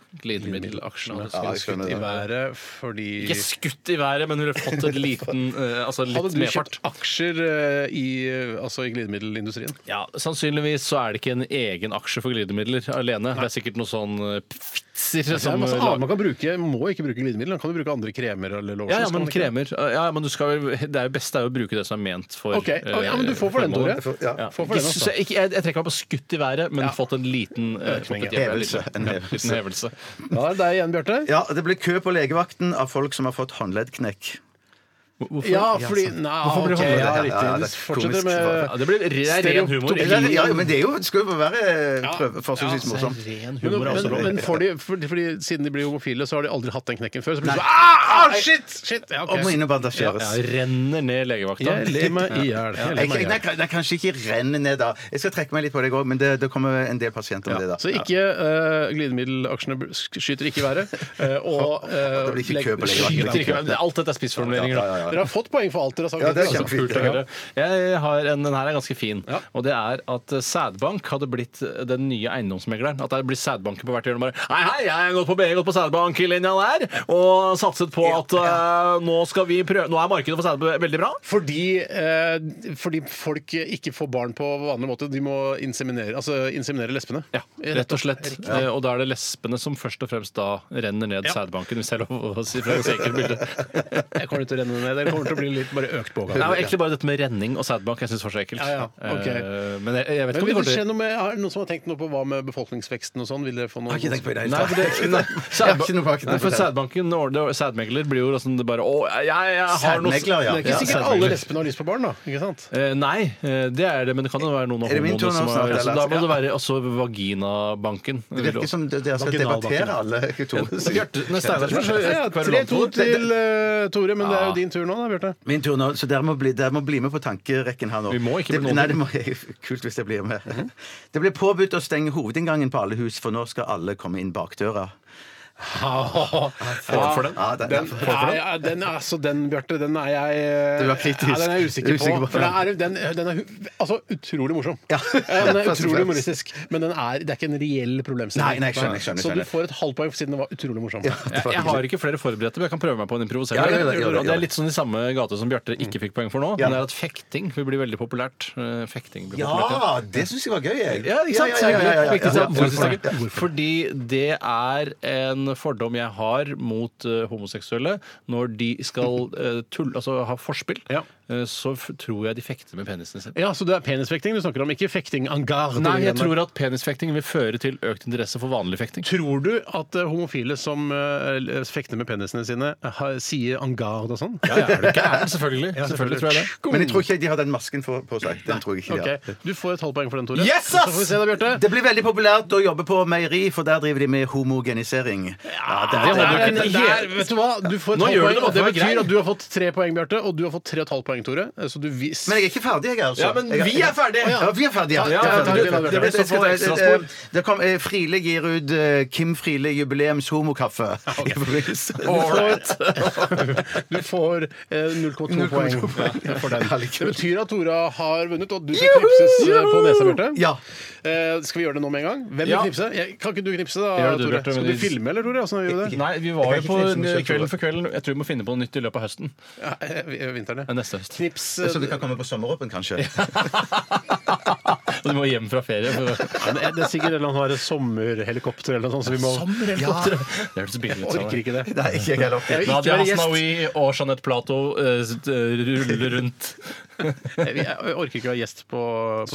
Ja,
Glidemiddelaksjene hadde
jeg
skutt
skjønner
i
det.
været.
Været fordi
Ikke skutt i været, men hun har fått en liten eh, Altså
Hadde
litt
du
medfart.
kjøpt aksjer eh, i, eh, altså i glidemiddelindustrien?
Ja, Sannsynligvis så er det ikke en egen aksje for glidemidler alene. Det er sikkert noe sånn eh,
Det
Pfitzer
er
som
masse
eh,
annet
lager
man kan bruke. Må ikke bruke glidemiddel. Man kan jo bruke andre kremer eller lotion.
ja, ja,
så kan
men
Sånn man ikke-
kremer ja, men du skal, vel- Det er jo beste er jo å bruke det som er ment for
Ok,
eh,
ja, men du får for den, Tore.
formålet.
Ja.
Ja.
Får for den,
Så
altså.
jeg, jeg, jeg trekker meg på skutt i været, men fått en liten eh,
Økning, ja.
fått en
Hevelse,
liten-
en
ja,
hevelse.
liten hevelse.
Da er det deg igjen, Bjarte.
Ja, det blir kø på legevakten av folk som har fått håndleddknekk.
Hvorfor?
Ja, fordi Nei,
blir
ok,
han-
ja,
Ja,
riktig.
ja, det er
Du fortsetter
komisk.
med
Ja, det blir det er ren humor.
Stereotopi.
Ja, ja, men det er jo, det skal jo være prøve- forsøksvis morsomt.
Ren
men,
humor er også
men,
lov.
men får de, fordi, fordi siden de blir homofile, så har de aldri hatt den knekken før. Så blir det
Nei.
sånn ah, ah, shit! shit! Ja, ok.
Og må inn og bandasjeres.
Ja, renner ned legevakta.
Jeg ler meg i hjel. Jeg ler meg i
Jeg, jeg,
hjel.
nei, kan- nei, kanskje ikke renne ned da. Jeg skal trekke meg litt på deg òg, men det, det kommer en del pasienter med det da.
Så ikke eh, glidemiddelaksjene br- sk- skyter ikke i været. eh, og eh,
Det blir ikke
leg-
kø på legevakten.
skyter ikke i været.
Alt dette er spissformuleringer. da.
Dere har fått poeng for alt dere har sagt.
Ja, det er
Altså,
kjempefint.
kult å høre.
Jeg har en, den her er ganske fin.
Ja.
Og det er at eh, sædbank hadde blitt eh, den nye eiendomsmegleren. At det blir sædbanker på hvert hjørne. Bare Hei, hei, jeg har gått på BI, gått på sædbank i linja der, og satset på at eh, nå skal vi prøve Nå er markedet for sædbank veldig bra.
Fordi, eh, fordi folk ikke får barn på vanlig måte. De må inseminere, altså inseminere lesbene.
Ja, rett og slett. Eh, Og da er det lesbene som først og fremst da renner ned sædbanken, hvis det er lov å si fra et enkelt bilde.
Jeg kommer til å renne ned. Det kommer til å bli litt bare økt pågang.
Nei, men egentlig bare dette med renning og sædbank. Jeg syns var så ekkelt.
Ja, ja, ok.
Eh, Men jeg, jeg
Men
vet ikke
vil
om det
det
går
skje
til
noe med, er det noen som har tenkt noe på hva med befolkningsveksten og sånn? Vil dere få noe
Har ikke tenkt på det i det
Nei,
hele
for, det, nei,
har ikke noe bak
sædbank,
det.
nei, for sædbanken ordner- Sædmegler blir jo sånn det bare Å, jeg, jeg har noe
Sædmegler,
Det
ja.
er ikke
Ja,
sikkert alle lesbene har lyst på barn, da. Ikke sant?
Eh, nei, eh, det er det, men det kan jo være noen
Er
av
det min
homoene
tur nå
som har
snart,
så Da
eller?
må det være også vaginabanken.
Det virker som dere skal debattere alle. to.
Bjarte- Nei, Steinar som er så
Ja,
kverulant.
3-2 til eh, Tore, men
Ah.
det er jo din tur nå, da, Bjarte.
Min tur nå, så dere må bli, dere må bli med på tankerekken her nå.
Vi må ikke
det,
bli
nei, det må, Kult hvis jeg blir med.
Mhm.
Det blir påbudt å stenge hovedinngangen på alle hus, for nå skal alle komme inn bakdøra.
Får han for den?
Ja, Ah, det,
Den, nei, ja, den, altså, den Bjarte, den er jeg eh,
Du er kritisk.
Ja, den er jeg usikker,
Usikker
på.
på,
For
ja.
den er, den, den er hu- altså, utrolig morsom. Den er
Ja. Først og
utrolig
fremst.
humoristisk, men men den er, det er ikke en reell problemstilling.
Nei, nei, jeg skjønner, jeg skjønner,
Så
skjønner.
du får et halvt poeng siden den var utrolig morsom.
det var
Jeg, jeg
ikke-
har ikke flere forberedte, men jeg kan prøve meg på en improvisering.
Ja, Mm. gjør det, gjør det, gjør det.
Og det er litt sånn i samme gate som Bjarte ikke fikk poeng for nå. Men det er at fekting vil bli veldig populært. Eh, Fekting blir populært.
Ja, det syns jeg var gøy, jeg.
Ja, ikke sant?
Ja, ja, ja, ja, ja,
Viktig å
ja,
si at
ja.
folk synes det er gøy. Fordi det er en fordom jeg har mot eh, homoseksuelle. Når de skal eh, tull, altså ha forspill,
Ja.
eh, så f tror jeg de fekter med penisene sine.
Ja, Så det er penisfekting du snakker om, ikke fekting en garde?
Nei, jeg tror at penisfekting vil føre til økt interesse for vanlig fekting.
Tror du at eh, homofile som eh, fekter med penisene sine, eh, har, sier en garde og sånn?
Ja, ja, er du gæren? Selvfølgelig. Selvfølgelig tror jeg det.
Men jeg tror ikke de har den masken for, på seg. Den tror jeg ikke de har.
Ok, Du får et halvt poeng for den, Tore.
Yes,
Så
ass!
får vi se da, Bjarte.
Det blir veldig populært å jobbe på meieri, for der driver de med homogenisering. Ja, det
Det
er-
holder
det er
ikke.
en
Det er-
hel-
Vet du hva? Du får et
Nå
halvt
gjør
poeng,
du det,
og det
for det var
betyr
greit.
at du har fått tre poeng, Bjarte, og du har fått tre og et halvt poeng, Tore. Så du vis...
Men jeg er ikke ferdig, jeg, altså.
Ja, men
Jeg-
vi er ferdige.
Ja, vi er ferdige.
Ja,
Jeg er
ja,
ferdige.
det blir- det blir
Jeg skal
sånn
ta-
ekstraspor.
eh, Det kom eh, Friele gir ut eh, Kim Friele jubileums homokaffe. I forbindelse-
Du får eh, 0,2 poeng ja, for den. Det betyr at Tora har vunnet, og du skal
Juhu!
knipses eh, på nesa, Bjarte.
Ja.
Eh, skal vi gjøre det nå med en gang? Hvem vil
Ja.
knipse? Jeg, kan ikke du knipse, da,
Gjør det du,
Tore?
Bjarte, men
Skal
de-
du filme, eller, Tore? Åssen gjør du det?
Nei, vi var jo
Jeg kan
på
ikke knipse med kjøtt,
Kvelden for kvelden. Jeg tror vi må finne på noe nytt i løpet av høsten.
Ja, eh, Vinteren,
Eh,
ja.
Neste høst.
Knips eh,
Så du kan komme på sommeråpen, kanskje?
Og du må hjem fra ferie. For...
ja, det, er, det er sikkert en eller annen har et sommerhelikopter eller noe sånt, så vi må
Sommerhelikopter! Det hørtes billig ut.
Jeg orker
Sanne.
ikke det.
Nei, ikke jeg heller.
Jeg vil ikke
Nadia
være gjest.
Hasnaoui og Jeanette Plato eh, s- eh, ruller rundt.
Jeg, jeg orker ikke å være gjest på, på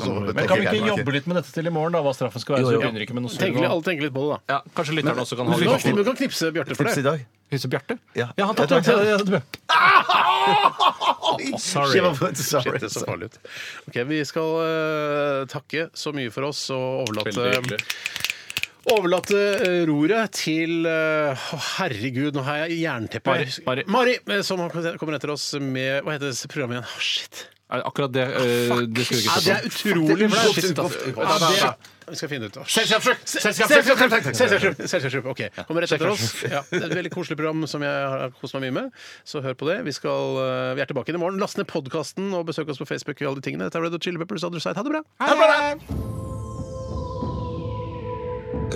sommerhåpet.
Men kan vi ikke jobbe litt med dette til i morgen, da? Hva straffen skal være? Så vi begynner ikke med noe
Tenk litt,
sur nå.
alle tenker litt på det, da.
Ja, kanskje lytterne også kan ha
Du kan,
litt
kni- du kan knipse Bjarte for
Tips i
det.
dag.
Huset Bjarte?
Ja.
Ja, han tatt det. Ja, det-
Sorry.
Shit, det så farlig ut. Ok, Vi skal eh, takke så mye for oss og
Veldig
overlate,
hyggelig.
overlate eh, roret til eh, å, Herregud, nå har jeg jernteppe. her.
Mari, Mari.
eh, som kommer etter oss med Hva heter dette programmet igjen? Ah, shit.
Er det Akkurat det eh, det skulle vi
Ja, det
ikke sett
er utrolig
på.
flaut.
Shit, ass.
Ja, det er- Vi skal finne ut. Ah, shit.
Selskapsfrukt!
Selskapsfrukt! Selskapsfrukt, OK. Kommer rett etter oss. Ja, det er et veldig koselig program som jeg har kost meg mye med. Så hør på det. Vi, skal, eh, vi er tilbake inn i morgen. Last ned podkasten og besøk oss på Facebook. og alle de tingene. Dette er Red Hot Chili Peppers Other Side. Ha det bra!
Selskapsfrukt!